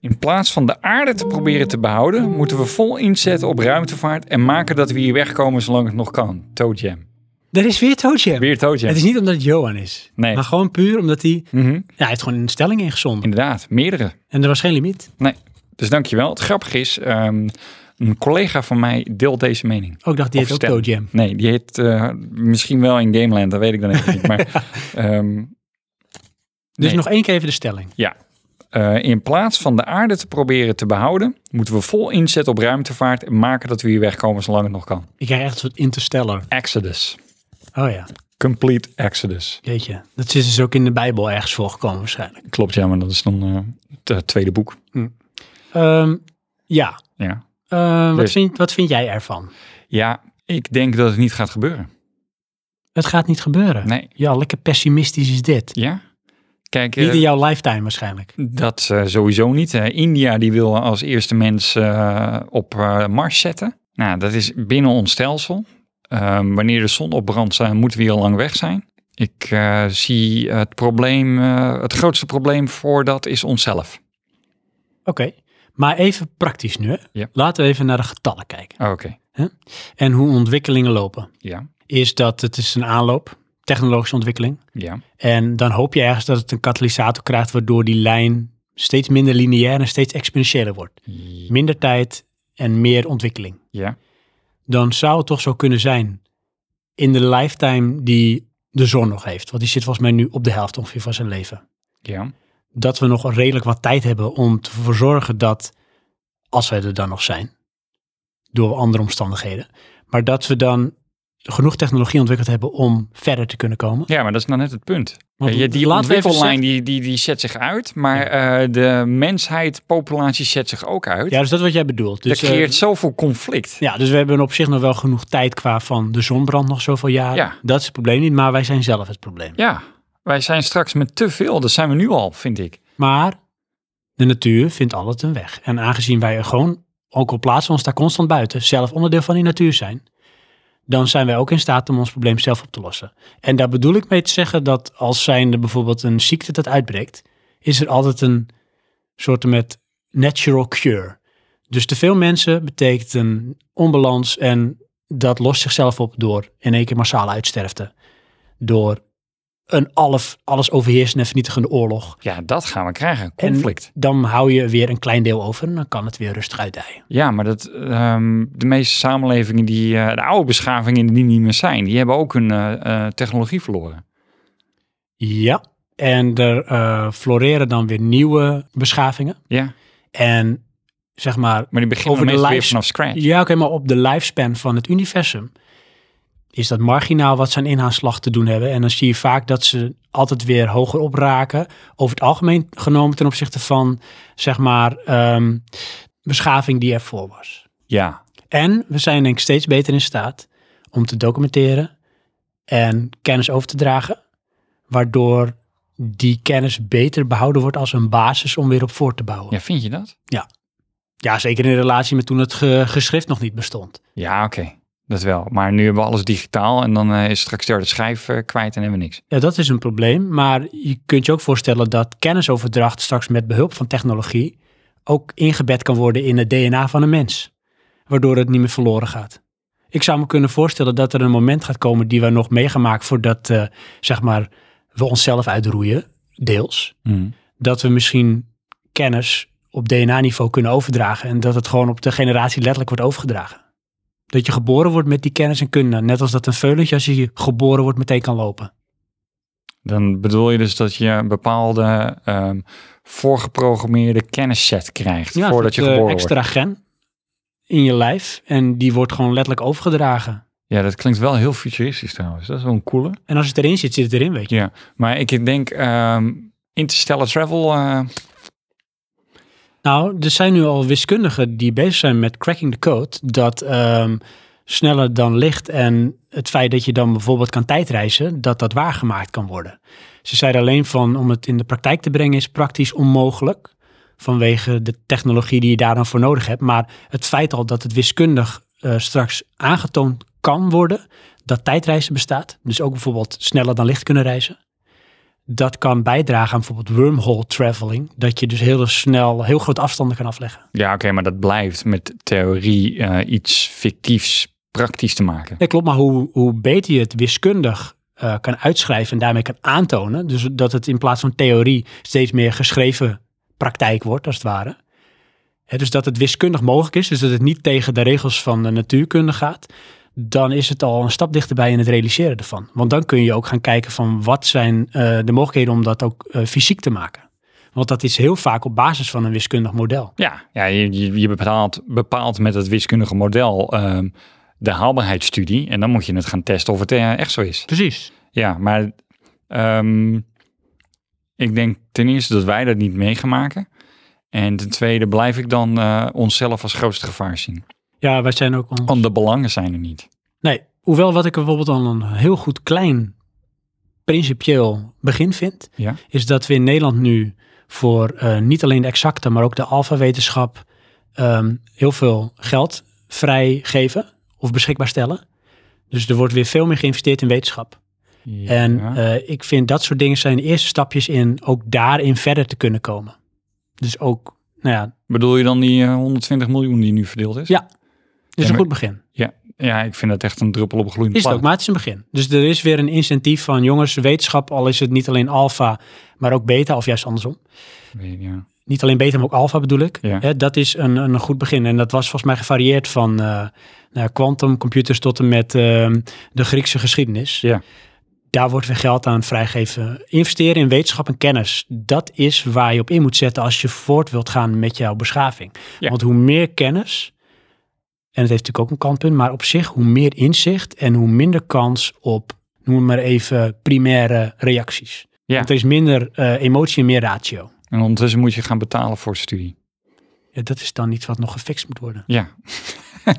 B: In plaats van de aarde te proberen te behouden, moeten we vol inzetten op ruimtevaart en maken dat we hier wegkomen zolang het nog kan. Toe Jam.
A: Er is weer Toadjam.
B: Weer Toe Jam.
A: Het is niet omdat het Johan is.
B: Nee.
A: Maar gewoon puur omdat hij...
B: Mhm.
A: Ja, hij heeft gewoon een stelling ingezonden.
B: Inderdaad, meerdere.
A: En er was geen limiet.
B: Nee, dus dankjewel. Het grappige is, ehm, een collega van mij deelt deze mening.
A: Ook dacht, die
B: Of
A: heeft ook
B: stelling.
A: Toadjam.
B: Nee, die heet eh, misschien wel in Gameland, dat weet ik dan even niet. Maar ehm,
A: Dus
B: Nee.
A: nog één keer even de stelling.
B: Ja. Eh, in plaats van de aarde te proberen te behouden, moeten we vol inzetten op ruimtevaart en maken dat we hier wegkomen zolang het nog kan.
A: Ik krijg echt een soort interstellar.
B: Exodus.
A: Oh ja,
B: Complete Exodus.
A: weet je. Dat is dus ook in de Bijbel ergens voorgekomen waarschijnlijk.
B: Klopt, ja, maar dat is dan eh, het eh, tweede boek.
A: Ehm, ja.
B: Ja.
A: Ehm, wat,
B: Dus-
A: vind, wat vind jij ervan?
B: ja, ik denk dat het niet gaat gebeuren.
A: Het gaat niet gebeuren.
B: Nee.
A: Ja, lekker pessimistisch is dit.
B: Ja? Kijk, eh,
A: Niet in jouw lifetime waarschijnlijk.
B: dat eh, sowieso niet. Eh, India die wil als eerste mens eh, op eh, Mars zetten. Nou, dat is binnen ons stelsel. Ehm, wanneer de zon opbrandt, eh, moeten we hier al lang weg zijn. Ik eh, zie het probleem, eh, het grootste probleem voor dat is onszelf.
A: Oké. Maar even praktisch nu. hè.
B: Ja.
A: Laten we even naar de getallen kijken.
B: Oké,
A: En hoe ontwikkelingen lopen.
B: ja,
A: Is dat het is een aanloop. Technologische ontwikkeling.
B: ja,
A: En dan hoop je ergens dat het een katalysator krijgt, waardoor die lijn steeds minder lineair en steeds exponentiëler wordt. Minder tijd en meer ontwikkeling.
B: ja,
A: Dan zou het toch zo kunnen zijn in de lifetime die de zon nog heeft. Want die zit volgens mij nu op de helft ongeveer van zijn leven.
B: ja.
A: Dat we nog redelijk wat tijd hebben om te verzorgen dat, als wij er dan nog zijn, door andere omstandigheden, maar dat we dan genoeg technologie ontwikkeld hebben om verder te kunnen komen.
B: Ja, maar dat is nou net het punt.
A: Want
B: Ja, die
A: laten we even
B: ontwikkellijn die, die, die zet zich uit, maar eh, de mensheid, populatie zet zich ook uit.
A: Ja, dus dat is wat jij bedoelt.
B: dat
A: Dus, eh,
B: creëert zoveel conflict.
A: Ja, dus we hebben op zich nog wel genoeg tijd qua van de zon brandt nog zoveel jaren.
B: Ja.
A: Dat is het probleem niet, maar wij zijn zelf het probleem.
B: Ja, wij zijn straks met te veel. Dat zijn we nu al, vind ik.
A: Maar de natuur vindt altijd een weg. En aangezien wij er gewoon, ook al plaatsen we ons daar constant buiten, zelf onderdeel van die natuur zijn, dan zijn wij ook in staat om ons probleem zelf op te lossen. En daar bedoel ik mee te zeggen dat als zijnde bijvoorbeeld een ziekte dat uitbreekt, is er altijd een soort met natural cure. Dus te veel mensen betekent een onbalans en dat lost zichzelf op door in één keer massale uitsterfte. Door een alles, alles overheersende en vernietigende oorlog.
B: Ja, dat gaan we krijgen.
A: En-
B: Conflict.
A: Dan hou je weer een klein deel over en dan kan het weer rustig uitdijen.
B: Ja, maar dat, ehm, de meeste samenlevingen, die, eh, de oude beschavingen die niet meer zijn, die hebben ook hun eh, eh, technologie verloren.
A: Ja, en er eh, floreren dan weer nieuwe beschavingen.
B: Ja,
A: En zeg maar,
B: maar die beginnen
A: Over de
B: meestal weer
A: lijst-
B: vanaf scratch.
A: ja oké, maar op de lifespan van het universum is dat marginaal wat ze aan inhaalslag te doen hebben. En dan zie je vaak dat ze altijd weer hoger opraken. Over het algemeen genomen ten opzichte van, zeg maar, ehm, beschaving die ervoor was.
B: Ja,
A: En we zijn denk ik steeds beter in staat om te documenteren en kennis over te dragen, waardoor die kennis beter behouden wordt als een basis om weer op voor te bouwen. Ja,
B: ja vind je dat?
A: zeker in relatie met toen het ge- geschrift nog niet bestond.
B: Ja, oké. Dat wel. Maar nu hebben we alles digitaal en dan eh, is straks de harde schijf eh, kwijt en hebben we niks.
A: Ja, dat is een probleem, maar je kunt je ook voorstellen dat kennisoverdracht straks met behulp van technologie ook ingebed kan worden in het DNA van een mens, waardoor het niet meer verloren gaat. Ik zou me kunnen voorstellen dat er een moment gaat komen die we nog meegemaakt voordat eh, zeg maar, we onszelf uitroeien, deels. Dat we misschien kennis op DNA-niveau kunnen overdragen en dat het gewoon op de generatie letterlijk wordt overgedragen. Dat je geboren wordt met die kennis en kunde, net als dat een veulentje als je geboren wordt meteen kan lopen.
B: Dan bedoel je dus dat je een bepaalde ehm, voorgeprogrammeerde kennisset krijgt
A: Ja,
B: voordat je
A: een soort, eh,
B: geboren wordt.
A: extra gen in je lijf en die wordt gewoon letterlijk overgedragen.
B: Ja, dat klinkt wel heel futuristisch trouwens. Dat is wel een coole.
A: En als het erin zit, zit het erin, weet je.
B: Ja, maar ik denk ehm interstellar travel. eh,
A: Nou, er zijn nu al wiskundigen die bezig zijn met cracking the code. Dat ehm, sneller dan licht en het feit dat je dan bijvoorbeeld kan tijdreizen, dat dat waargemaakt kan worden. Ze zeiden alleen van om het in de praktijk te brengen is praktisch onmogelijk. Vanwege de technologie die je daar dan voor nodig hebt. Maar het feit al dat het wiskundig eh, straks aangetoond kan worden dat tijdreizen bestaat. Dus ook bijvoorbeeld sneller dan licht kunnen reizen dat kan bijdragen aan bijvoorbeeld wormhole traveling. Dat je dus heel snel heel grote afstanden kan afleggen.
B: ja, oké, maar dat blijft met theorie eh, iets fictiefs praktisch te maken.
A: Nee, klopt, maar hoe, hoe beter je het wiskundig eh, kan uitschrijven en daarmee kan aantonen. Dus dat het in plaats van theorie steeds meer geschreven praktijk wordt, als het ware. Hè, dus dat het wiskundig mogelijk is, dus dat het niet tegen de regels van de natuurkunde gaat. Dan is het al een stap dichterbij in het realiseren ervan. Want dan kun je ook gaan kijken van wat zijn eh, de mogelijkheden om dat ook eh, fysiek te maken. Want dat is heel vaak op basis van een wiskundig model.
B: Ja, ja je, je- je bepaalt, bepaalt met het wiskundige model ehm, de haalbaarheidsstudie. En dan moet je het gaan testen of het eh, echt zo is.
A: Precies.
B: Ja, maar ehm, ik denk ten eerste dat wij dat niet mee gaan maken. En ten tweede blijf ik dan eh, onszelf als grootste gevaar zien.
A: Ja, wij zijn ook... On...
B: Want de belangen zijn er niet.
A: Nee, hoewel wat ik er bijvoorbeeld al een heel goed klein principieel begin vind,
B: Ja.
A: is dat we in Nederland nu voor eh, niet alleen de exacte, maar ook de alfawetenschap ehm, heel veel geld vrijgeven of beschikbaar stellen. Dus er wordt weer veel meer geïnvesteerd in wetenschap. En
B: Ja.
A: eh, ik vind dat soort dingen zijn de eerste stapjes in ook daarin verder te kunnen komen. Dus ook, nou ja,
B: Bedoel je dan die eh, 120 miljoen die nu verdeeld is?
A: Ja. dit is
B: Ja,
A: een
B: maar-
A: goed begin.
B: Ja, ja, ik vind dat echt een druppel op een gloeiende
A: Is het ook,
B: plaat.
A: maar het is een begin. Dus er is weer een incentief van jongens, wetenschap, al is het niet alleen alfa, maar ook beta, of juist andersom.
B: Nee, ja.
A: Niet alleen beta, maar ook alfa bedoel ik.
B: Ja.
A: Hè, dat is een, een goed begin. En dat was volgens mij gevarieerd van eh, nou, quantumcomputers tot en met ehm, de Griekse geschiedenis.
B: Ja.
A: Daar wordt weer geld aan vrijgegeven. Investeren in wetenschap en kennis, dat is waar je op in moet zetten als je voort wilt gaan met jouw beschaving.
B: Ja.
A: Want hoe meer kennis, en het heeft natuurlijk ook een kantpunt, maar op zich hoe meer inzicht en hoe minder kans op, noem het maar even, primaire reacties.
B: Ja.
A: Want er is minder eh, emotie en meer ratio.
B: En ondertussen moet je gaan betalen voor studie.
A: Ja, dat is dan iets wat nog gefixt moet worden.
B: Ja,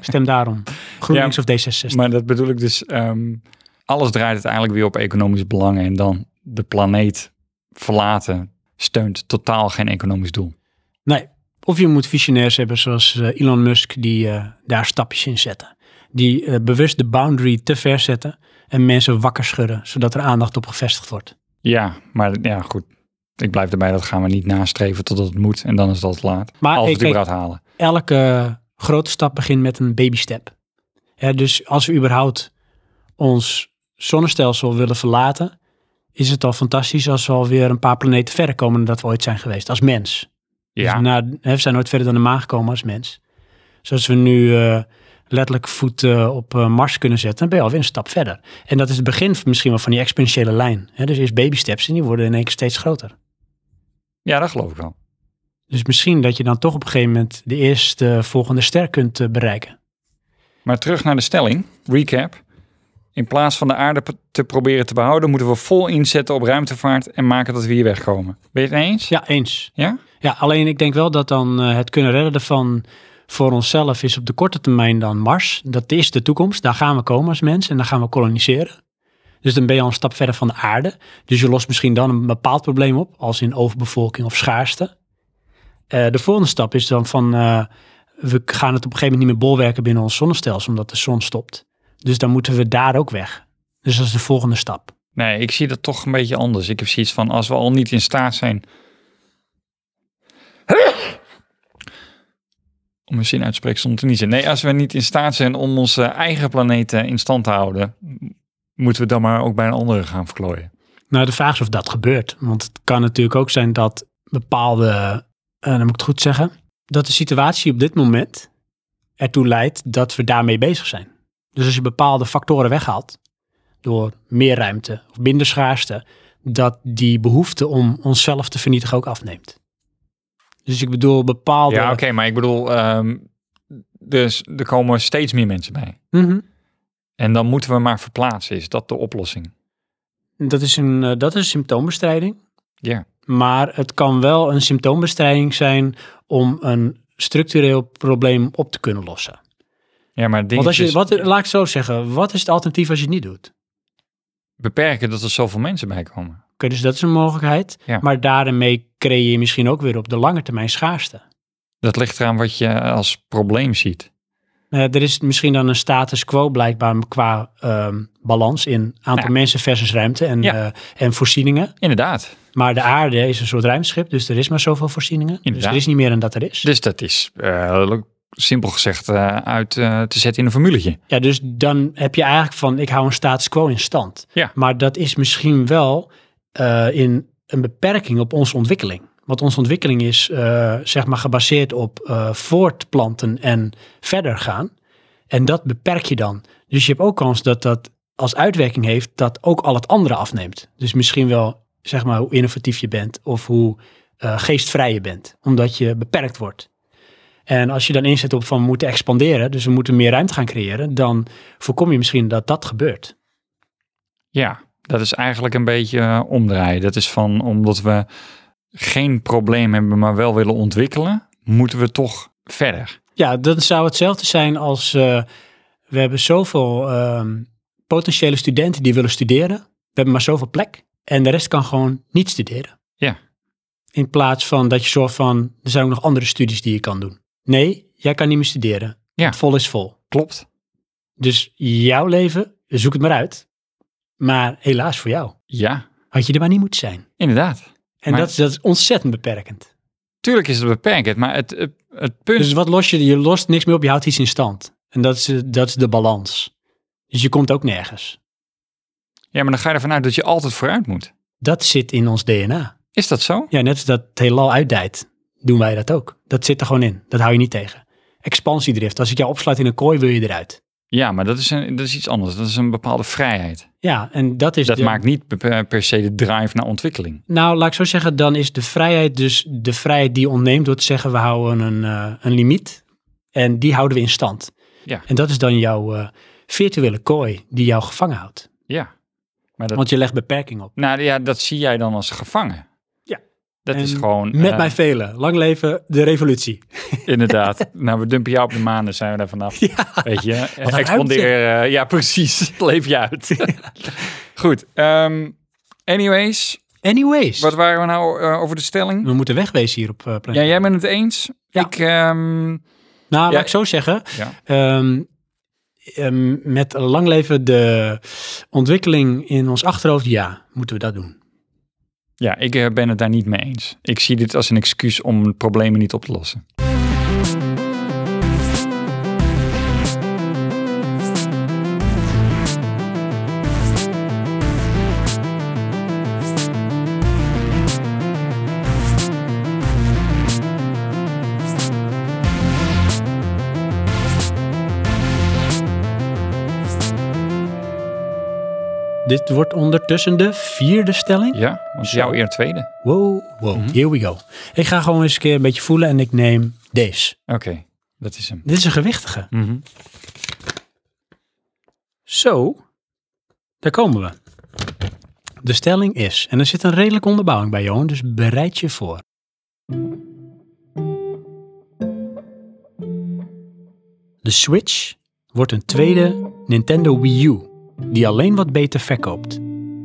A: Stem daarom. GroenLinks of D66.
B: maar dat bedoel ik dus. ehm, alles draait uiteindelijk weer op economisch belangen. En dan de planeet verlaten steunt totaal geen economisch doel.
A: Nee. Of je moet visionairs hebben zoals eh, Elon Musk die eh, daar stapjes in zetten. die eh, bewust de boundary te ver zetten en mensen wakker schudden, zodat er aandacht op gevestigd wordt.
B: Ja, maar ja, goed. Ik blijf erbij, dat gaan we niet nastreven totdat het moet. En dan is dat laat.
A: Maar
B: Als
A: hey,
B: we het
A: kijk,
B: überhaupt halen.
A: elke eh, grote stap begint met een baby step. Hè, dus als we überhaupt ons zonnestelsel willen verlaten, is het al fantastisch als we alweer een paar planeten verder komen dan dat we ooit zijn geweest als mens.
B: Ja,
A: Dus na, hè, we zijn nooit verder dan de maan gekomen als mens. Zoals we nu eh, letterlijk voet eh, op eh, Mars kunnen zetten, dan ben je alweer een stap verder. En dat is het begin misschien wel van die exponentiële lijn. Hè? Dus eerst baby steps en die worden in één keer steeds groter.
B: ja, dat geloof ik wel.
A: Dus misschien dat je dan toch op een gegeven moment de eerste volgende ster kunt eh, bereiken.
B: Maar terug naar de stelling. Recap. In plaats van de aarde p- te proberen te behouden, moeten we vol inzetten op ruimtevaart en maken dat we hier wegkomen. Ben je het eens?
A: Ja, eens.
B: Ja?
A: Ja, alleen ik denk wel dat dan eh, het kunnen redden ervan voor onszelf is op de korte termijn dan Mars. Dat is de toekomst. Daar gaan we komen als mens en dan gaan we koloniseren. Dus dan ben je al een stap verder van de aarde. Dus je lost misschien dan een bepaald probleem op, als in overbevolking of schaarste. Eh, de volgende stap is dan van, eh, we gaan het op een gegeven moment niet meer bolwerken binnen ons zonnestelsel, omdat de zon stopt. Dus dan moeten we daar ook weg. Dus dat is de volgende stap.
B: Nee, ik zie dat toch een beetje anders. Ik heb zoiets van, als we al niet in staat zijn... Om mijn zin uit te spreken stond er niet zin. Nee, als we niet in staat zijn om onze eigen planeet eh, in stand te houden... m- moeten we dan maar ook bij een andere gaan verklooien.
A: Nou, de vraag is of dat gebeurt. Want het kan natuurlijk ook zijn dat bepaalde, eh, dan moet ik het goed zeggen, dat de situatie op dit moment ertoe leidt dat we daarmee bezig zijn. Dus als je bepaalde factoren weghaalt, door meer ruimte of minder schaarste, dat die behoefte om onszelf te vernietigen ook afneemt. Dus ik bedoel bepaalde...
B: Ja, oké, maar ik bedoel... ehm, dus er komen steeds meer mensen bij.
A: Mhm.
B: En dan moeten we maar verplaatsen. Is dat de oplossing?
A: dat, is een, eh, dat is symptoombestrijding.
B: Ja.
A: Maar het kan wel een symptoombestrijding zijn om een structureel probleem op te kunnen lossen.
B: Ja, maar het ding
A: Want als
B: is
A: je,
B: dus
A: wat, laat ik het zo zeggen, wat is het alternatief als je het niet doet?
B: beperken dat er zoveel mensen bij komen.
A: Oké, dus dat is een mogelijkheid.
B: Ja.
A: Maar daarmee creëer je misschien ook weer op de lange termijn schaarste.
B: Dat ligt eraan wat je als probleem ziet.
A: Eh, er is misschien dan een status quo blijkbaar qua ehm, balans in aantal
B: Ja.
A: mensen versus ruimte en,
B: Ja.
A: eh, en voorzieningen.
B: Inderdaad.
A: Maar de aarde is een soort ruimschip, dus er is maar zoveel voorzieningen. Dus
B: Inderdaad.
A: er is niet meer dan dat er is.
B: Dus dat is eh, simpel gezegd eh, uit eh, te zetten in een formuletje.
A: Ja, dus dan heb je eigenlijk van, ik hou een status quo in stand.
B: Ja.
A: Maar dat is misschien wel eh, in een beperking op onze ontwikkeling. Want onze ontwikkeling is eh, zeg maar gebaseerd op eh, voortplanten en verder gaan. En dat beperk je dan. Dus je hebt ook kans dat dat als uitwerking heeft dat ook al het andere afneemt. Dus misschien wel zeg maar hoe innovatief je bent of hoe eh, geestvrij je bent. Omdat je beperkt wordt. En als je dan inzet op van we moeten expanderen, dus we moeten meer ruimte gaan creëren, dan voorkom je misschien dat dat gebeurt.
B: Ja, dat is eigenlijk een beetje eh, omdraaien. Dat is van omdat we geen probleem hebben, maar wel willen ontwikkelen, moeten we toch verder.
A: Ja, dat zou hetzelfde zijn als eh, we hebben zoveel ehm, potentiële studenten die willen studeren. We hebben maar zoveel plek en de rest kan gewoon niet studeren.
B: Ja.
A: In plaats van dat je zorgt van, er zijn ook nog andere studies die je kan doen. Nee, jij kan niet meer studeren.
B: Ja.
A: Het Vol is vol.
B: Klopt.
A: Dus jouw leven, zoek het maar uit. Maar helaas voor jou,
B: Ja,
A: had je er maar niet moeten zijn.
B: inderdaad.
A: En
B: Maar-
A: dat, is, dat is ontzettend beperkend.
B: Tuurlijk is het beperkend, maar het, het, het punt
A: Dus wat los je? Je lost niks meer op, je houdt iets in stand. En dat is, eh, dat is de balans. Dus je komt ook nergens.
B: Ja, maar dan ga je ervan uit dat je altijd vooruit moet.
A: Dat zit in ons DNA.
B: Is dat zo?
A: Ja, net als dat het heelal uitdijt, doen wij dat ook. Dat zit er gewoon in. Dat hou je niet tegen. Expansiedrift. Als ik jou opsluit in een kooi, wil je eruit.
B: Ja, maar dat is, een, dat is iets anders. Dat is een bepaalde vrijheid.
A: Ja, en dat is
B: Dat
A: de-
B: maakt niet per, per se de drive naar ontwikkeling.
A: Nou, laat ik zo zeggen, dan is de vrijheid dus de vrijheid die je ontneemt door te zeggen we houden een, eh, een limiet en die houden we in stand.
B: Ja.
A: En dat is dan jouw eh, virtuele kooi die jou gevangen houdt.
B: Ja. Maar dat,
A: Want je legt beperking op.
B: nou ja, dat zie jij dan als gevangen.
A: Ja.
B: Dat is
A: En
B: gewoon...
A: Met
B: eh,
A: mijn velen. Lang leven de revolutie.
B: Inderdaad. nou, we dumpen jou op de maan en zijn we daar vanaf. Weet je? eh,
A: Wat een
B: Expandeer. eh, ja, precies. Leef je uit. Goed. ehm, anyways,
A: Anyways.
B: wat waren we nou eh, over de stelling?
A: We moeten wegwezen hier op eh planeet.
B: Ja, jij bent het eens.
A: Ja.
B: Ik... ehm,
A: Nou,
B: Ja.
A: laat ik zo zeggen.
B: Ja.
A: Ehm, ehm, met lang leven de ontwikkeling in ons achterhoofd, ja, moeten we dat doen.
B: Ja, ik eh, ben het daar niet mee eens. Ik zie dit als een excuus om problemen niet op te lossen.
A: Dit wordt ondertussen de vierde stelling.
B: Ja, Mhm. want
A: Zo.
B: jouw eer tweede.
A: Wow, wow, here we go. Ik ga gewoon eens een keer een beetje voelen en ik neem deze.
B: Oké, dat is hem.
A: Dit is een gewichtige.
B: Mhm.
A: Zo, daar komen we. De stelling is, en er zit een redelijke onderbouwing bij Johan, dus bereid je voor. De Switch wordt een tweede Nintendo Wii U, die alleen wat beter verkoopt.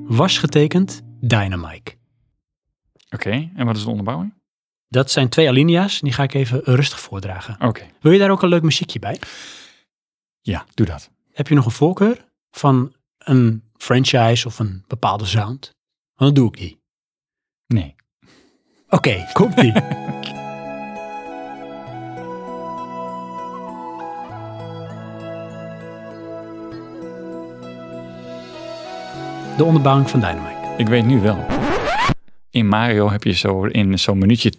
A: Was getekend Dynamite.
B: Oké, en wat is de onderbouwing?
A: Dat zijn twee alinea's, die ga ik even rustig voordragen.
B: Oké,
A: Wil je daar ook een leuk muziekje bij?
B: ja, doe dat.
A: Heb je nog een voorkeur van een franchise of een bepaalde sound? Want dan doe ik die.
B: Nee.
A: Oké, komt die. De onderbouwing van Dynamite.
B: Ik weet nu wel. In Mario heb je zo in zo'n minuutje...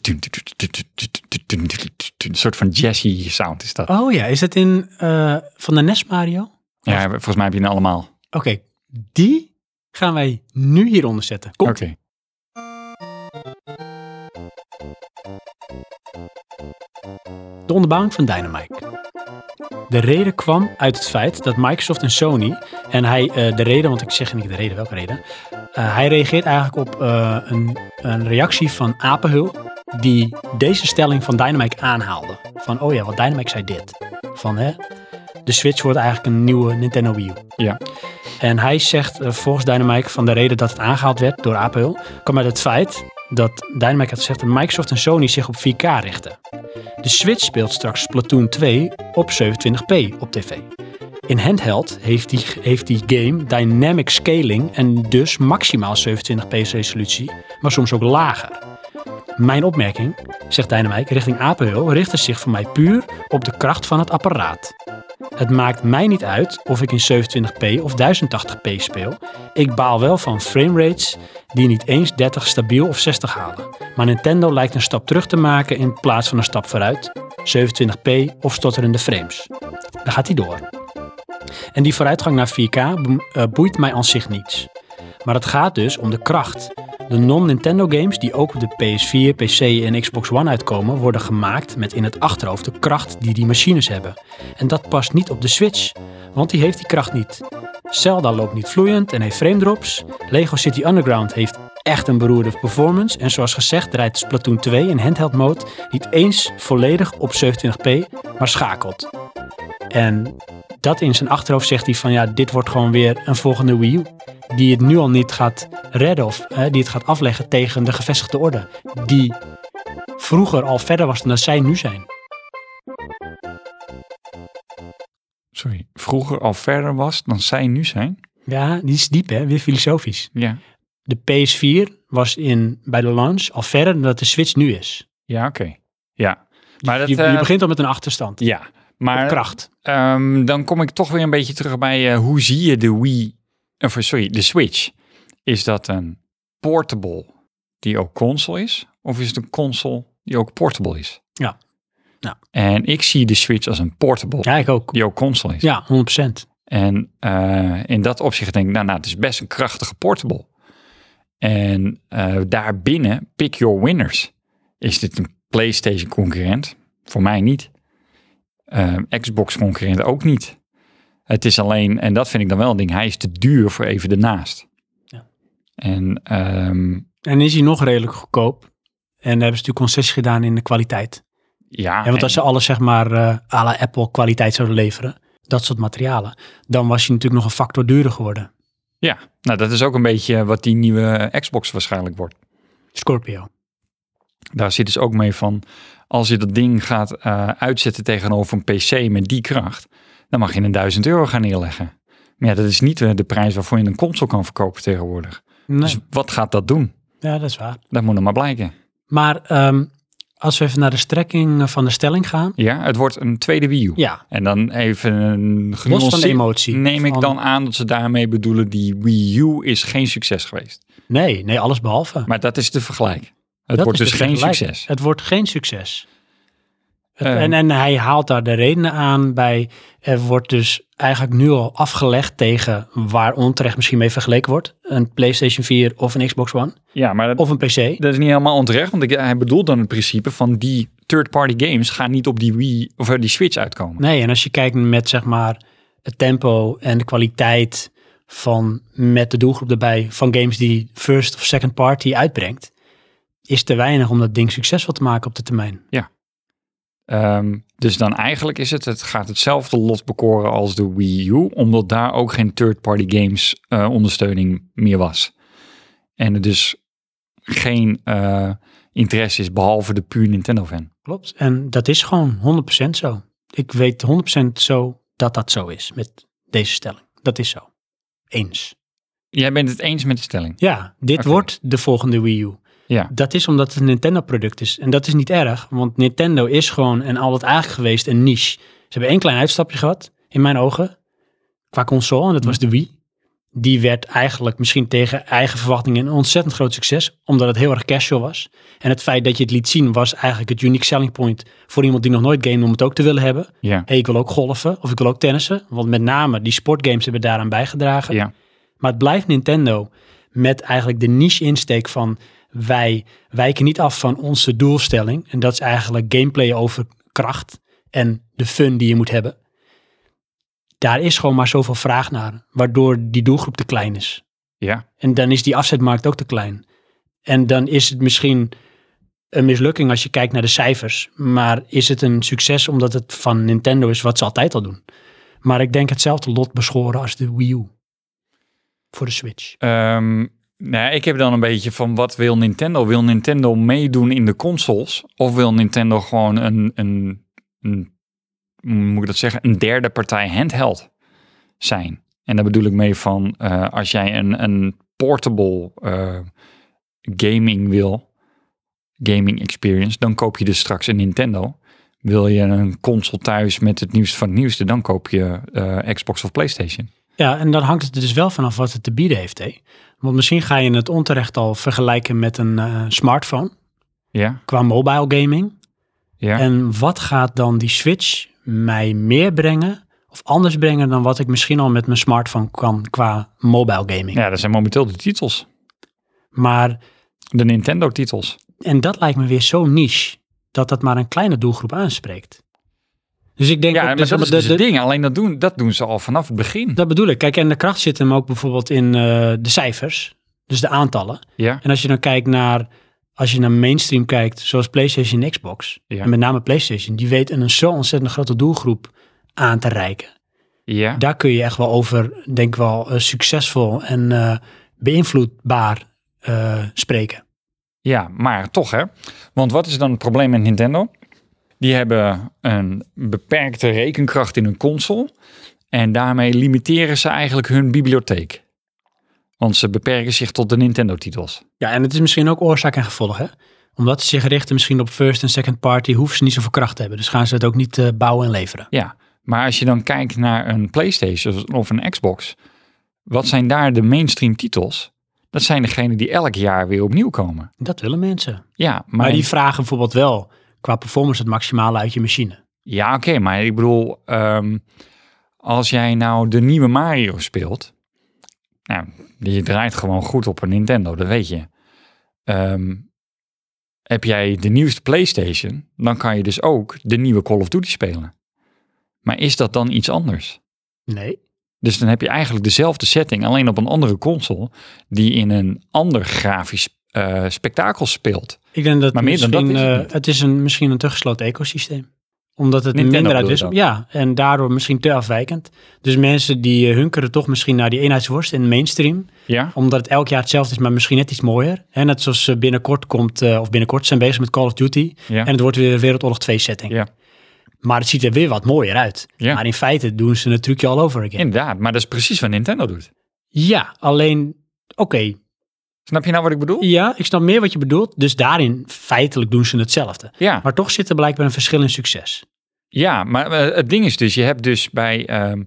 B: Een soort van jazzy sound is dat.
A: Oh ja, is dat in eh, van de NES Mario? Oké,
B: Ja, volgens mij heb je het allemaal.
A: die gaan wij nu hieronder zetten. Komt.
B: Oké.
A: De onderbouwing van Dynamite. De reden kwam uit het feit dat Microsoft en Sony, en hij, eh, de reden, want ik zeg niet de reden, welke reden, Eh, hij reageert eigenlijk op eh, een, een reactie van Apenhul, die deze stelling van Dynamite aanhaalde. Van, oh ja, wat Dynamite zei dit. Van, hè, de Switch wordt eigenlijk een nieuwe Nintendo Wii U.
B: Ja.
A: En hij zegt eh, volgens Dynamite van de reden dat het aangehaald werd door Apple, kwam uit het feit dat Dynamite had gezegd dat Microsoft en Sony zich op 4K richten. De Switch speelt straks Splatoon 2 op 27p op tv. In handheld heeft die, heeft die game dynamic scaling en dus maximaal 27p resolutie, maar soms ook lager. Mijn opmerking, zegt Dynamite richting Apenhul, richtte zich voor mij puur op de kracht van het apparaat. Het maakt mij niet uit of ik in 27p of 1080p speel. Ik baal wel van framerates die niet eens 30 stabiel of 60 halen. Maar Nintendo lijkt een stap terug te maken in plaats van een stap vooruit. 27p of stotterende frames. Dan gaat hij door. En die vooruitgang naar 4K be- eh, boeit mij aan zich niets. Maar het gaat dus om de kracht. De non-Nintendo games die ook op de PS4, PC en Xbox One uitkomen, worden gemaakt met in het achterhoofd de kracht die die machines hebben. En dat past niet op de Switch, want die heeft die kracht niet. Zelda loopt niet vloeiend en heeft frame drops. Lego City Underground heeft echt een beroerde performance. En zoals gezegd draait Splatoon 2 in handheld mode niet eens volledig op 27p, maar schakelt. En dat in zijn achterhoofd zegt hij van ja, dit wordt gewoon weer een volgende Wii U. Die het nu al niet gaat redden of hè, die het gaat afleggen tegen de gevestigde orde. Die vroeger al verder was dan dat zij nu zijn.
B: Sorry. Vroeger al verder was dan zij nu zijn.
A: Ja, die is diep hè, weer filosofisch.
B: Ja.
A: de PS4 was in, bij de launch al verder dan dat de Switch nu is.
B: Ja, oké. Ja. Maar dat,
A: je, je
B: eh,
A: begint al met een achterstand.
B: Ja.
A: op
B: Maar
A: kracht.
B: ehm, dan kom ik toch weer een beetje terug bij eh, hoe zie je de Wii... Of, sorry, de Switch. Is dat een portable die ook console is? Of is het een console die ook portable is?
A: Ja. Ja.
B: En ik zie de Switch als een portable
A: Ja, ik ook.
B: die ook console is.
A: Ja, 100%.
B: En eh, in dat opzicht denk ik, nou, nou, het is best een krachtige portable. En eh, daarbinnen, pick your winners. Is dit een PlayStation concurrent? Voor mij niet. Eh, Xbox concurrent ook niet. Het is alleen, en dat vind ik dan wel een ding, hij is te duur voor even ernaast.
A: Ja.
B: En ehm,
A: En is hij nog redelijk goedkoop. En hebben ze natuurlijk concessie gedaan in de kwaliteit.
B: ja,
A: En want als
B: Ah,
A: ze
B: en-
A: alles zeg maar eh à la Apple kwaliteit zouden leveren, dat soort materialen, dan was je natuurlijk nog een factor duurder geworden.
B: ja, nou dat is ook een beetje wat die nieuwe Xbox waarschijnlijk wordt.
A: Scorpio.
B: daar zit dus ook mee van, als je dat ding gaat eh, uitzetten tegenover een PC met die kracht, dan mag je een 1000 euro gaan neerleggen. Maar ja, dat is niet eh, de prijs waarvoor je een console kan verkopen tegenwoordig.
A: Nee,
B: Dus wat gaat dat doen?
A: ja, dat is waar.
B: Dat moet nog maar blijken.
A: Maar ehm, als we even naar de strekking van de stelling gaan.
B: Ja, het wordt een tweede Wii U.
A: Ja,
B: En dan even een
A: los van de
B: genuanceerd...
A: emotie.
B: Neem ik
A: Van-
B: dan aan dat ze daarmee bedoelen die Wii U is geen succes geweest.
A: Nee, nee, alles behalve.
B: Maar dat is de vergelijk. Het
A: Dat
B: wordt
A: is
B: dus
A: de
B: geen
A: vergelijking.
B: succes.
A: Het wordt geen succes. Het-
B: Eh.
A: en, en hij haalt daar de redenen aan bij. Er wordt dus eigenlijk nu al afgelegd tegen waar onterecht misschien mee vergeleken wordt. Een PlayStation 4 of een Xbox One
B: Ja, maar dat,
A: of een PC.
B: dat is niet helemaal onterecht. Want ik, hij bedoelt dan het principe van die third-party games gaan niet op die Wii of eh, die Switch uitkomen.
A: Nee, en als je kijkt met zeg maar het tempo en de kwaliteit van met de doelgroep erbij van games die first of second party uitbrengt, is te weinig om dat ding succesvol te maken op de termijn.
B: Ehm, dus dan eigenlijk is het, het gaat hetzelfde lot bekoren als de Wii U, omdat daar ook geen third-party games eh, ondersteuning meer was. En er dus geen eh, interesse is, behalve de puur Nintendo-fan.
A: Klopt. En dat is gewoon 100% zo. Ik weet 100% zo dat dat zo is met deze stelling. Dat is zo. Eens.
B: Jij bent het eens met de stelling.
A: Ja, dit
B: Oké.
A: wordt de volgende Wii U.
B: Ja.
A: Dat is omdat het een Nintendo-product is. En dat is niet erg, want Nintendo is gewoon en altijd eigenlijk geweest een niche. Ze hebben één klein uitstapje gehad, in mijn ogen, qua console, en dat was de Wii. Die werd eigenlijk misschien tegen eigen verwachtingen een ontzettend groot succes, omdat het heel erg casual was. En het feit dat je het liet zien was eigenlijk het unique selling point voor iemand die nog nooit game om het ook te willen hebben.
B: Ja.
A: Hey, ik wil ook golfen of ik wil ook tennissen, want met name die sportgames hebben daaraan bijgedragen.
B: Ja.
A: Maar het blijft Nintendo met eigenlijk de niche-insteek van wij wijken niet af van onze doelstelling. En dat is eigenlijk gameplay over kracht en de fun die je moet hebben. Daar is gewoon maar zoveel vraag naar, waardoor die doelgroep te klein is.
B: Ja.
A: En dan is die afzetmarkt ook te klein. En dan is het misschien een mislukking als je kijkt naar de cijfers. Maar is het een succes omdat het van Nintendo is wat ze altijd al doen. Maar ik denk hetzelfde lot beschoren als de Wii U. Voor de Switch.
B: Ehm, nou, ik heb dan een beetje van wat wil Nintendo? Wil Nintendo meedoen in de consoles? Of wil Nintendo gewoon een, een, een hoe moet ik dat zeggen, een derde partij handheld zijn? En daar bedoel ik mee van eh, als jij een, een portable eh, gaming wil, gaming experience, dan koop je dus straks een Nintendo. Wil je een console thuis met het nieuws van het nieuwste, dan koop je eh, Xbox of PlayStation.
A: Ja, en dan hangt het er dus wel vanaf wat het te bieden heeft. Hè? Want misschien ga je het onterecht al vergelijken met een eh, smartphone.
B: Ja,
A: Qua mobile gaming.
B: ja.
A: En wat gaat dan die Switch mij meer brengen of anders brengen dan wat ik misschien al met mijn smartphone kan qua mobile gaming?
B: ja, dat zijn momenteel de titels.
A: Maar,
B: De Nintendo-titels.
A: en dat lijkt me weer zo niche, dat dat maar een kleine doelgroep aanspreekt. Dus ik denk,
B: Ja,
A: ook
B: maar
A: dus
B: dat is
A: de-
B: dus het
A: de-
B: ding. Alleen dat doen, dat doen ze al vanaf het begin.
A: dat bedoel ik. Kijk, en de kracht zit hem ook bijvoorbeeld in eh, de cijfers, dus de aantallen.
B: Ja,
A: En als je dan kijkt naar, als je naar mainstream kijkt, zoals PlayStation en Xbox,
B: Ja.
A: en met name PlayStation, die weet een zo ontzettend grote doelgroep aan te reiken.
B: ja.
A: daar kun je echt wel over, denk ik wel, eh, succesvol en eh, beïnvloedbaar eh, spreken.
B: ja, maar toch hè. Want wat is dan het probleem met Nintendo? Die hebben een beperkte rekenkracht in hun console. En daarmee limiteren ze eigenlijk hun bibliotheek. Want ze beperken zich tot de Nintendo-titels.
A: Ja, en het is misschien ook oorzaak en gevolg, hè? Omdat ze zich richten misschien op first en second party, hoeven ze niet zoveel kracht te hebben. Dus gaan ze het ook niet eh, bouwen en leveren.
B: Ja, maar als je dan kijkt naar een PlayStation of een Xbox. Wat zijn daar de mainstream titels? Dat zijn degenen die elk jaar weer opnieuw komen.
A: Dat willen mensen.
B: Ja, maar,
A: Maar die vragen bijvoorbeeld wel qua performance het maximale uit je machine.
B: Ja, oké, maar ik bedoel, ehm, als jij nou de nieuwe Mario speelt, nou, die draait gewoon goed op een Nintendo, dat weet je. Ehm, heb jij de nieuwste PlayStation, dan kan je dus ook de nieuwe Call of Duty spelen. Maar is dat dan iets anders?
A: Nee.
B: Dus dan heb je eigenlijk dezelfde setting, alleen op een andere console, die in een ander grafisch eh, spektakel speelt.
A: Ik denk dat,
B: Maar meer dan
A: misschien,
B: dat is het
A: eh,
B: niet.
A: het is een, misschien een te gesloten ecosysteem. Omdat het
B: Nintendo
A: minder uit
B: bedoel
A: is.
B: je
A: Ja, en daardoor misschien te afwijkend. Dus mensen die eh, hunkeren toch misschien naar die eenheidsworst in de mainstream.
B: Ja,
A: Omdat het elk jaar hetzelfde is, maar misschien net iets mooier. Hè, net zoals eh, binnenkort komt, eh, of binnenkort zijn bezig met Call of Duty.
B: ja.
A: En het wordt weer Wereldoorlog 2 setting.
B: Ja.
A: Maar het ziet er weer wat mooier uit.
B: Ja.
A: Maar in feite doen ze het trucje al over again.
B: Inderdaad, maar dat is precies wat Nintendo doet.
A: Ja, alleen, oké,
B: Snap je nou wat ik bedoel?
A: ja, ik snap meer wat je bedoelt. Dus daarin, feitelijk doen ze hetzelfde.
B: Ja,
A: Maar toch zit er blijkbaar een verschil in succes.
B: ja maar eh, het ding is dus, je hebt dus bij ehm,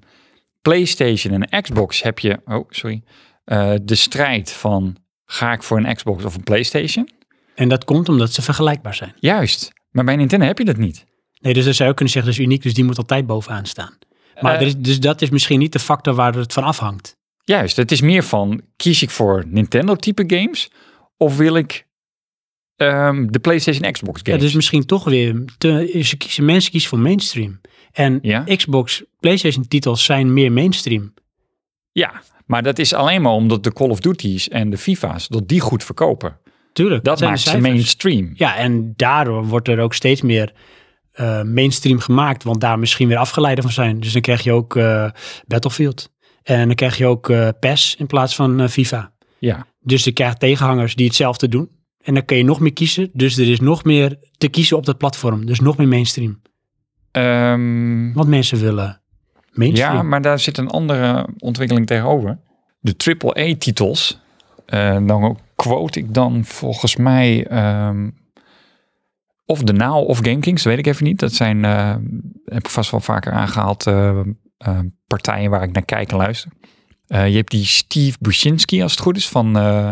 B: PlayStation en Xbox heb je, oh sorry, eh, de strijd van ga ik voor een Xbox of een PlayStation?
A: En dat komt omdat ze vergelijkbaar zijn.
B: Juist, maar bij Nintendo heb je dat niet.
A: Nee, dus dan zou je ook kunnen zeggen, dat is uniek, dus die moet altijd bovenaan staan. Maar
B: Eh.
A: er is, dus dat is misschien niet de factor waar het van afhangt.
B: Juist, het is meer van kies ik voor Nintendo type games of wil ik ehm, de PlayStation en Xbox
A: Ja,
B: games?
A: dus misschien toch weer, te, ze kiezen, mensen kiezen voor mainstream. En
B: Ja.
A: Xbox, PlayStation titels zijn meer mainstream.
B: Ja, maar dat is alleen maar omdat de Call of Duty's en de FIFA's, dat die goed verkopen.
A: Tuurlijk,
B: Dat
A: zijn de
B: maakt ze
A: cijfers.
B: mainstream.
A: Ja, en daardoor wordt er ook steeds meer eh, mainstream gemaakt, want daar misschien weer afgeleiden van zijn. Dus dan krijg je ook eh, Battlefield. En dan krijg je ook eh, PES in plaats van eh, FIFA.
B: Ja,
A: Dus je krijgt tegenhangers die hetzelfde doen. En dan kun je nog meer kiezen. Dus er is nog meer te kiezen op dat platform. Dus nog meer mainstream.
B: Ehm,
A: Want mensen willen mainstream.
B: ja maar daar zit een andere ontwikkeling tegenover. De AAA-titels, eh, dan quote ik dan volgens mij ehm, of de Now of GameKings, weet ik even niet. Dat zijn, eh, heb ik vast wel vaker aangehaald, eh, eh, partijen waar ik naar kijk en luister. Eh, je hebt die Steve Buscinski, als het goed is, van... eh,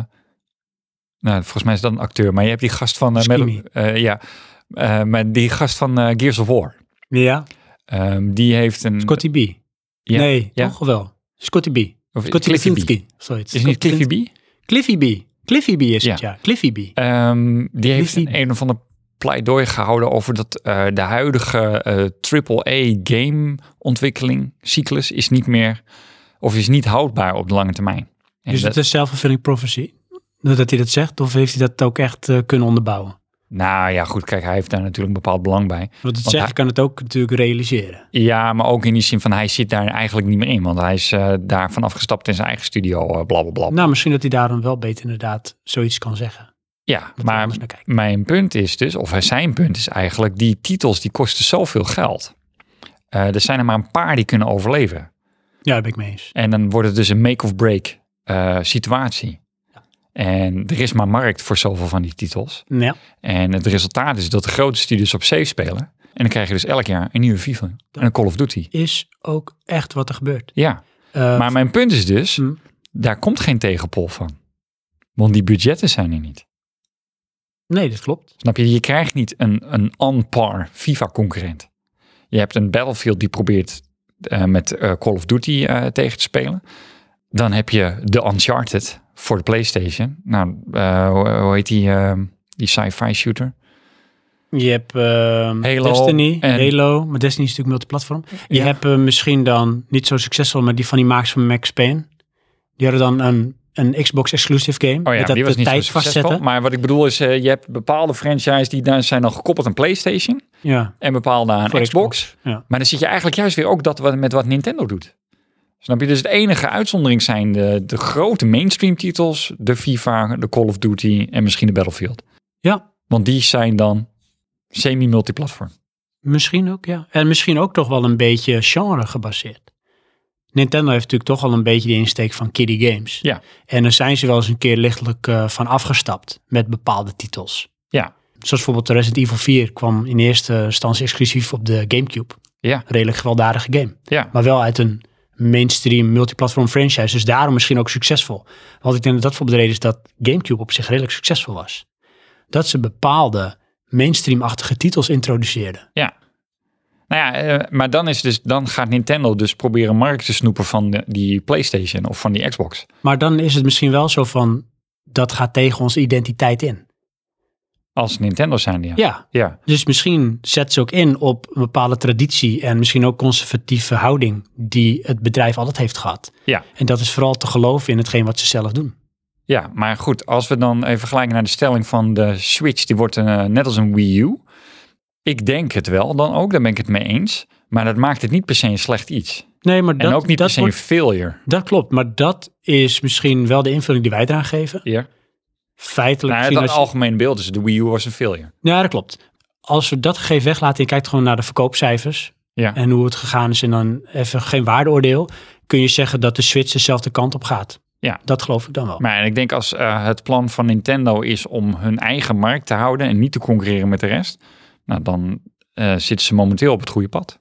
B: nou, volgens mij is dat een acteur, maar je hebt die gast van... eh,
A: Buscemi.
B: Metal- eh, ja, eh, maar die gast van eh, Gears of War.
A: ja.
B: Ehm, die heeft een.
A: Scotty B.
B: Ja,
A: Nee,
B: ja.
A: toch wel. Scotty B.
B: of
A: Scotty
B: Cliffy B.
A: Lesinski. Zoiets.
B: Is het niet Cliffy B?
A: Cliffy B. Cliffy B is het, ja. Cliffy B.
B: Ehm, die heeft
A: Cliffy
B: een, een of ander pleidooi gehouden over dat eh, de huidige eh, AAA game ontwikkeling cyclus is niet meer of is niet houdbaar op de lange termijn. En
A: Dus
B: dat-
A: het is zelfvervulling prophecy. Dat hij dat zegt, of heeft hij dat ook echt eh, kunnen onderbouwen?
B: nou ja, goed, kijk, hij heeft daar natuurlijk een bepaald belang bij.
A: Want het
B: Want
A: zeggen kan het ook natuurlijk realiseren.
B: Ja, maar ook in die zin van hij zit daar eigenlijk niet meer in, want hij is eh daar vanaf gestapt in zijn eigen studio, eh, blablabla.
A: Nou, misschien dat hij daarom wel beter inderdaad zoiets kan zeggen.
B: ja,
A: Dat we
B: maar
A: anders naar kijken.
B: Mijn punt is dus, of zijn punt is eigenlijk, die titels die kosten zoveel geld. Eh, er zijn er maar een paar die kunnen overleven.
A: Ja, daar ben ik mee eens.
B: En dan wordt het dus een make-of-break eh, situatie. En er is maar markt voor zoveel van die titels.
A: Ja.
B: En het resultaat is dat de grote studios op safe spelen. En dan krijg je dus elk jaar een nieuwe FIFA en een Call of Duty.
A: is ook echt wat er gebeurt.
B: Ja,
A: Eh,
B: maar mijn punt is dus,
A: hm.
B: daar komt geen tegenpol van. Want die budgetten zijn er niet.
A: nee, dat klopt.
B: Snap je? Je krijgt niet een, een on-par FIFA-concurrent. Je hebt een Battlefield die probeert eh, met eh, Call of Duty eh, tegen te spelen. Dan heb je de Uncharted voor de PlayStation. Nou, eh, hoe, hoe heet die, eh, die sci-fi shooter? Oh
A: Je hebt ehm,
B: Halo
A: Destiny,
B: en-
A: Halo, maar Destiny is natuurlijk multiplatform. Je
B: Ja.
A: hebt eh, misschien dan, niet zo succesvol, maar die van die maaks van Max Payne. Die hadden dan een, een Xbox-exclusive game.
B: Oh ja,
A: met dat
B: die was
A: de
B: niet
A: tijd
B: zo succesvol.
A: vastzetten.
B: Maar wat ik bedoel is, eh, je hebt bepaalde franchises die daar zijn dan gekoppeld aan PlayStation.
A: Ja,
B: En bepaalde aan
A: voor
B: Xbox.
A: Ja.
B: Maar dan zit je eigenlijk juist weer ook dat wat, met wat Nintendo doet. Snap je? Dus de enige uitzondering zijn de, de grote mainstream titels. De FIFA, de Call of Duty en misschien de Battlefield.
A: ja,
B: Want die zijn dan semi-multiplatform.
A: misschien ook, ja. En misschien ook toch wel een beetje genre gebaseerd. Nintendo heeft natuurlijk toch al een beetje de insteek van kiddie games.
B: Ja.
A: En daar zijn ze wel eens een keer lichtelijk eh, van afgestapt met bepaalde titels.
B: Ja.
A: Zoals bijvoorbeeld Resident Evil 4 kwam in eerste instantie exclusief op de Gamecube.
B: Ja.
A: Redelijk gewelddadige game.
B: Ja.
A: Maar wel uit een mainstream multiplatform franchise. Dus daarom misschien ook succesvol. Want ik denk dat dat voor de reden is dat Gamecube op zich redelijk succesvol was. Dat ze bepaalde mainstream-achtige titels introduceerden.
B: Ja. Nou ja, eh, maar dan, is dus, dan gaat Nintendo dus proberen markt te snoepen van de- die PlayStation of van die Xbox.
A: Maar dan is het misschien wel zo van, dat gaat tegen onze identiteit in.
B: Als Nintendo zijn, ja.
A: Ja,
B: ja.
A: dus misschien zet ze ook in op een bepaalde traditie en misschien ook conservatieve houding die het bedrijf altijd heeft gehad.
B: Ja.
A: En dat is vooral te geloven in hetgeen wat ze zelf doen.
B: Ja, maar goed, als we dan even gelijk naar de stelling van de Switch, die wordt eh, net als een Wii U. Ik denk het wel dan ook, daar ben ik het mee eens. Maar dat maakt het niet per se een slecht iets.
A: Nee, maar
B: en
A: dat,
B: ook niet per
A: dat,
B: se
A: wordt-
B: een failure.
A: dat klopt. Maar dat is misschien wel de invulling die wij eraan geven.
B: Ja.
A: Feitelijk
B: Nou, het
A: gezien als je-
B: algemeen beeld is, de Wii U was een failure.
A: Ja, dat klopt. als we dat gegeven weglaten, je kijkt gewoon naar de verkoopcijfers
B: Ja.
A: en hoe het gegaan is en dan even geen waardeoordeel, kun je zeggen dat de Switch dezelfde kant op gaat.
B: Ja.
A: Dat geloof ik dan wel.
B: Maar ik denk als eh, het plan van Nintendo is om hun eigen markt te houden en niet te concurreren met de rest, nou dan eh, zitten ze momenteel op het goede pad.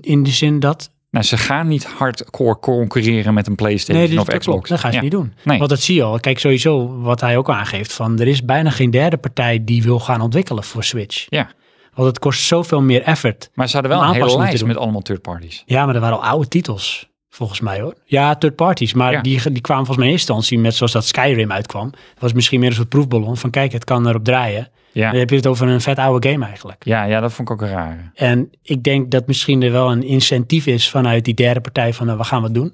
A: In de zin dat
B: Nou, ze gaan niet hardcore concurreren met een PlayStation
A: Nee, dit,
B: of
A: dat
B: Xbox.
A: klopt. Dat gaan ze
B: Ja.
A: niet doen.
B: Nee.
A: Want dat zie je al. Kijk, sowieso wat hij ook aangeeft. Van, er is bijna geen derde partij die wil gaan ontwikkelen voor Switch.
B: Ja.
A: Want het kost zoveel meer effort.
B: Maar ze hadden wel
A: Om
B: een hele
A: aanpassingen te
B: lijst
A: doen.
B: met allemaal third parties.
A: Ja, maar er waren al oude titels. Volgens mij hoor. Ja, third parties. Maar
B: Ja.
A: die, die kwamen volgens mij in eerste instantie met zoals dat Skyrim uitkwam. Dat was misschien meer een soort proefballon. Van kijk, het kan erop draaien. Dan
B: Ja.
A: heb je het over een vet oude game eigenlijk.
B: Ja, ja, dat vond ik ook raar.
A: En ik denk dat misschien er wel een incentief is vanuit die derde partij van nou, we gaan wat doen.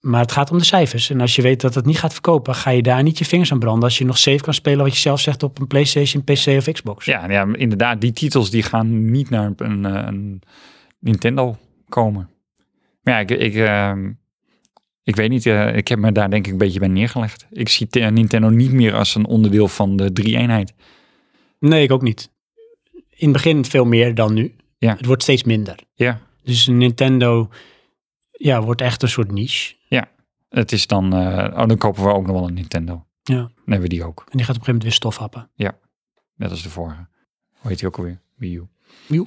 A: Maar het gaat om de cijfers. En als je weet dat het niet gaat verkopen, ga je daar niet je vingers aan branden. Als je nog safe kan spelen wat je zelf zegt op een PlayStation, PC of Xbox.
B: Ja, ja, inderdaad, die titels die gaan niet naar een, eh, een Nintendo komen. Maar ja, ik, ik, ehm, ik weet niet, eh, ik heb me daar denk ik een beetje bij neergelegd. Ik zie eh, Nintendo niet meer als een onderdeel van de drie-eenheid.
A: Nee, ik ook niet. In het begin veel meer dan nu.
B: Ja.
A: Het wordt steeds minder.
B: Ja,
A: Dus Nintendo ja, wordt echt een soort niche.
B: het is dan, eh, oh, dan kopen we ook nog wel een Nintendo.
A: Ja.
B: Dan hebben we die ook,
A: En die gaat op een gegeven moment weer stof happen.
B: net als de vorige. Hoe heet die ook alweer? Wii U.
A: Joe.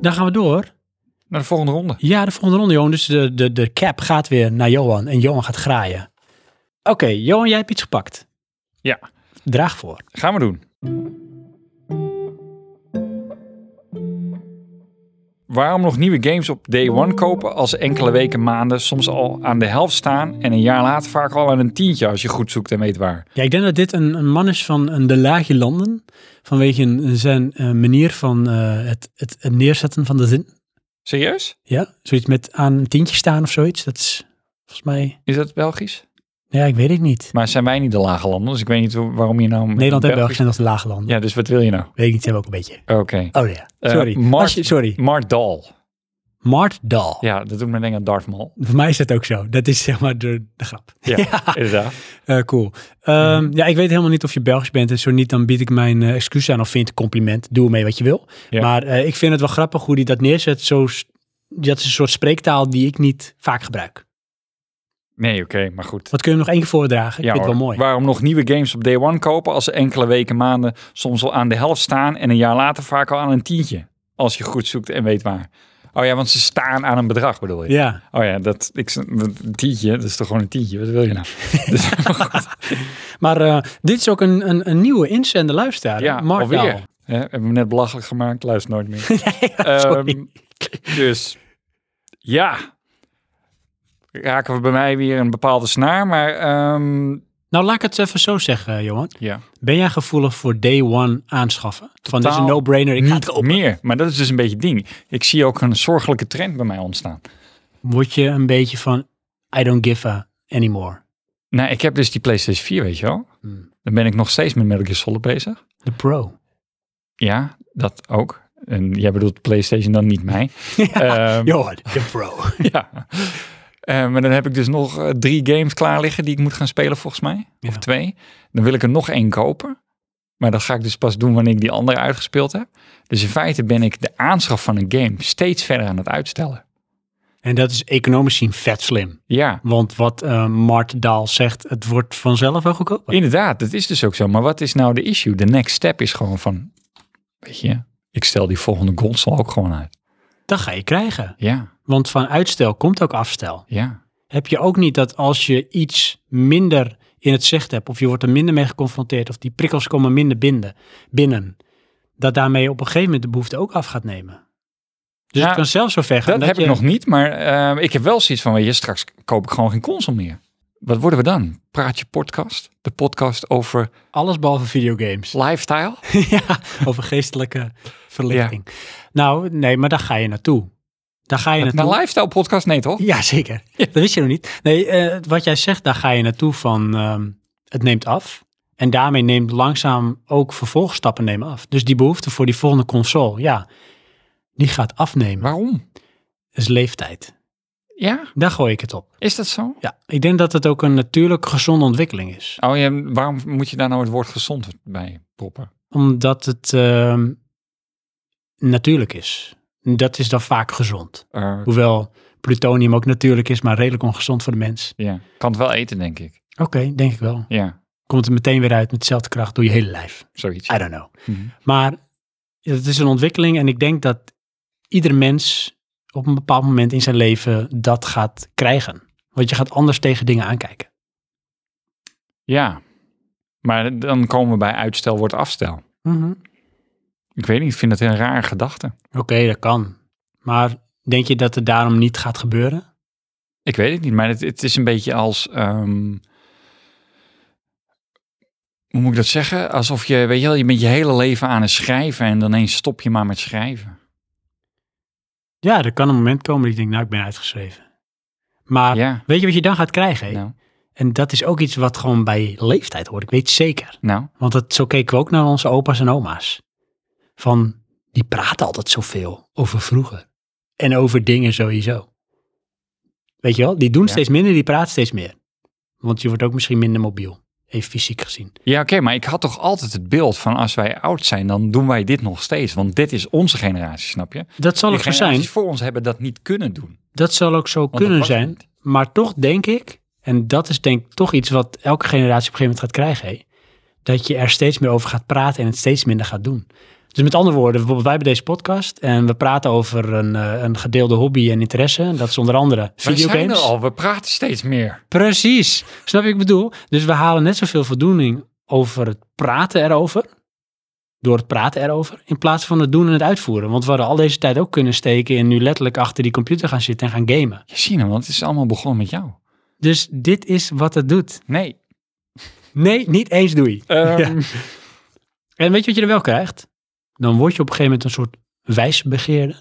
A: Dan gaan we door.
B: Naar de volgende ronde.
A: Ja, de volgende ronde, Johan. Dus de, de, de cap gaat weer naar Johan. En Johan gaat graaien. Oké, Johan, jij hebt iets gepakt.
B: Ja.
A: Draag voor.
B: Gaan we doen. Waarom nog nieuwe games op day one kopen als ze enkele weken, maanden, soms al aan de helft staan en een jaar later vaak al aan een tientje als je goed zoekt en weet waar?
A: Ja, ik denk dat dit een, een man is van een de lage landen. Vanwege een- zijn eh, manier van eh, het, het, het neerzetten van de zin.
B: Serieus?
A: Ja, zoiets met aan een tientje staan of zoiets. Dat is volgens mij... nou
B: Is dat Belgisch?
A: Ja, ik weet het niet.
B: Maar zijn wij niet de lage landen, dus ik weet niet hoe- waarom je nou... met
A: Nederland en
B: Belgisch-
A: België zijn nog de lage landen.
B: Ja, dus wat wil je nou?
A: Weet ik niet, hebben we ook een beetje.
B: Oké.
A: Oh ja,
B: Eh,
A: sorry.
B: Mart-
A: Als je- sorry,
B: Mart Dahl.
A: Mart Dahl.
B: Ja, dat doet me denken aan Darth Maul.
A: Voor mij is dat ook zo. Dat is zeg maar de, de grap.
B: Ja, inderdaad.
A: Eh, cool. Ehm, Ja, ik weet helemaal niet of je Belgisch bent. En zo niet, dan bied ik mijn eh, excuus aan of vind het een compliment. Doe ermee wat je wil.
B: Ja.
A: Maar eh, ik vind het wel grappig hoe die dat neerzet. Zo, s- dat is een soort spreektaal die ik niet vaak gebruik.
B: Nee, oké, maar goed.
A: Wat kun je hem nog één keer voordragen? ik vind
B: hoor.
A: het wel mooi.
B: Waarom nog nieuwe games op day one kopen als ze enkele weken, maanden soms al aan de helft staan en een jaar later vaak al aan een tientje? Als je goed zoekt en weet waar. Oh ja, want ze staan aan een bedrag bedoel je?
A: Ja,
B: Oh ja, dat, ik, dat- een tientje, dat is toch gewoon een tientje? Wat wil je nou? dus,
A: maar eh, dit is ook een, een, een nieuwe inzender luisteraar.
B: ja,
A: Ja, Mark
B: alweer.
A: Daal.
B: Hè, hebben we net belachelijk gemaakt, luister nooit meer.
A: sorry.
B: Ehm, dus ja, raken we bij mij weer een bepaalde snaar, maar ehm,
A: Nou, laat ik het even zo zeggen, eh, Johan.
B: ja.
A: Ben jij gevoelig voor day one aanschaffen? Van, dit is een
B: Totaal
A: no-brainer, ik ga het
B: niet
A: kopen.
B: meer. Maar dat is dus een beetje het ding. Ik zie ook een zorgelijke trend bij mij ontstaan.
A: Word je een beetje van, I don't give a anymore.
B: Nou, ik heb dus die PlayStation 4, weet je wel.
A: Hmm.
B: Dan ben ik nog steeds met Metal Gear Solid bezig.
A: De pro.
B: Ja, dat ook. En jij bedoelt PlayStation dan niet mij. Ehm,
A: Johan, de pro.
B: ja. Eh, maar dan heb ik dus nog eh, drie games klaar liggen die ik moet gaan spelen volgens mij. Of
A: Ja.
B: twee. Dan wil ik er nog één kopen. Maar dat ga ik dus pas doen wanneer ik die andere uitgespeeld heb. Dus in feite ben ik de aanschaf van een game steeds verder aan het uitstellen.
A: En dat is economisch zien vet slim.
B: Ja,
A: Want wat eh, Mart Daal zegt, het wordt vanzelf wel goedkoper.
B: Inderdaad, dat is dus ook zo. Maar wat is nou de issue? De next step is gewoon van, weet je, ik stel die volgende console ook gewoon uit.
A: Dat ga je krijgen.
B: Ja,
A: Want van uitstel komt ook afstel.
B: ja.
A: Heb je ook niet dat als je iets minder in het zicht hebt, of je wordt er minder mee geconfronteerd, of die prikkels komen minder binden, binnen, dat daarmee op een gegeven moment de behoefte ook af gaat nemen? Dus
B: Ja,
A: het kan zelfs zo ver gaan.
B: Dat, heb
A: je,
B: ik nog niet, maar eh, ik heb wel zoiets van, weet je, straks koop ik gewoon geen console meer. Wat worden we dan? Praat je podcast? De podcast over
A: Alles behalve videogames.
B: Oh. lifestyle?
A: ja, over geestelijke verlichting. Nou, nee, maar daar ga je naartoe. Daar ga je
B: Een
A: naartoe.
B: lifestyle podcast? Nee, toch?
A: Ja, zeker.
B: Ja.
A: Dat wist je nog niet. Nee, eh, wat jij zegt, daar ga je naartoe van ehm, het neemt af. En daarmee neemt langzaam ook vervolgstappen nemen af. Dus die behoefte voor die volgende console, ja, die gaat afnemen.
B: Waarom?
A: Dat is leeftijd.
B: Ja,
A: Daar gooi ik het op.
B: is dat zo?
A: Ja, ik denk dat het ook een natuurlijk gezonde ontwikkeling is.
B: Oh, ja, waarom moet je daar nou het woord gezond bij proppen?
A: Omdat het ehm, natuurlijk is. Dat is dan vaak gezond.
B: Eh,
A: Hoewel plutonium ook natuurlijk is, maar redelijk ongezond voor de mens.
B: ja, kan het wel eten, denk ik.
A: Oké, denk ik wel.
B: Ja,
A: Komt het meteen weer uit met dezelfde kracht door je hele lijf.
B: zoiets.
A: I don't know.
B: Mhm.
A: Maar het is een ontwikkeling en ik denk dat ieder mens op een bepaald moment in zijn leven dat gaat krijgen. Want je gaat anders tegen dingen aankijken.
B: Ja, maar dan komen we bij uitstel wordt afstel. Ik weet niet, ik vind dat een rare gedachte.
A: Oké, dat kan. Maar denk je dat het daarom niet gaat gebeuren?
B: Ik weet het niet, maar het, het is een beetje als... ehm, hoe moet ik dat zeggen? Alsof je, weet je wel, je bent je hele leven aan het schrijven en dan ineens stop je maar met schrijven.
A: Ja, er kan een moment komen dat je denkt, nou, ik ben uitgeschreven. Maar
B: ja,
A: weet je wat je dan gaat krijgen? hè?
B: nou,
A: En dat is ook iets wat gewoon bij leeftijd hoort. Ik weet het zeker.
B: nou,
A: Want dat, zo keken we ook naar onze opa's en oma's. Van, die praten altijd zoveel over vroeger. En over dingen sowieso. Weet je wel, die doen
B: Ja.
A: steeds minder, die praten steeds meer. Want je wordt ook misschien minder mobiel. Even fysiek gezien.
B: Ja, oké, maar ik had toch altijd het beeld van als wij oud zijn, dan doen wij dit nog steeds. Want dit is onze generatie, snap je?
A: Dat zal
B: De
A: ook zo zijn.
B: generaties voor ons hebben dat niet kunnen doen. Want
A: Dat zal ook zo
B: dat
A: kunnen
B: was
A: zijn.
B: niet.
A: Maar toch denk ik, en dat is denk ik toch iets wat elke generatie op een gegeven moment gaat krijgen, hè, dat je er steeds meer over gaat praten en het steeds minder gaat doen. Dus met andere woorden, bijvoorbeeld wij bij deze podcast en we praten over een, eh, een gedeelde hobby en interesse. En dat is onder andere
B: Wij zijn er
A: videogames.
B: al, we praten steeds meer.
A: Precies. Snap je wat ik bedoel? Dus we halen net zoveel voldoening over het praten erover. Door het praten erover. In plaats van het doen en het uitvoeren. Want we hadden al deze tijd ook kunnen steken in nu letterlijk achter die computer gaan zitten en gaan gamen.
B: Je ziet hem, want het is allemaal begonnen met jou.
A: Dus dit is wat het doet.
B: Nee.
A: Nee, niet eens doei.
B: ehm,
A: En weet je wat je er wel krijgt? Dan word je op een gegeven moment een soort wijsbegeerde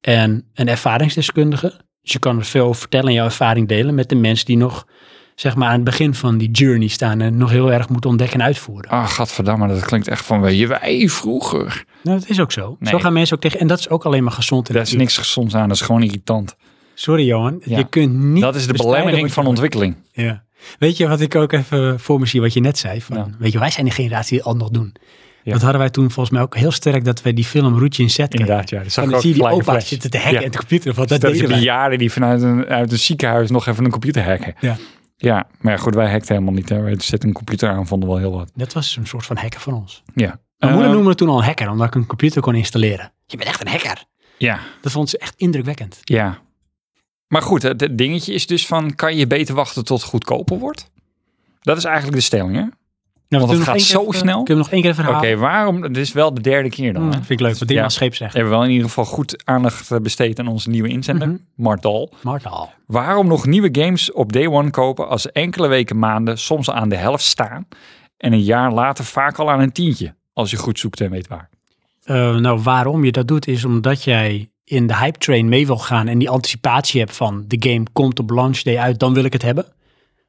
A: en een ervaringsdeskundige. Dus je kan er veel over vertellen en jouw ervaring delen met de mensen die nog zeg maar, aan het begin van die journey staan en nog heel erg moeten ontdekken en uitvoeren.
B: Ah, gadverdamme, dat klinkt echt van, weet je, wij vroeger.
A: Nou, dat is ook zo.
B: Nee.
A: Zo gaan mensen ook tegen. En dat is ook alleen maar gezond. en
B: Daar is
A: natuurlijk.
B: niks gezonds aan, dat is gewoon irritant.
A: Sorry Johan,
B: Ja.
A: je kunt niet...
B: Dat is de
A: bestrijden wat
B: belemmering
A: je
B: van ontwikkeling.
A: Ja. Weet je wat ik ook even voor me zie, wat je net zei? Van,
B: Nou.
A: Weet je, wij zijn de generatie die het al nog doen.
B: Ja.
A: Dat hadden wij toen volgens mij ook heel sterk, dat we die film Roetje in Zet keken.
B: ja. Dat
A: Dan zie je die opa zitten te hacken
B: Ja.
A: en de computer. Want dat
B: Dus Dat is
A: deden wij.
B: bejaarden die vanuit een, uit een ziekenhuis nog even een computer hacken.
A: Ja.
B: Ja, maar goed, wij hackten helemaal niet. Hè. Wij zetten een computer aan, vonden wel heel wat.
A: Dat was een soort van hacker van ons.
B: Ja.
A: Mijn moeder
B: Eh,
A: noemde me toen al een hacker, omdat ik een computer kon installeren. Je bent echt een hacker.
B: Ja,
A: Dat vond ze echt indrukwekkend.
B: ja. Maar goed, het het dingetje is dus van, kan je beter wachten tot het goedkoper wordt? Dat is eigenlijk de stelling, hè?
A: Nou,
B: Want
A: kun je
B: het
A: nog
B: gaat
A: één keer
B: zo
A: even-
B: snel.
A: Kun je hem nog één keer
B: Oké,
A: verhalen?
B: waarom? Dit is wel de derde keer dan.
A: Hm,
B: hè?
A: vind ik leuk, wat
B: Ja.
A: Dingman scheep zegt.
B: We hebben wel in ieder geval goed aandacht eh, besteed aan onze nieuwe inzender,
A: Mhm.
B: Martal.
A: Martaal.
B: Waarom nog nieuwe games op day one kopen als ze enkele weken, maanden, soms aan de helft staan en een jaar later vaak al aan een tientje, als je goed zoekt en weet waar?
A: Eh, nou, waarom je dat doet is omdat jij in de hype train mee wil gaan en die anticipatie hebt van de game komt op launch day uit, dan wil ik het hebben.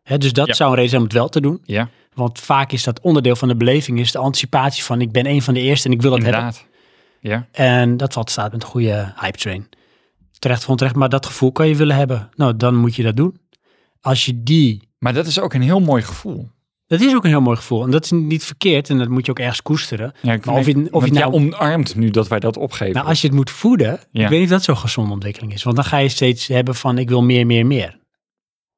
A: Hè, dus dat
B: Ja.
A: zou een reden zijn om het wel te doen.
B: Ja,
A: Want vaak is dat onderdeel van de beleving, is de anticipatie van ik ben een van de eerste en ik wil het hebben.
B: inderdaad. Ja,
A: En dat valt staat met een goede hype train. Terecht van terecht, maar dat gevoel kan je willen hebben. Nou, dan moet je dat doen. Als je die...
B: maar dat is ook een heel mooi gevoel.
A: Dat is ook een heel mooi gevoel. En dat is niet verkeerd. En dat moet je ook ergens koesteren.
B: Ja, ik
A: Maar of je- of je
B: want jij
A: nou-
B: omarmt nu dat wij dat opgeven.
A: Nou, als je het moet voeden,
B: Ja.
A: ik weet niet of dat zo'n gezonde ontwikkeling is. Want dan ga je steeds hebben van, ik wil meer, meer, meer.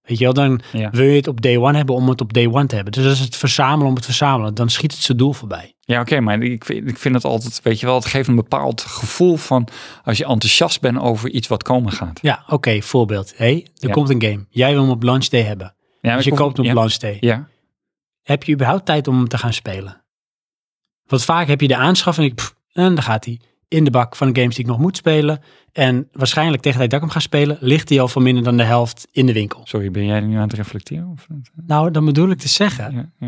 A: Weet je wel, dan
B: Ja.
A: wil je het op day one hebben om het op day one te hebben. Dus dat is het verzamelen om het verzamelen. Dan schiet het zijn doel voorbij.
B: Ja, oké, maar ik, vind- ik vind het altijd, weet je wel, het geeft een bepaald gevoel van als je enthousiast bent over iets wat komen gaat.
A: Ja, oké, voorbeeld. Hé, hey, er
B: Ja.
A: komt een game. Jij wil hem op launch day hebben.
B: Ja,
A: Dus
B: ik
A: je
B: hoef-
A: koopt hem op
B: ja,
A: launch day.
B: Ja,
A: heb je überhaupt tijd om hem te gaan spelen? Want vaak heb je de aanschaf en ik, pff, en daar gaat hij. in de bak van de games die ik nog moet spelen. En waarschijnlijk tegen de tijd dat ik hem ga spelen, ligt die al voor minder dan de helft in de winkel.
B: Sorry, ben jij er nu aan het reflecteren? Of? niet?
A: Nou, dan bedoel ik te zeggen. Ja,
B: Ja, ja, ja. Ja,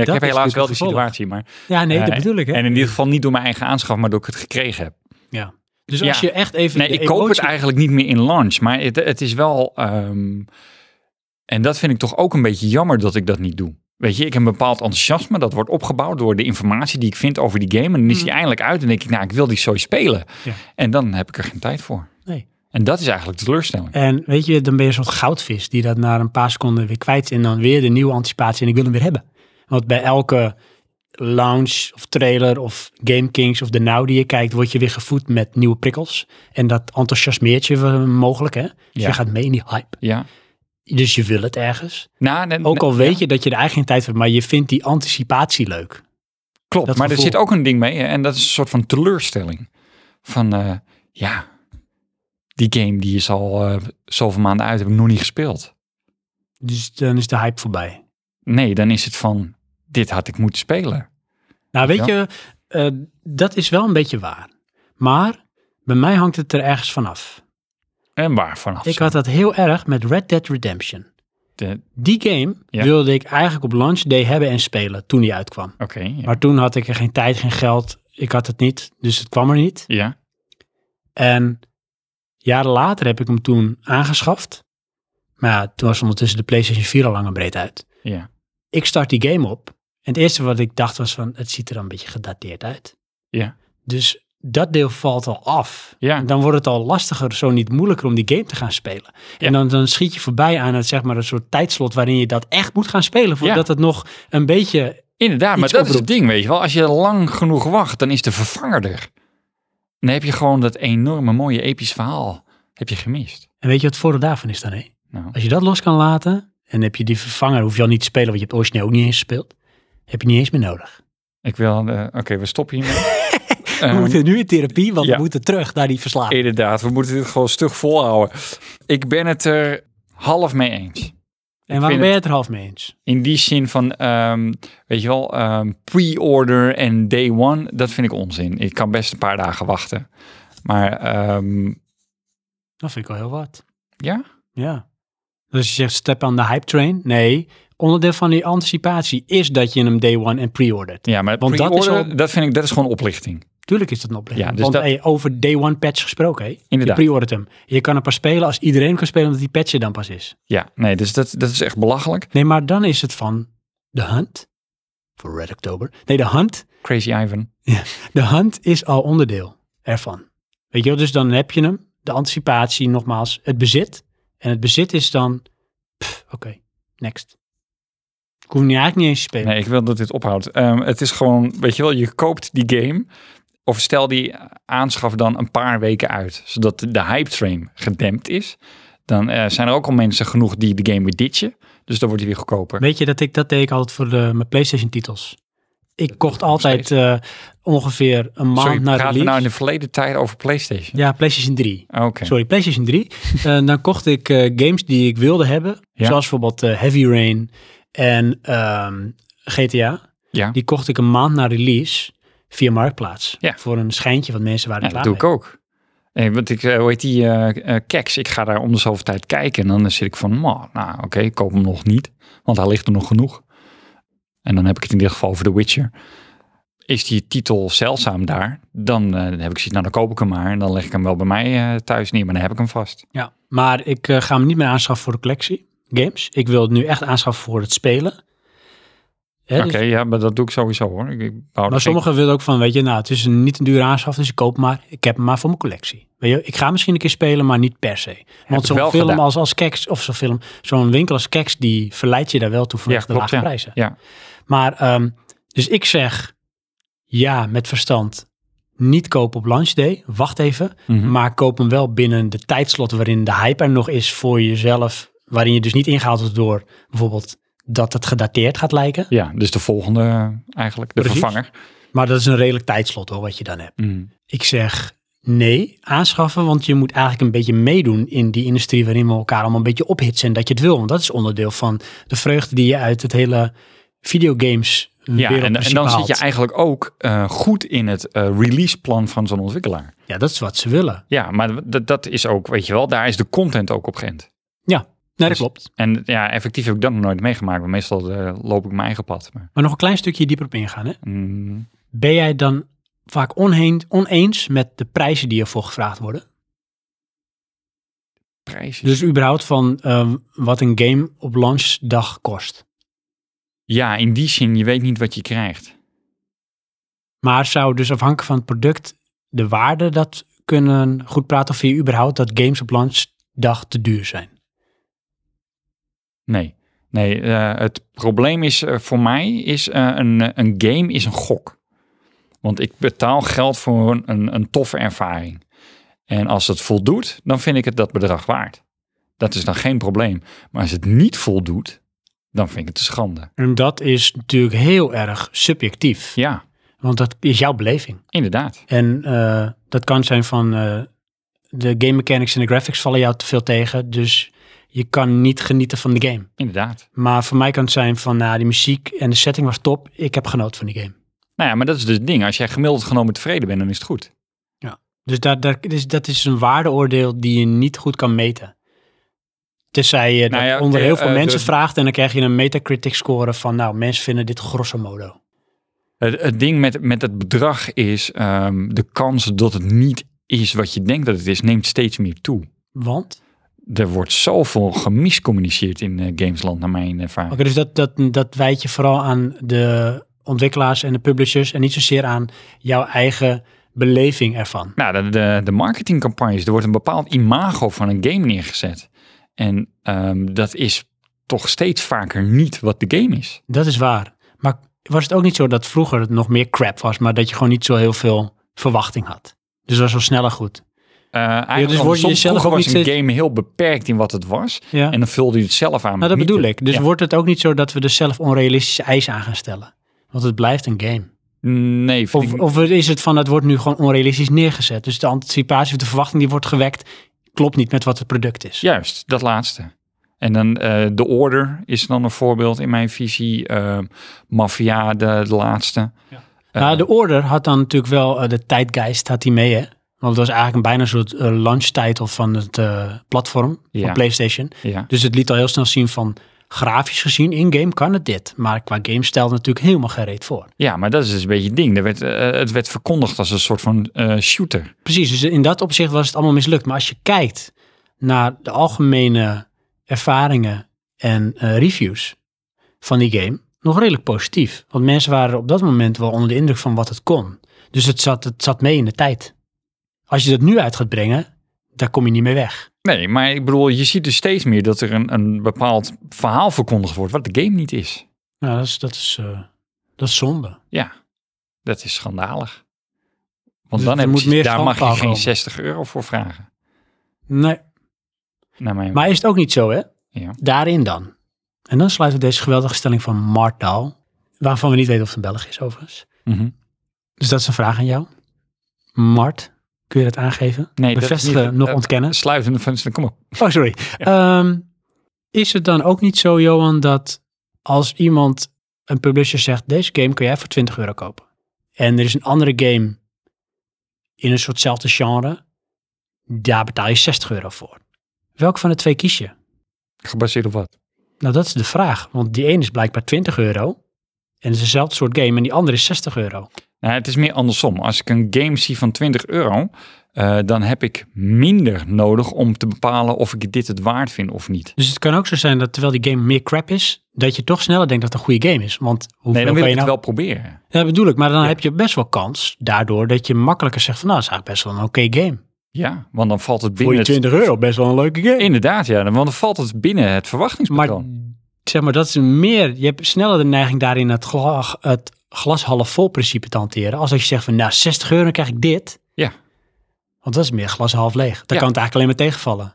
B: ik
A: Dat
B: heb
A: is
B: helaas
A: dus
B: wel
A: het
B: die
A: gevolg.
B: situatie, maar...
A: nee, dat
B: Eh,
A: bedoel ik. Hè?
B: En in ieder geval niet door mijn eigen aanschaf, maar doordat ik het gekregen heb.
A: ja. Dus als
B: ja.
A: je echt even.
B: Nee,
A: de
B: ik koop het
A: emotie-
B: eigenlijk niet meer in launch, maar het, het is wel... ehm, en dat vind ik toch ook een beetje jammer dat ik dat niet doe. Weet je, ik heb een bepaald enthousiasme, dat wordt opgebouwd door de informatie die ik vind over die game. En dan is die eindelijk uit en denk ik, nou, ik wil die zo spelen.
A: Mm. Ja.
B: En dan heb ik er geen tijd voor.
A: Nee.
B: En dat is eigenlijk de teleurstelling.
A: En weet je, dan ben je een soort goudvis die dat na een paar seconden weer kwijt is en dan weer de nieuwe anticipatie en ik wil hem weer hebben. Want bij elke launch of trailer of Game Kings of de Now die je kijkt, word je weer gevoed met nieuwe prikkels. En dat enthousiasmeert je eh, mogelijk, hè? Dus
B: Ja.
A: je gaat mee in die hype.
B: Ja.
A: Dus je wil het ergens.
B: Nou, nee,
A: Ook al
B: nee,
A: weet
B: ja.
A: je dat je er eigenlijk geen tijd voor hebt, maar je vindt die anticipatie leuk.
B: Klopt,
A: Dat
B: maar
A: gevoel.
B: er zit ook een ding mee. hè, En dat is een soort van teleurstelling. Van, eh, ja, die game die is al eh, zoveel maanden uit, heb ik nog niet gespeeld.
A: Dus dan is de hype voorbij.
B: Nee, dan is het van, dit had ik moeten spelen.
A: Nou, weet
B: Ja.
A: je, eh, dat is wel een beetje waar. Maar bij mij hangt het er ergens vanaf.
B: En waar vanaf?
A: Ik
B: zo?
A: had dat heel erg met Red Dead Redemption.
B: De-
A: Die game
B: Ja.
A: wilde ik eigenlijk op launch day hebben en spelen toen die uitkwam.
B: Oké, ja.
A: Maar toen had ik er geen tijd, geen geld. Ik had het niet, dus het kwam er niet.
B: ja.
A: En jaren later heb ik hem toen aangeschaft. Maar ja, toen was ondertussen de PlayStation 4 al lang en breed uit.
B: Ja.
A: Ik start die game op. En het eerste wat ik dacht was van, het ziet er een beetje gedateerd uit.
B: Ja.
A: Dus dat deel valt al af.
B: Ja.
A: En Dan wordt het al lastiger, zo niet moeilijker om die game te gaan spelen.
B: Ja.
A: En dan, dan schiet je voorbij aan het, zeg maar, een soort tijdslot waarin je dat echt moet gaan spelen. Voordat het nog een beetje...
B: Inderdaad, maar
A: Iets
B: dat is het
A: oproept.
B: ding, weet je wel. Als je lang genoeg wacht, dan is de vervanger er. Dan heb je gewoon dat enorme mooie episch verhaal heb je gemist.
A: En weet je wat het voordeel daarvan is dan, hè?
B: Nou,
A: Als je dat los kan laten, en heb je die vervanger, hoef je al niet te spelen, want je hebt origineel ook niet eens gespeeld. Heb je niet eens meer nodig.
B: ik wil... eh, Oké, we stoppen hiermee.
A: We
B: Ehm,
A: moeten nu in therapie, want
B: ja.
A: we moeten terug naar die verslagen.
B: Inderdaad, we moeten dit gewoon stug volhouden. Ik ben het er half mee eens.
A: en waarom
B: vind
A: ben je het er half mee eens?
B: In die zin van, ehm, weet je wel, ehm, pre-order en day one, dat vind ik onzin. Ik kan best een paar dagen wachten. Maar ehm,
A: Dat vind ik wel heel wat.
B: ja,
A: Ja. Dus je zegt step aan de hype train. Nee, onderdeel van die anticipatie is dat je hem day one en pre-ordert.
B: ja maar
A: Want dat
B: pre-order, dat,
A: is
B: vind ik, dat is gewoon oplichting.
A: Tuurlijk is dat een oplichting.
B: Ja, dus
A: Want
B: dat-
A: hey, over day one patch gesproken, hè?
B: Inderdaad.
A: je pre-ordert hem. Je kan hem pas spelen als iedereen hem kan spelen, omdat die patch er dan pas is.
B: Ja, nee, dus dat, dat is echt belachelijk.
A: Nee, maar dan is het van de hunt. Voor Red October. Nee, de hunt.
B: Crazy Ivan.
A: De hunt is al onderdeel ervan. Weet je wel, dus dan heb je hem. De anticipatie, nogmaals, het bezit. En het bezit is dan, pff, oké, next. Ik hoef hem nu eigenlijk niet eens te spelen.
B: Nee, ik wil dat dit ophoudt. Ehm, het is gewoon, weet je wel, je koopt die game. Of stel die aanschaf dan een paar weken uit. Zodat de hype train gedempt is. Dan eh, zijn er ook al mensen genoeg die de game weer ditchen. Dus dan wordt die weer goedkoper.
A: Weet je dat ik dat deed ik altijd voor de, mijn PlayStation titels. Ik kocht
B: doe ik nog
A: altijd eh, ongeveer een maand
B: Sorry,
A: na
B: praten we
A: release.
B: nou in de verleden tijd over PlayStation?
A: Ja, PlayStation 3.
B: Oké.
A: Sorry, PlayStation 3. En dan kocht ik eh, games die ik wilde hebben.
B: Ja.
A: Zoals bijvoorbeeld eh, Heavy Rain en ehm, GTA.
B: Ja.
A: Die kocht ik een maand na release via Marktplaats.
B: Ja.
A: Voor een schijntje, want mensen waren
B: Ja,
A: er
B: dat
A: klaar
B: doe
A: mee.
B: ik ook. Eh, want ik, eh, hoe heet die, eh eh, Keks, ik ga daar om de zoveel tijd kijken. En dan zit ik van, "Ma, nou oké, ik koop hem nog niet. Want hij ligt er nog genoeg. En dan heb ik het in dit geval over The Witcher. Is die titel zeldzaam daar, dan eh, heb ik zoiets, nou dan koop ik hem maar. En dan leg ik hem wel bij mij eh, thuis neer, maar dan heb ik hem vast.
A: Ja, maar ik eh, ga hem niet meer aanschaffen voor de collectie games. Ik wil het nu echt aanschaffen voor het spelen. Hè,
B: Oké,
A: dus-
B: ja, maar dat doe ik sowieso hoor. Ik, Oh, ik bouw er
A: Maar
B: geen-
A: sommigen willen ook van, weet je, nou, het is een- niet een dure aanschaf, dus ik koop hem maar, ik heb hem maar voor mijn collectie. Weet je, ik ga misschien een keer spelen, maar niet per se. Want
B: ik wel
A: zo'n film
B: gedaan.
A: als, als Keks, of zo'n film, zo'n winkel als Keks, die verleidt je daar wel toe vanwege de
B: klopt,
A: lage
B: ja.
A: prijzen.
B: Ja.
A: Maar, ehm, dus ik zeg, ja, met verstand, niet kopen op launch day, wacht even,
B: Mhm.
A: maar koop hem wel binnen de tijdslot waarin de hype er nog is voor jezelf, waarin je dus niet ingehaald wordt door bijvoorbeeld dat het gedateerd gaat lijken.
B: Ja, dus de volgende eh, eigenlijk, de
A: Precies.
B: vervanger.
A: Maar dat is een redelijk tijdslot hoor, wat je dan hebt.
B: Mhm.
A: Ik zeg nee, aanschaffen, want je moet eigenlijk een beetje meedoen in die industrie waarin we elkaar allemaal een beetje ophitsen en dat je het wil. Want dat is onderdeel van de vreugde die je uit het hele videogames
B: Ja, en, en
A: wereldmuziek
B: dan zit
A: behaalt.
B: je eigenlijk ook eh, goed in het eh, releaseplan van zo'n ontwikkelaar.
A: Ja, dat is wat ze willen.
B: Ja, maar dat, dat is ook, weet je wel, daar is de content ook op geënt.
A: Nee, dat
B: Dus-
A: klopt.
B: En ja, effectief heb ik dat nog nooit meegemaakt, want meestal eh, loop ik mijn eigen pad. Maar,
A: Maar nog een klein stukje dieper op ingaan. Hè?
B: mm,
A: Ben jij dan vaak onheen, oneens met de prijzen die ervoor gevraagd worden?
B: prijs is-
A: Dus überhaupt van ehm, wat een game op launchdag kost.
B: Ja, in die zin, je weet niet wat je krijgt.
A: Maar zou dus afhankelijk van het product de waarde dat kunnen goed praten? Of vind je überhaupt dat games op launchdag te duur zijn?
B: Nee. Nee, eh, het probleem is eh, voor mij, is eh, een, een game is een gok. Want ik betaal geld voor een, een, een toffe ervaring. En als het voldoet, dan vind ik het dat bedrag waard. Dat is dan geen probleem. Maar als het niet voldoet, dan vind ik het een schande.
A: En dat is natuurlijk heel erg subjectief.
B: Ja,
A: Want dat is jouw beleving.
B: inderdaad.
A: En eh, dat kan zijn van eh, de game mechanics en de graphics vallen jou te veel tegen. Dus je kan niet genieten van de game.
B: Inderdaad.
A: Maar voor mij kan het zijn van, nou, die muziek en de setting was top. Ik heb genoten van die game.
B: Nou ja, maar dat is dus het ding. Als jij gemiddeld genomen tevreden bent, dan is het goed.
A: Dus daar, daar, dus dat is een waardeoordeel die je niet goed kan meten. Tenzij je dat
B: Nou ja,
A: onder
B: oké,
A: heel veel
B: eh,
A: mensen
B: de-
A: vraagt en dan krijg je een metacritic score van, nou, mensen vinden dit grosso modo.
B: Het, het ding met, met het bedrag is, ehm, de kans dat het niet is wat je denkt dat het is, neemt steeds meer toe.
A: Want?
B: Er wordt zoveel gemiscommuniceerd in eh, Gamesland, naar mijn ervaring.
A: Oké, dus dat, dat, dat wijd je vooral aan de ontwikkelaars en de publishers en niet zozeer aan jouw eigen beleving ervan.
B: Nou, de, de, de marketingcampagnes, er wordt een bepaald imago van een game neergezet. En ehm, dat is toch steeds vaker niet wat de game is.
A: Dat is waar. Maar was het ook niet zo dat vroeger het nog meer crap was, maar dat je gewoon niet zo heel veel verwachting had? Dus dat was wel sneller goed.
B: Eh
A: dus
B: eigenlijk
A: word je
B: andersom.
A: jezelf
B: Vroeger
A: ook
B: was
A: niet
B: een
A: steeds-
B: game heel beperkt in wat het was.
A: Ja.
B: En dan vulde je het zelf aan. met
A: nou, dat
B: mythe.
A: bedoel ik. Dus
B: eh, Ja.
A: wordt het ook niet zo dat we er zelf onrealistische eisen aan gaan stellen? Want het blijft een game.
B: Nee, vind
A: Of,
B: ik-
A: of is het van, het wordt nu gewoon onrealistisch neergezet. Dus de anticipatie of de verwachting die wordt gewekt, klopt niet met wat het product is.
B: Juist, dat laatste. En dan eh, de order is dan een voorbeeld in mijn visie. eh Mafia, de, de laatste.
A: Ja.
B: Eh,
A: nou, de order had dan natuurlijk wel, eh, de tijdgeist had die mee hè. Want het was eigenlijk een bijna soort eh, launchtitel van het eh, platform,
B: Ja.
A: van PlayStation.
B: ja.
A: Dus het liet al heel snel zien van grafisch gezien in-game kan het dit. Maar qua game stelde natuurlijk helemaal geen reet voor.
B: ja, maar dat is dus een beetje het ding. Er werd, eh, het werd verkondigd als een soort van eh, shooter.
A: Precies, dus in dat opzicht was het allemaal mislukt. Maar als je kijkt naar de algemene ervaringen en eh, reviews van die game, nog redelijk positief. Want mensen waren op dat moment wel onder de indruk van wat het kon. Dus het zat, het zat mee in de tijd. Als je dat nu uit gaat brengen, daar kom je niet mee weg.
B: Nee, maar ik bedoel, je ziet dus steeds meer dat er een, een bepaald verhaal verkondigd wordt wat de game niet is.
A: Nou, dat is, dat is, eh, dat is zonde.
B: Ja, dat is schandalig. Want
A: Dus
B: dan
A: er
B: heb je
A: moet
B: precies-
A: meer
B: daar mag je
A: schandpaal
B: geen
A: komen.
B: 60 euro voor vragen.
A: Nee,
B: Naar mijn
A: Maar is het ook niet zo, hè?
B: Ja.
A: Daarin dan. En dan sluiten we deze geweldige stelling van Mart Daal, waarvan we niet weten of het een Belg is overigens.
B: Mhm.
A: Dus dat is een vraag aan jou. Mart, kun je dat aangeven?
B: Nee, dat is
A: Bevestigen,
B: niet-
A: nog
B: eh,
A: ontkennen?
B: Sluitende van, kom op.
A: Oh, sorry. Ehm, is het dan ook niet zo, Johan, dat als iemand, een publisher zegt, deze game kun jij voor 20 euro kopen. En er is een andere game in een soortzelfde genre, daar betaal je 60 euro voor. Welke van de twee kies je?
B: Gebaseerd op wat?
A: Nou, dat is de vraag. Want die ene is blijkbaar 20 euro. En het is eenzelfde soort game. En die andere is 60 euro.
B: Nou, het is meer andersom. Als ik een game zie van 20 euro, eh, dan heb ik minder nodig om te bepalen of ik dit het waard vind of niet.
A: Dus het kan ook zo zijn dat terwijl die game meer crap is, dat je toch sneller denkt dat het een goede game is. Want hoeveel
B: Nee, dan wil
A: ben
B: ik
A: je
B: het
A: nou...
B: wel proberen.
A: Ja, bedoel ik. Maar dan
B: Ja.
A: heb je best wel kans daardoor dat je makkelijker zegt van nou, dat is eigenlijk best wel een oké game.
B: Ja, want dan valt het
A: Voor
B: binnen.
A: je
B: het-
A: 20 euro best wel een leuke game.
B: Inderdaad, ja, want dan valt het binnen het
A: Maar
B: verwachtingspatroon.
A: zeg maar, dat is meer... Je hebt sneller de neiging daarin het, gla, het glas half vol principe te hanteren. Als dat je zegt van nou, 60 euro dan krijg ik dit.
B: Ja.
A: Want dat is meer glas half leeg. Dan
B: Ja.
A: kan het eigenlijk alleen maar tegenvallen.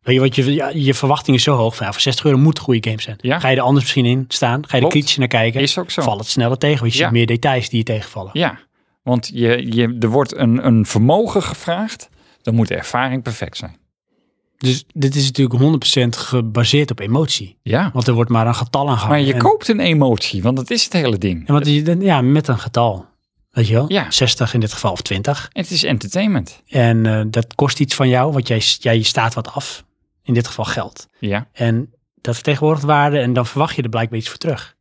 A: Weet je, want je, ja, je verwachting is zo hoog. Van, ja, voor 60 euro moet een goede game zijn.
B: Ja.
A: Ga je er anders misschien in staan? Ga je
B: Klopt.
A: er kritisch naar kijken?
B: Is ook zo.
A: Valt het sneller tegen? Want je
B: Ja.
A: ziet meer details die je tegenvallen.
B: Ja, want je, je, er wordt een, een vermogen gevraagd, dan moet de ervaring perfect zijn.
A: Dus dit is natuurlijk 100% gebaseerd op emotie.
B: Ja.
A: Want er wordt maar een getal aan gehangen.
B: Maar je
A: En-
B: koopt een emotie, want dat is het hele ding.
A: En wat je, dan- ja, met een getal. Weet je wel?
B: Ja.
A: 60 in dit geval of 20.
B: Het is entertainment.
A: En eh, dat kost iets van jou, want jij, jij staat wat af. In dit geval geld.
B: Ja.
A: En dat vertegenwoordigt waarde en dan verwacht je er blijkbaar iets voor terug.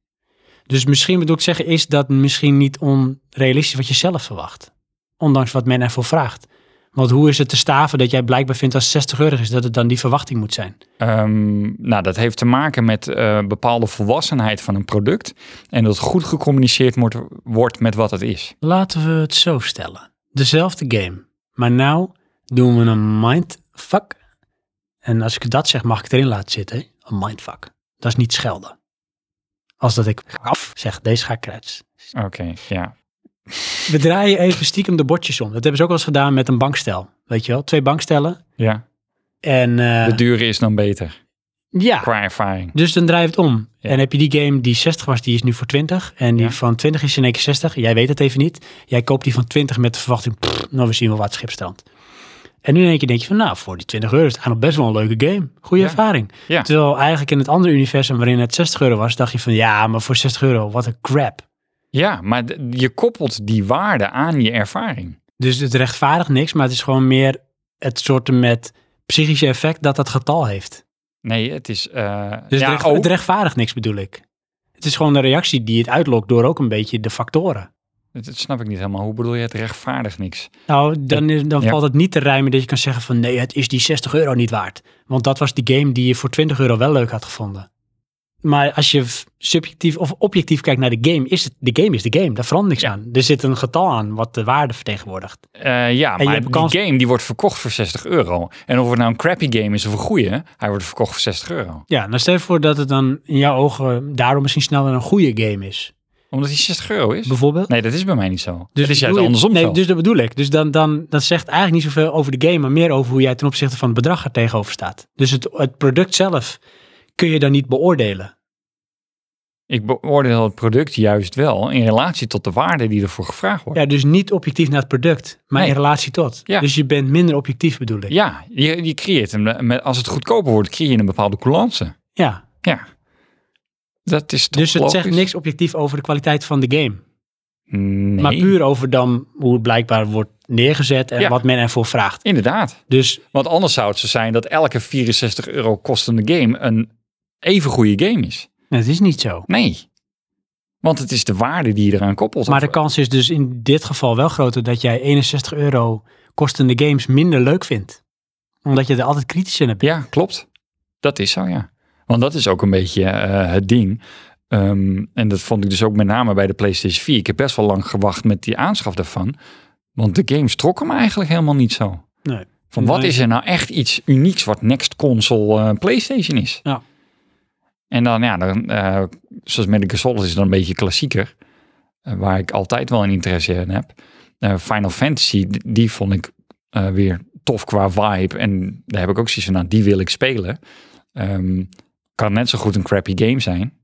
A: Dus misschien bedoel ik zeggen is dat misschien niet onrealistisch wat je zelf verwacht. Ondanks wat men ervoor vraagt. Want hoe is het te staven dat jij blijkbaar vindt als het 60 euro is dat het dan die verwachting moet zijn?
B: Ehm, nou, dat heeft te maken met eh, bepaalde volwassenheid van een product. En dat goed gecommuniceerd wordt, wordt met wat het is.
A: Laten we het zo stellen. Dezelfde game. Maar nou doen we een mindfuck. En als ik dat zeg, mag ik het erin laten zitten. hè? Een mindfuck. Dat is niet schelden. Als dat ik af zeg, deze ga ik kruis.
B: Oké, ja.
A: We draaien even stiekem de bordjes om. Dat hebben ze ook wel eens gedaan met een bankstel. Weet je wel, twee bankstellen.
B: ja.
A: En eh,
B: De dure is dan beter,
A: ja,
B: qua ervaring.
A: dus dan draai je het om.
B: Ja.
A: En heb je die game die 60 was, die is nu voor 20. En die
B: Ja.
A: van 20 is in één keer 60. Jij weet het even niet. Jij koopt die van 20 met de verwachting, pff, nou we zien wel wat schip strandt. En nu in één keer denk je van, nou voor die 20 euro is het eigenlijk nog best wel een leuke game. Goede
B: Ja.
A: ervaring.
B: Ja.
A: Terwijl eigenlijk in het andere universum waarin het 60 euro was, dacht je van, ja maar voor 60 euro, wat een crap.
B: Ja, maar d- je koppelt die waarde aan je ervaring.
A: Dus het rechtvaardigt niks, maar het is gewoon meer het soort met psychische effect dat dat getal heeft.
B: Nee, het is... eh,
A: Dus
B: ja,
A: het, recht-
B: ook.
A: het rechtvaardigt niks bedoel ik. Het is gewoon een reactie die het uitlokt door ook een beetje de factoren.
B: Dat- Dat snap ik niet helemaal. Hoe bedoel je het rechtvaardigt niks?
A: Nou, dan, is- dan
B: Ja.
A: valt het niet te rijmen dat je kan zeggen van nee, het is die 60 euro niet waard. Want dat was die game die je voor 20 euro wel leuk had gevonden. Maar als je f- subjectief of objectief kijkt naar de game, is het, de game is de game. Daar verandert niks aan. Er zit een getal aan wat de waarde vertegenwoordigt.
B: Eh, ja,
A: je
B: maar
A: hebt
B: die
A: kans-
B: game die wordt verkocht voor 60 euro. En of het nou een crappy game is of een goeie, hij wordt verkocht voor 60 euro.
A: Ja, nou stel je voor dat het dan in jouw ogen daarom misschien sneller een goede game is.
B: Omdat hij 60 euro is.
A: Bijvoorbeeld.
B: Nee, dat is bij mij niet zo. Dus het is juist
A: bedoel je-
B: andersom
A: nee,
B: zo.
A: Dus dat bedoel ik. Dus dan, dan, dat zegt eigenlijk niet zoveel over de game, maar meer over hoe jij ten opzichte van het bedrag er tegenover staat. Dus het, het product zelf kun je dan niet beoordelen.
B: Ik beoordeel het product juist wel in relatie tot de waarde die ervoor gevraagd wordt.
A: Ja, dus niet objectief naar het product, maar
B: Nee.
A: in relatie tot.
B: Ja.
A: Dus je bent minder objectief bedoel ik.
B: Ja, je, je creëert hem. eh, Met, als het goedkoper wordt, creëer je een bepaalde coulance.
A: Ja.
B: Ja. Dat is toch
A: Dus het zegt
B: logisch?
A: niks objectief over de kwaliteit van de game.
B: Nee.
A: Maar puur over dan hoe het blijkbaar wordt neergezet en
B: Ja.
A: wat men ervoor vraagt.
B: Inderdaad.
A: Dus
B: Want anders zou het zo zijn dat elke 64 euro kostende game een even goede game is.
A: het is niet zo.
B: Nee. Want het is de waarde die je eraan koppelt.
A: Maar de
B: Of-
A: kans is dus in dit geval wel groter dat jij 61 euro kostende games minder leuk vindt. Omdat je er altijd kritisch in bent.
B: Ja, klopt. Dat is zo, ja. Want dat is ook een beetje eh, het ding. Ehm, en dat vond ik dus ook met name bij de PlayStation 4. Ik heb best wel lang gewacht met die aanschaf daarvan. Want de games trokken me eigenlijk helemaal niet zo.
A: Nee.
B: Van wat
A: Nee.
B: is er nou echt iets unieks wat next console eh, PlayStation is?
A: Ja.
B: En dan, ja, dan, eh, zoals met de Souls is het dan een beetje klassieker. eh, waar ik altijd wel een interesse in heb. Eh, Final Fantasy, d- die vond ik eh, weer tof qua vibe. En daar heb ik ook zoiets van, nou, die wil ik spelen. Ehm, kan net zo goed een crappy game zijn.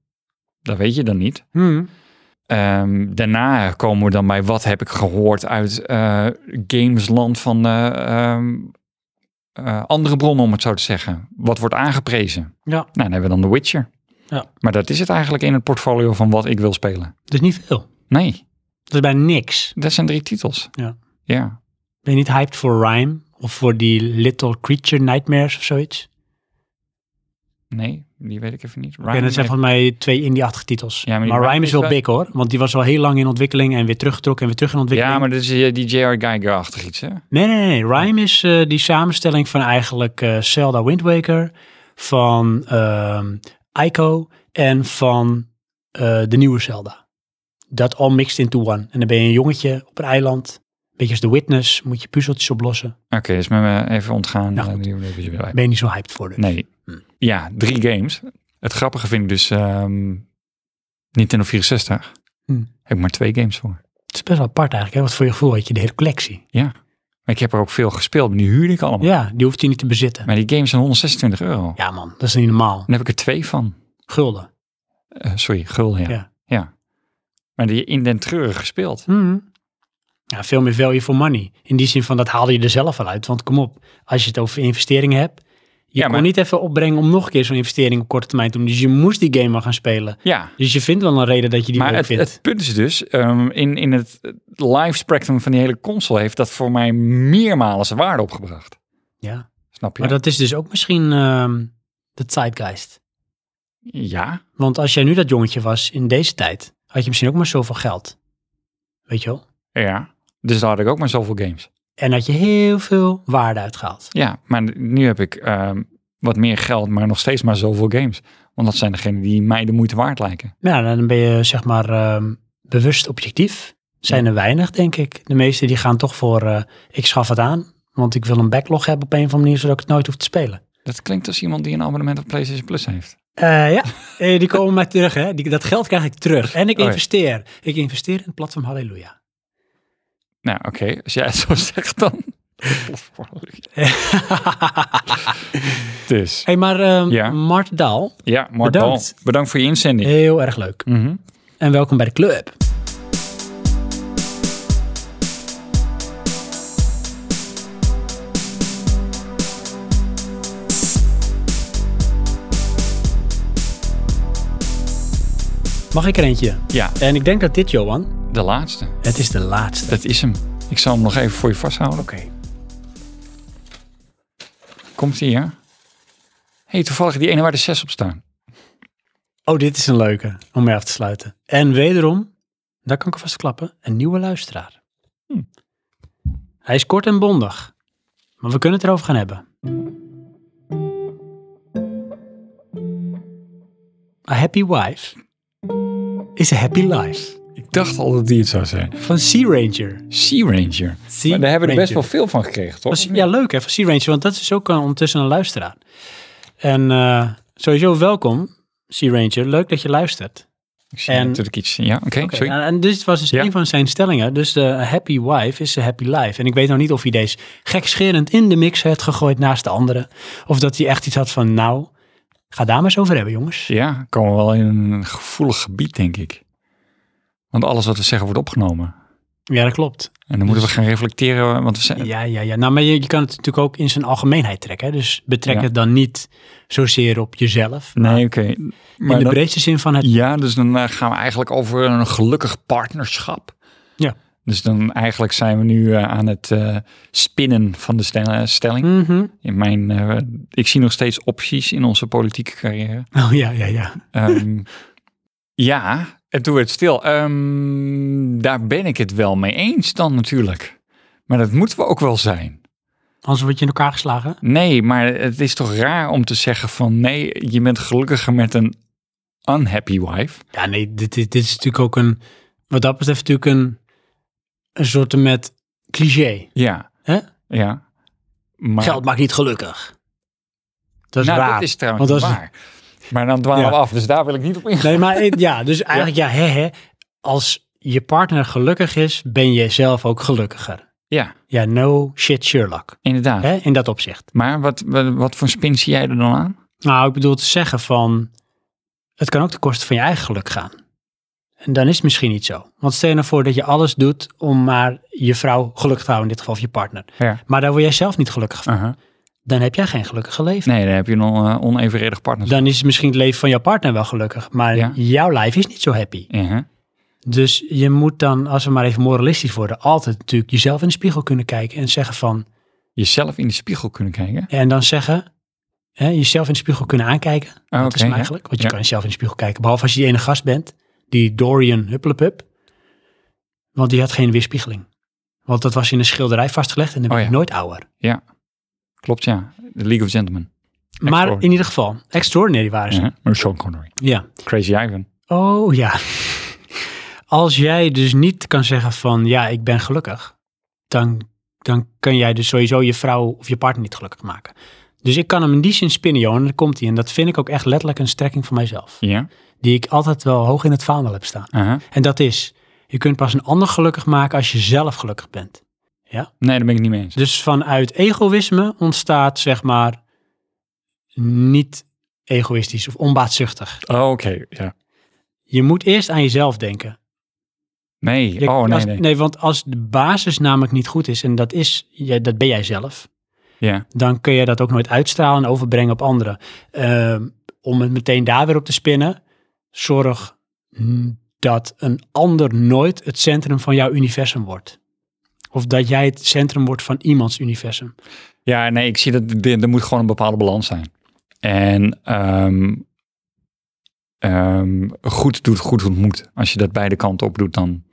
B: Dat weet je dan niet.
A: Hmm.
B: Ehm, daarna komen we dan bij wat heb ik gehoord uit eh, gamesland van eh, ehm, eh, andere bronnen, om het zo te zeggen. Wat wordt aangeprezen?
A: Ja.
B: Nou, dan hebben we dan The Witcher.
A: Ja.
B: Maar dat is het eigenlijk in het portfolio van wat ik wil spelen.
A: Dat is dus niet veel.
B: Nee,
A: Dat is bijna niks.
B: dat zijn drie titels.
A: Ja.
B: Ja.
A: Ben je niet hyped voor Rhyme? Of voor die Little Creature Nightmares of zoiets?
B: Nee, die weet ik even niet.
A: En dat zijn
B: Ryan-
A: volgens mij twee indie-achtige titels.
B: Ja, maar
A: maar
B: die
A: Rhyme
B: Rhyme
A: is wel
B: is wel-
A: big hoor. Want die was al heel lang in ontwikkeling en weer teruggetrokken en weer terug in ontwikkeling.
B: ja, maar dat is eh, die J.R. Geiger-achtig iets, hè?
A: Nee, nee, nee. Rhyme is eh, die samenstelling van eigenlijk eh, Zelda Wind Waker, van ehm Ico en van eh, de nieuwe Zelda. Dat all mixed into one. En dan ben je een jongetje op een eiland. Beetje als The Witness, moet je puzzeltjes oplossen.
B: Oké, dus met me even ontgaan.
A: Nou,
B: Eh,
A: goed.
B: die- die- die- die-
A: Ben je niet zo hyped voor dus.
B: Nee.
A: Hm.
B: Ja, drie games. Het grappige vind ik dus ehm Nintendo 64.
A: Hm.
B: Heb ik maar twee games voor.
A: Het is best wel apart eigenlijk. Hè? Wat voor je gevoel had je de hele collectie.
B: Maar ik heb er ook veel gespeeld. maar Die huurde ik allemaal.
A: Ja, die hoeft je niet te bezitten.
B: Maar die games zijn 126 euro.
A: Ja man, dat is niet normaal.
B: Dan heb ik er twee van.
A: Gulden.
B: Eh, sorry, gul, ja.
A: Ja.
B: ja. Maar die in den treuren gespeeld.
A: Mhm. Ja, veel meer value for money. In die zin van dat haalde je er zelf wel uit. Want kom op, als je het over investeringen hebt. Je
B: Ja,
A: kon
B: maar-
A: niet even opbrengen om nog een keer zo'n investering op korte termijn te doen. Dus je moest die game wel gaan spelen.
B: Ja,
A: Dus je vindt wel een reden dat je die
B: maar
A: leuk
B: het,
A: vindt.
B: het punt is dus, ehm, in, in het live spectrum van die hele console heeft dat voor mij meermalen zijn waarde opgebracht.
A: ja.
B: Snap je?
A: Maar dat is dus ook misschien ehm, de zeitgeist.
B: Ja,
A: Want als jij nu dat jongetje was in deze tijd, had je misschien ook maar zoveel geld. Weet je wel?
B: ja. Dus daar had ik ook maar zoveel games.
A: En had je heel veel waarde uitgehaald.
B: Ja, maar nu heb ik ehm, wat meer geld, maar nog steeds maar zoveel games. Want dat zijn degenen die mij de moeite waard lijken.
A: Nou, dan ben je zeg maar ehm, bewust objectief. Zijn er weinig, denk ik. De meeste die gaan toch voor, eh, ik schaf het aan. Want ik wil een backlog hebben op een of andere manier, zodat ik het nooit hoef te spelen.
B: Dat klinkt als iemand die een abonnement op PlayStation Plus heeft.
A: Eh, ja, Eh, die komen mij terug. Hè. Die, dat geld krijg ik terug. En ik
B: Oh ja.
A: investeer. Ik investeer in het platform Halleluja.
B: Nou, oké, als jij het zo zegt dan. dus,
A: hey, maar ehm,
B: Ja.
A: Mart Daal,
B: ja, Mart
A: Bedankt.
B: bedankt. bedankt voor je inzending.
A: heel erg leuk.
B: Mhm.
A: En welkom bij de club. Mag ik er eentje?
B: Ja,
A: En ik denk dat dit, Johan,
B: de laatste.
A: het is de laatste.
B: Dat is hem. Ik zal hem nog even voor je vasthouden.
A: Oké.
B: Komt ie, ja? hey, toevallig die ene waar de zes op staan.
A: Oh, dit is een leuke om mee af te sluiten. En wederom, daar kan ik alvast klappen, een nieuwe luisteraar.
B: Hm.
A: Hij is kort en bondig, maar we kunnen het erover gaan hebben. A happy wife is a happy life.
B: Ik dacht al dat die het zou zijn.
A: Van Sea Ranger.
B: Sea Ranger.
A: Sea
B: maar daar hebben we er best wel
A: Ranger.
B: veel van gekregen, toch?
A: Was- ja, leuk hè, van Sea Ranger, want dat is ook eh, ondertussen een luisteraar. En eh, sowieso welkom, Sea Ranger. Leuk dat je luistert.
B: Ik zie
A: en-
B: natuurlijk iets. Ja, oké,
A: Oké,
B: sorry.
A: nou, en dit was dus
B: Ja.
A: een van zijn stellingen. Dus de happy wife is a happy life. En ik weet nog niet of hij deze gekscherend in de mix heeft gegooid naast de andere. Of dat hij echt iets had van, nou, ga daar maar eens over hebben, jongens.
B: Ja, komen we wel in een gevoelig gebied, denk ik. Want alles wat we zeggen wordt opgenomen.
A: Ja, dat klopt.
B: En dan moeten we gaan reflecteren, want we zijn...
A: Dus- Ja, ja, ja. Nou, maar je, je kan het natuurlijk ook in zijn algemeenheid trekken. Hè? Dus betrek
B: Ja.
A: het dan niet zozeer op jezelf. maar
B: Nee, oké.
A: in
B: Maar
A: de
B: dan-
A: breedste zin van het...
B: Ja, dus dan eh, gaan we eigenlijk over een gelukkig partnerschap.
A: Ja.
B: Dus dan eigenlijk zijn we nu eh, aan het eh, spinnen van de stel- eh, stelling.
A: Mhm.
B: In mijn, eh, ik zie nog steeds opties in onze politieke carrière.
A: Oh ja, ja, ja.
B: Ehm, ja, en toen werd het stil. Ehm, daar ben ik het wel mee eens dan natuurlijk. Maar dat moeten we ook wel zijn.
A: Anders word je in elkaar geslagen.
B: Nee, maar het is toch raar om te zeggen van nee, je bent gelukkiger met een unhappy wife.
A: Ja, nee, dit, dit, dit is natuurlijk ook een... Wat dat betreft natuurlijk een, een soort met cliché.
B: Ja.
A: Hè?
B: Ja. Maar,
A: Geld maakt niet gelukkig. Dat is
B: nou,
A: waar.
B: dat is trouwens
A: Want dat is-
B: waar. Maar dan dwalen
A: Ja.
B: we af, dus daar wil ik niet op ingaan.
A: Nee, maar eh, ja, dus eigenlijk ja, hè, hè. Als je partner gelukkig is, ben je zelf ook gelukkiger.
B: Ja,
A: Ja, no shit Sherlock.
B: inderdaad.
A: Hè, in dat opzicht.
B: Maar wat, wat, wat voor spin zie jij er dan aan?
A: Nou, ik bedoel te zeggen van, het kan ook ten koste van je eigen geluk gaan. En dan is het misschien niet zo. Want stel je nou voor dat je alles doet om maar je vrouw gelukkig te houden, in dit geval of je partner.
B: Ja.
A: Maar daar word jij zelf niet gelukkig van.
B: Aha.
A: Dan heb jij geen gelukkige leven.
B: Nee, dan heb je een on- eh, onevenredig partnerschap.
A: Dan is misschien het leven van jouw partner wel gelukkig, maar
B: Ja.
A: jouw lijf is niet zo happy.
B: Aha.
A: Dus je moet dan, als we maar even moralistisch worden, altijd natuurlijk jezelf in de spiegel kunnen kijken en zeggen van,
B: Jezelf in de spiegel kunnen kijken.
A: en dan zeggen, hè, jezelf in de spiegel kunnen aankijken.
B: Ah,
A: dat is
B: oké,
A: hem
B: ja.
A: eigenlijk, want je
B: Ja.
A: kan jezelf in de spiegel kijken, behalve als je die ene gast bent, die Dorian Hupplepup, want die had geen weerspiegeling. Want dat was in een schilderij vastgelegd en dan
B: Oh
A: ben
B: ja.
A: ik nooit ouder.
B: Klopt, ja. The League of Gentlemen.
A: Maar in ieder geval, extraordinary waren ze.
B: Ja, maar Sean Connery.
A: ja.
B: Crazy Ivan.
A: Oh ja. Als jij dus niet kan zeggen van ja, ik ben gelukkig, dan, dan kan jij dus sowieso je vrouw of je partner niet gelukkig maken. Dus ik kan hem in die zin spinnen, Johan, en daar komt hij. En dat vind ik ook echt letterlijk een strekking van mijzelf.
B: Ja.
A: Die ik altijd wel hoog in het vaandel heb staan.
B: Aha.
A: En dat is, je kunt pas een ander gelukkig maken als je zelf gelukkig bent.
B: Nee, daar ben ik het niet mee eens.
A: Dus vanuit egoïsme ontstaat, zeg maar, niet egoïstisch of onbaatzuchtig.
B: Oh, oké. Ja.
A: Je moet eerst aan jezelf denken.
B: Nee.
A: Je-
B: oh, nee,
A: als-
B: nee.
A: want als de basis namelijk niet goed is, en dat is, jij- dat ben jij zelf,
B: Ja.
A: dan kun je dat ook nooit uitstralen en overbrengen op anderen. Ehm, om het meteen daar weer op te spinnen, zorg mm, dat een ander nooit het centrum van jouw universum wordt. Of dat jij het centrum wordt van iemands universum.
B: ja, nee, ik zie dat er er moet gewoon een bepaalde balans zijn. En ehm, ehm, goed doet goed ontmoet. Als je dat beide kanten op doet, dan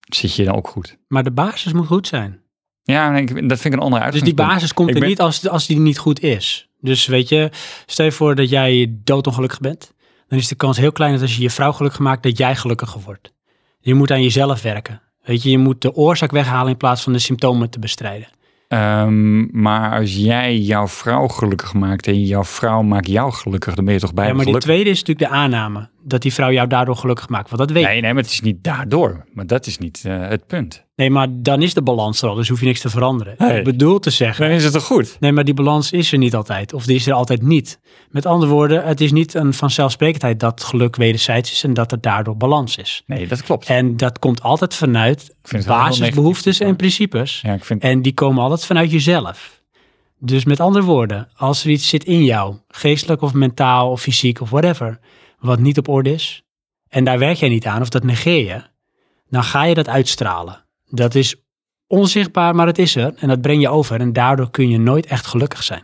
B: zit je dan ook goed.
A: Maar de basis moet goed zijn.
B: Ja, nee, ik- dat vind ik een andere
A: Dus
B: uitdaging.
A: die basis komt
B: Ik
A: er
B: ben-
A: niet als, als die niet goed is. Dus weet je, stel je voor dat jij doodongelukkig bent. Dan is de kans heel klein dat als je je vrouw gelukkig maakt, dat jij gelukkiger wordt. Je moet aan jezelf werken. Weet je, je moet de oorzaak weghalen in plaats van de symptomen te bestrijden.
B: Ehm, maar als jij jouw vrouw gelukkig maakt en jouw vrouw maakt jou gelukkig, dan ben je toch
A: Ja,
B: bijna
A: maar die
B: gelukkig.
A: tweede is natuurlijk de aanname. Dat die vrouw jou daardoor gelukkig maakt. Want dat weet je.
B: Nee, nee, maar het is niet daardoor. Maar dat is niet eh, het punt.
A: Nee, maar dan is de balans er al. Dus hoef je niks te veranderen.
B: Nee.
A: Ik bedoel te zeggen.
B: Dan is het toch goed?
A: Nee, maar die balans is er niet altijd. Of die is er altijd niet. Met andere woorden, het is niet een vanzelfsprekendheid dat geluk wederzijds is en dat er daardoor balans is.
B: Nee, dat klopt.
A: En dat komt altijd vanuit
B: vind het wel heel
A: basisbehoeftes
B: negatief,
A: en principes.
B: Ja, ik vind
A: En die komen altijd vanuit jezelf. Dus met andere woorden, als er iets zit in jou, geestelijk of mentaal of fysiek of whatever, wat niet op orde is, en daar werk jij niet aan of dat negeer je, dan ga je dat uitstralen. Dat is onzichtbaar, maar het is er en dat breng je over en daardoor kun je nooit echt gelukkig zijn.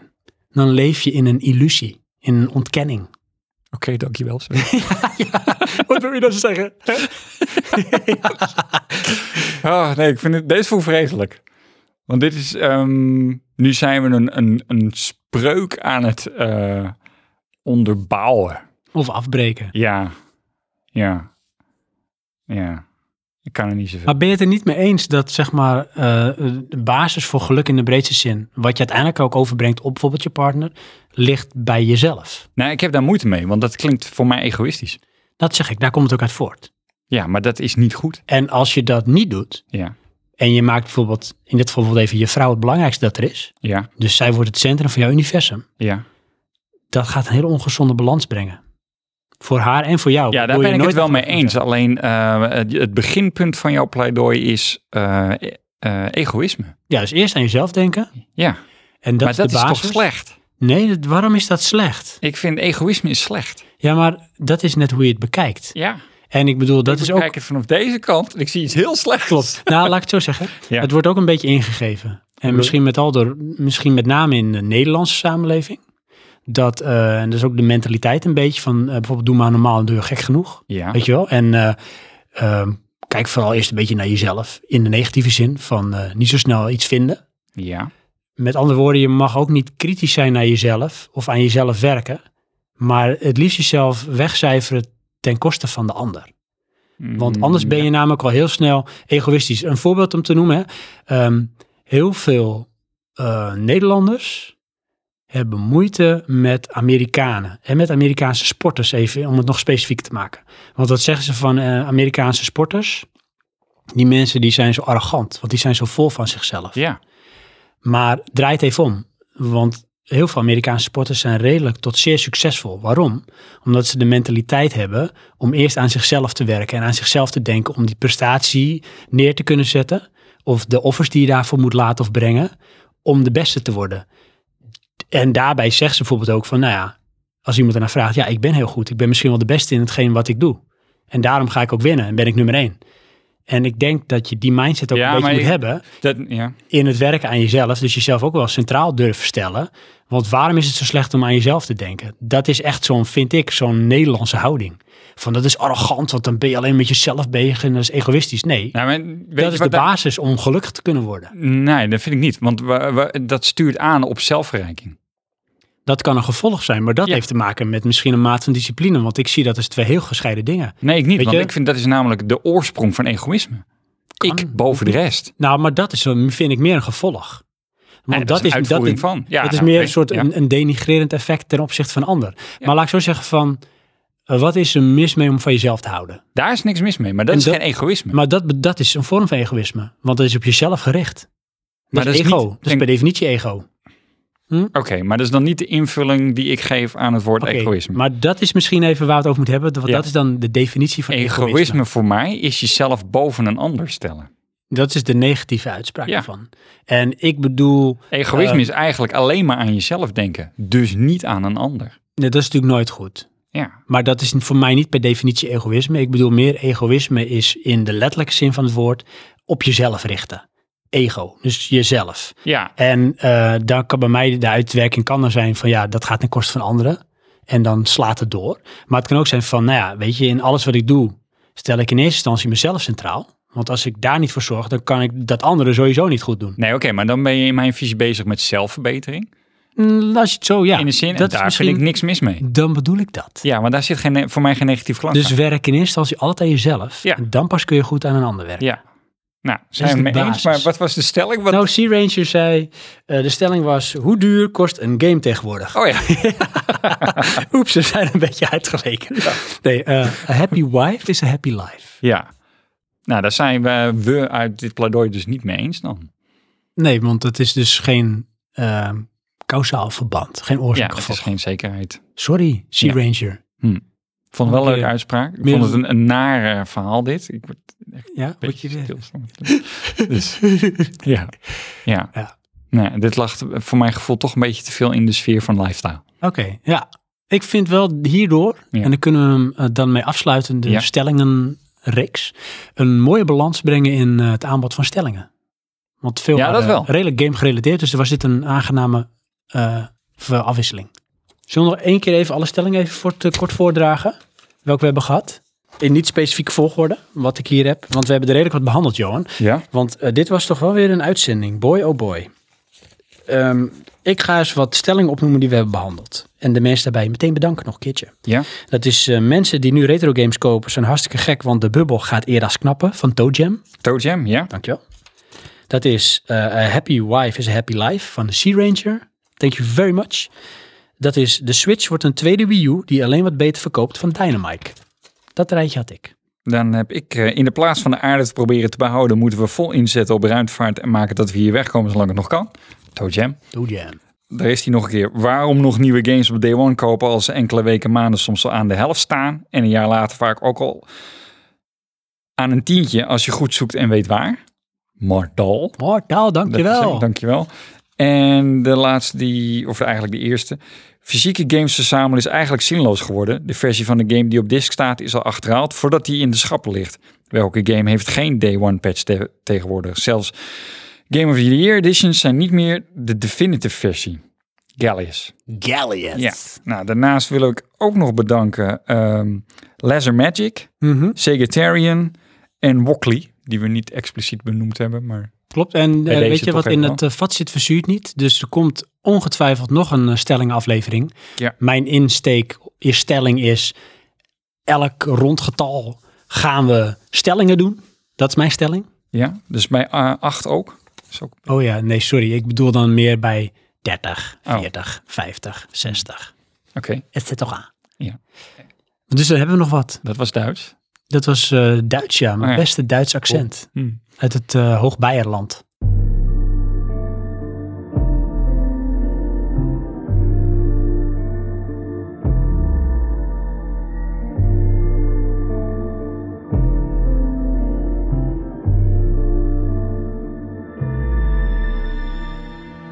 A: Dan leef je in een illusie, in een ontkenning.
B: Oké, dankjewel.
A: Wat wil je dat zeggen?
B: Oh, nee, ik vind het, deze voel ik vreselijk. Want dit is, ehm, nu zijn we een, een, een spreuk aan het eh, onderbouwen.
A: Of afbreken.
B: Ja, ja, ja. Ik kan er niet zoveel.
A: Maar ben je het er niet mee eens dat zeg maar eh, de basis voor geluk in de breedste zin, wat je uiteindelijk ook overbrengt op bijvoorbeeld je partner, ligt bij jezelf?
B: Nee, Nou, ik heb daar moeite mee, want dat klinkt voor mij egoïstisch.
A: Dat zeg ik, daar komt het ook uit voort.
B: Ja, maar dat is niet goed.
A: En als je dat niet doet
B: Ja,
A: en je maakt bijvoorbeeld in dit geval bijvoorbeeld even je vrouw het belangrijkste dat er is,
B: ja,
A: dus zij wordt het centrum van jouw universum,
B: ja.
A: dat gaat een hele ongezonde balans brengen. Voor haar en voor jou.
B: Ja, daar
A: Wil je
B: ben ik het
A: nooit
B: wel mee
A: gelukkig
B: eens.
A: zijn.
B: Alleen eh, het het beginpunt van jouw pleidooi is eh, eh, eh, egoïsme.
A: Ja, dus eerst aan jezelf denken.
B: Ja,
A: En dat
B: maar
A: is
B: dat
A: de
B: is
A: basis.
B: toch slecht?
A: Nee, dat- waarom is dat slecht?
B: Ik vind egoïsme is slecht.
A: Ja, maar dat is net hoe je het bekijkt.
B: Ja,
A: En ik bedoel, dat
B: ik
A: is
B: bekijk
A: ook
B: het vanaf deze kant. en Ik zie iets heel slechts. Klopt.
A: Nou, laat ik het zo zeggen.
B: Ja.
A: Het wordt ook een beetje ingegeven. En misschien met, al door, misschien met name in de Nederlandse samenleving. Dat, eh, en dat is ook de mentaliteit een beetje van eh, bijvoorbeeld doe maar normaal en doe je gek genoeg.
B: Ja.
A: Weet je wel? En eh, ehm, kijk vooral eerst een beetje naar jezelf. In de negatieve zin van eh, niet zo snel iets vinden.
B: Ja.
A: Met andere woorden, je mag ook niet kritisch zijn naar jezelf of aan jezelf werken. Maar het liefst jezelf wegcijferen ten koste van de ander. Want
B: Mm,
A: anders ben je namelijk wel heel snel egoïstisch. Een voorbeeld om te noemen. Hè. Ehm, heel veel eh, Nederlanders hebben moeite met Amerikanen. En met Amerikaanse sporters even, om het nog specifiek te maken. Want wat zeggen ze van eh, Amerikaanse sporters? Die mensen die zijn zo arrogant, want die zijn zo vol van zichzelf.
B: Ja.
A: Maar draai het even om. Want heel veel Amerikaanse sporters zijn redelijk tot zeer succesvol. Waarom? Omdat ze de mentaliteit hebben om eerst aan zichzelf te werken en aan zichzelf te denken om die prestatie neer te kunnen zetten. Of de offers die je daarvoor moet laten of brengen om de beste te worden. En daarbij zegt ze bijvoorbeeld ook van, nou ja, als iemand ernaar vraagt, ja, ik ben heel goed. Ik ben misschien wel de beste in hetgeen wat ik doe. En daarom ga ik ook winnen en ben ik nummer één. En ik denk dat je die mindset ook
B: Ja,
A: een beetje
B: maar
A: moet
B: ik-
A: hebben
B: Dat, ja.
A: in het werken aan jezelf. Dus jezelf ook wel centraal durven stellen. Want waarom is het zo slecht om aan jezelf te denken? Dat is echt zo'n, vind ik, zo'n Nederlandse houding. Van dat is arrogant, want dan ben je alleen met jezelf bezig en dat is egoïstisch. Nee,
B: Nou, maar weet je
A: dat is de
B: wat daar-
A: basis om gelukkig te kunnen worden.
B: Nee, dat vind ik niet. Want we- we- dat stuurt aan op zelfverrijking.
A: Dat kan een gevolg zijn, maar dat
B: Ja.
A: heeft te maken met misschien een maat van discipline. Want ik zie dat als twee heel gescheiden dingen.
B: Nee, ik niet.
A: Weet
B: want
A: je?
B: ik vind dat is namelijk de oorsprong van egoïsme. Ik boven de rest.
A: Nou, maar dat is, een- vind ik meer een gevolg. Want
B: Nee, dat is een uitvoering van. Ja,
A: het is
B: nou,
A: meer
B: oké,
A: een soort
B: ja.
A: een, een denigrerend effect ten opzichte van ander. Maar laat ik zo zeggen van, eh, wat is er mis mee om van jezelf te houden?
B: Daar is niks mis mee. Maar dat
A: En
B: is
A: dat-
B: geen egoïsme.
A: Maar dat, dat is een vorm van egoïsme. Want dat is op jezelf gericht. Dat
B: Maar
A: is
B: dat is
A: ego.
B: niet-
A: dat is
B: denk-
A: per definitie ego.
B: Oké, maar dat is dan niet de invulling die ik geef aan het woord
A: Oké,
B: egoïsme.
A: Maar dat is misschien even waar we het over moeten hebben. Want
B: Ja.
A: dat is dan de definitie van egoïsme.
B: Egoïsme voor mij is jezelf boven een ander stellen.
A: Dat is de negatieve uitspraak
B: Ja.
A: ervan. En ik bedoel,
B: Egoïsme
A: Eh,
B: is eigenlijk alleen maar aan jezelf denken, dus niet aan een ander.
A: nee, dat is natuurlijk nooit goed.
B: Ja,
A: Maar dat is voor mij niet per definitie egoïsme. Ik bedoel, meer egoïsme is in de letterlijke zin van het woord op jezelf richten. Ego, dus jezelf.
B: ja.
A: En eh daar kan bij mij de uitwerking kan er zijn van ja, dat gaat ten koste van anderen. En dan slaat het door. Maar het kan ook zijn van, nou ja, weet je, in alles wat ik doe, stel ik in eerste instantie mezelf centraal. Want als ik daar niet voor zorg, dan kan ik dat andere sowieso niet goed doen.
B: Nee, oké, maar dan ben je in mijn visie bezig met zelfverbetering.
A: Mm, Als je het zo, ja.
B: in de zin, en
A: dat is
B: daar
A: misschien-
B: vind ik niks mis mee.
A: Dan bedoel ik dat.
B: Ja, want daar zit geen, voor mij geen negatief klank
A: Dus
B: aan.
A: werk in eerste instantie altijd aan jezelf.
B: Ja.
A: En dan pas kun je goed aan een ander werken.
B: Ja. Nou, zijn
A: Dus
B: we
A: de
B: het mee eens,
A: basis.
B: maar wat was de stelling? Wat...
A: Nou, Sea Ranger zei, eh, de stelling was, hoe duur kost een game tegenwoordig?
B: Oh ja,
A: Oeps, we zijn een beetje uitgeweken. Nee, eh, a happy wife is a happy life.
B: ja. Nou, daar zijn we, we uit dit pleidooi dus niet mee eens dan.
A: Nee, want het is dus geen eh, kausaal verband, geen
B: Ja,
A: oorzaak
B: het
A: gevolg.
B: is geen zekerheid.
A: Sorry, Sea
B: Ja.
A: Ranger.
B: Ik vond het wel een
A: Oké.
B: leuke uitspraak. Ik
A: Meer-
B: vond het een, een naar eh, verhaal dit. Ik word een
A: Ja, moet
B: beetje
A: je weer-
B: stilstaan. Dus, ja. Ja.
A: Ja.
B: Nee, dit lag voor mijn gevoel toch een beetje te veel in de sfeer van lifestyle.
A: Oké, ja. Ik vind wel hierdoor,
B: Ja.
A: en dan kunnen we hem eh, dan mee afsluiten, de
B: Ja.
A: stellingenreeks, een mooie balans brengen in eh, het aanbod van stellingen. Want veel
B: Ja, dat
A: waren
B: wel.
A: redelijk game gerelateerd, dus er was dit een aangename eh, ver- afwisseling. Zullen we nog één keer even alle stellingen even voor het, eh, kort voordragen, welke we hebben gehad? In niet specifieke volgorde, wat ik hier heb. Want we hebben er redelijk wat behandeld, Johan.
B: Ja?
A: Want eh, dit was toch wel weer een uitzending. Boy, oh boy. Ehm, ik ga eens wat stellingen opnoemen die we hebben behandeld. En de mensen daarbij meteen bedanken nog een keertje.
B: Ja?
A: Dat is eh, mensen die nu retro games kopen zijn hartstikke gek, want de bubbel gaat eerder knappen van Toe Jam.
B: Toe Jam, ja?
A: Dankjewel. Dat is eh, A Happy Wife is a Happy Life van Sea Ranger. Thank you very much. Dat is de Switch wordt een tweede Wii U die alleen wat beter verkoopt van Dynamite. Dat rijtje had ik.
B: Dan heb ik eh, in de plaats van de aarde te proberen te behouden, moeten we vol inzetten op ruimtevaart en maken dat we hier wegkomen zolang het nog kan. Toe Jam.
A: Toe Jam.
B: Daar is hij nog een keer. Waarom nog nieuwe games op day one kopen als ze enkele weken, maanden soms al aan de helft staan en een jaar later vaak ook al aan een tientje als je goed zoekt en weet waar? Mardal.
A: Mortal,
B: Dat is
A: dankjewel.
B: ook- dankjewel. En de laatste die, of eigenlijk de eerste. Fysieke games verzamelen is eigenlijk zinloos geworden. De versie van de game die op disk staat is al achterhaald voordat die in de schappen ligt. Welke game heeft geen day one patch te- tegenwoordig? Zelfs Game of the Year editions zijn niet meer de definitive versie. Gallius.
A: Galleons.
B: Ja. Nou, daarnaast wil ik ook nog bedanken ehm Laser Magic,
A: Mhm.
B: Segatarian en Wokley, die we niet expliciet benoemd hebben, maar
A: Klopt. En
B: Bij
A: eh,
B: deze
A: weet je
B: toch
A: wat
B: even
A: in het eh, vat zit, verzuurt niet. Dus er komt ongetwijfeld nog een eh, stellingaflevering.
B: Ja.
A: Mijn insteek, je stelling is: elk rond getal gaan we stellingen doen. Dat is mijn stelling.
B: Ja, dus bij eh, 8 ook. Is ook.
A: Oh ja, nee, sorry. Ik bedoel dan meer bij 30,
B: Oh.
A: 40, 50, 60.
B: Oké,
A: Het zit toch aan.
B: Ja.
A: Dus dan hebben we nog wat.
B: dat was Duits.
A: Dat was eh, Duits, ja. Mijn
B: Oh ja.
A: beste Duits accent.
B: Hmm.
A: Uit het eh Hoogbeierland.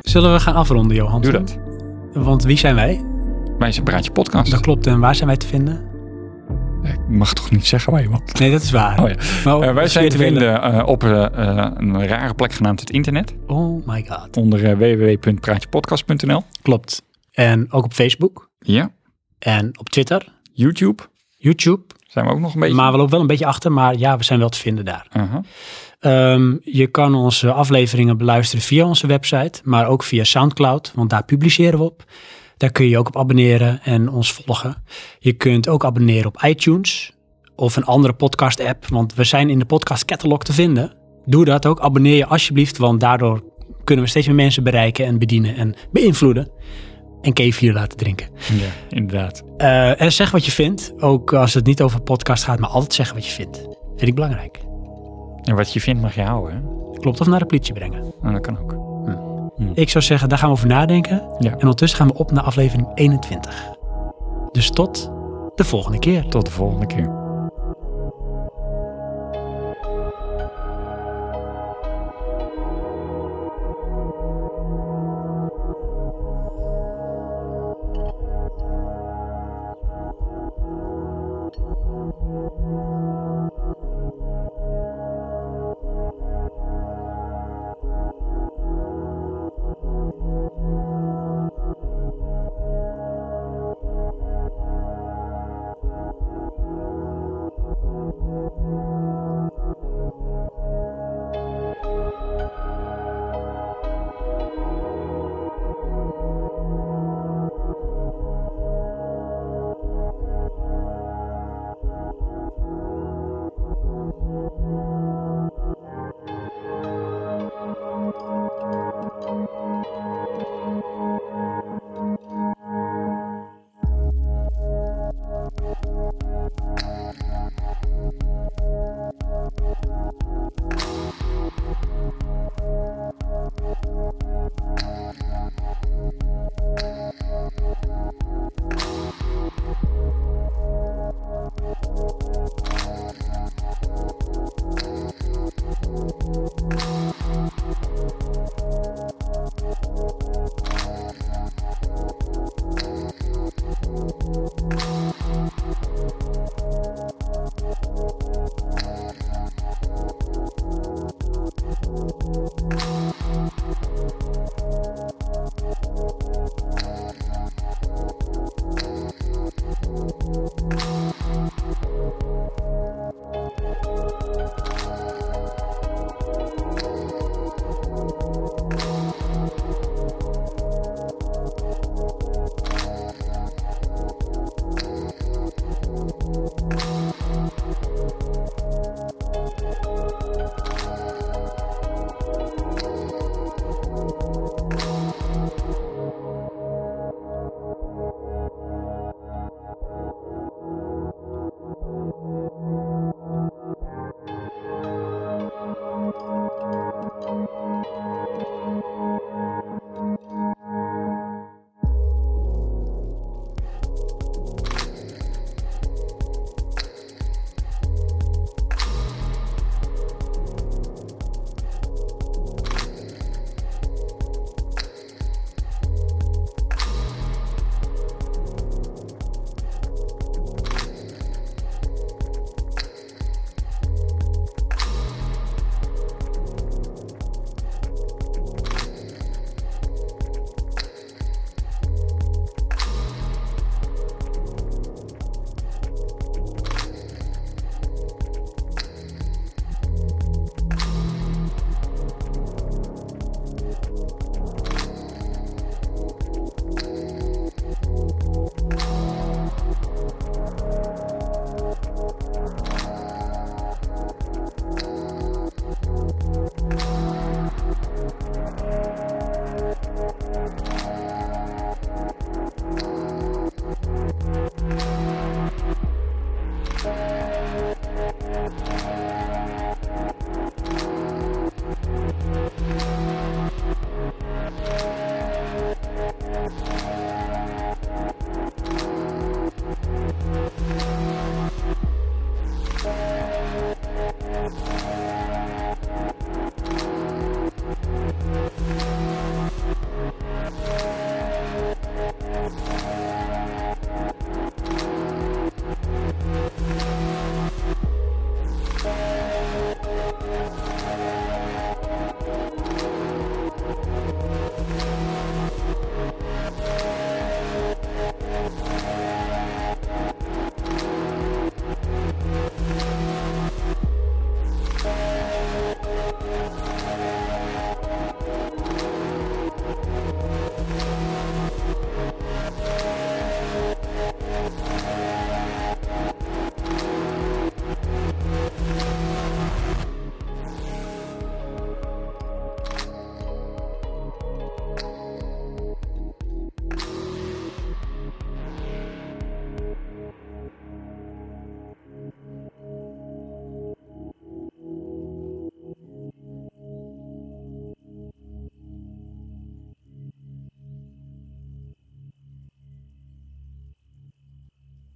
A: Zullen we gaan afronden, Johan?
B: Doe dat.
A: Want wie zijn wij?
B: Wij zijn Praatje Podcast.
A: Dat klopt. En waar zijn wij te vinden?
B: Ik mag toch niet zeggen waar je woont?
A: Nee, dat is waar.
B: Oh ja.
A: Maar ook
B: Eh, wij
A: de
B: zijn te
A: spirituele-
B: vinden eh, op eh, eh, een rare plek genaamd het internet.
A: Oh my god.
B: Onder eh, www.praatjepodcast.nl.
A: Klopt. En ook op Facebook.
B: Ja.
A: En op Twitter,
B: YouTube
A: YouTube.
B: zijn we ook nog een beetje.
A: Maar we lopen wel een beetje achter, maar ja, we zijn wel te vinden daar.
B: Aha.
A: Ehm, je kan onze afleveringen beluisteren via onze website, maar ook via Soundcloud, want daar publiceren we op. Daar kun je je ook op abonneren en ons volgen. Je kunt ook abonneren op iTunes of een andere podcast-app, want we zijn in de podcast catalog te vinden. Doe dat ook, abonneer je alsjeblieft, want daardoor kunnen we steeds meer mensen bereiken en bedienen en beïnvloeden. En kefir laten drinken.
B: Ja, inderdaad.
A: Eh, en zeg wat je vindt. Ook als het niet over podcast gaat, maar altijd zeggen wat je vindt. Vind ik belangrijk.
B: En wat je vindt mag je houden. Hè?
A: Klopt of naar de politie brengen.
B: Nou, dat kan ook.
A: Ik zou zeggen, daar gaan we over nadenken.
B: Ja.
A: En ondertussen gaan we op naar aflevering 21. Dus tot de volgende keer.
B: Tot de volgende keer.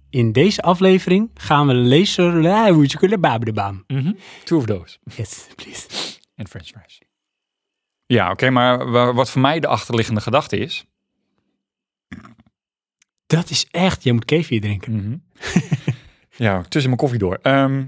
A: In deze aflevering gaan we laser... Yes,
B: Mhm. Two of those.
A: please.
B: En french fries. Ja, oké, maar wa- wat voor mij de achterliggende gedachte is...
A: Dat is echt... Jij moet kefir drinken.
B: Ja, tussen mijn koffie door. Ehm,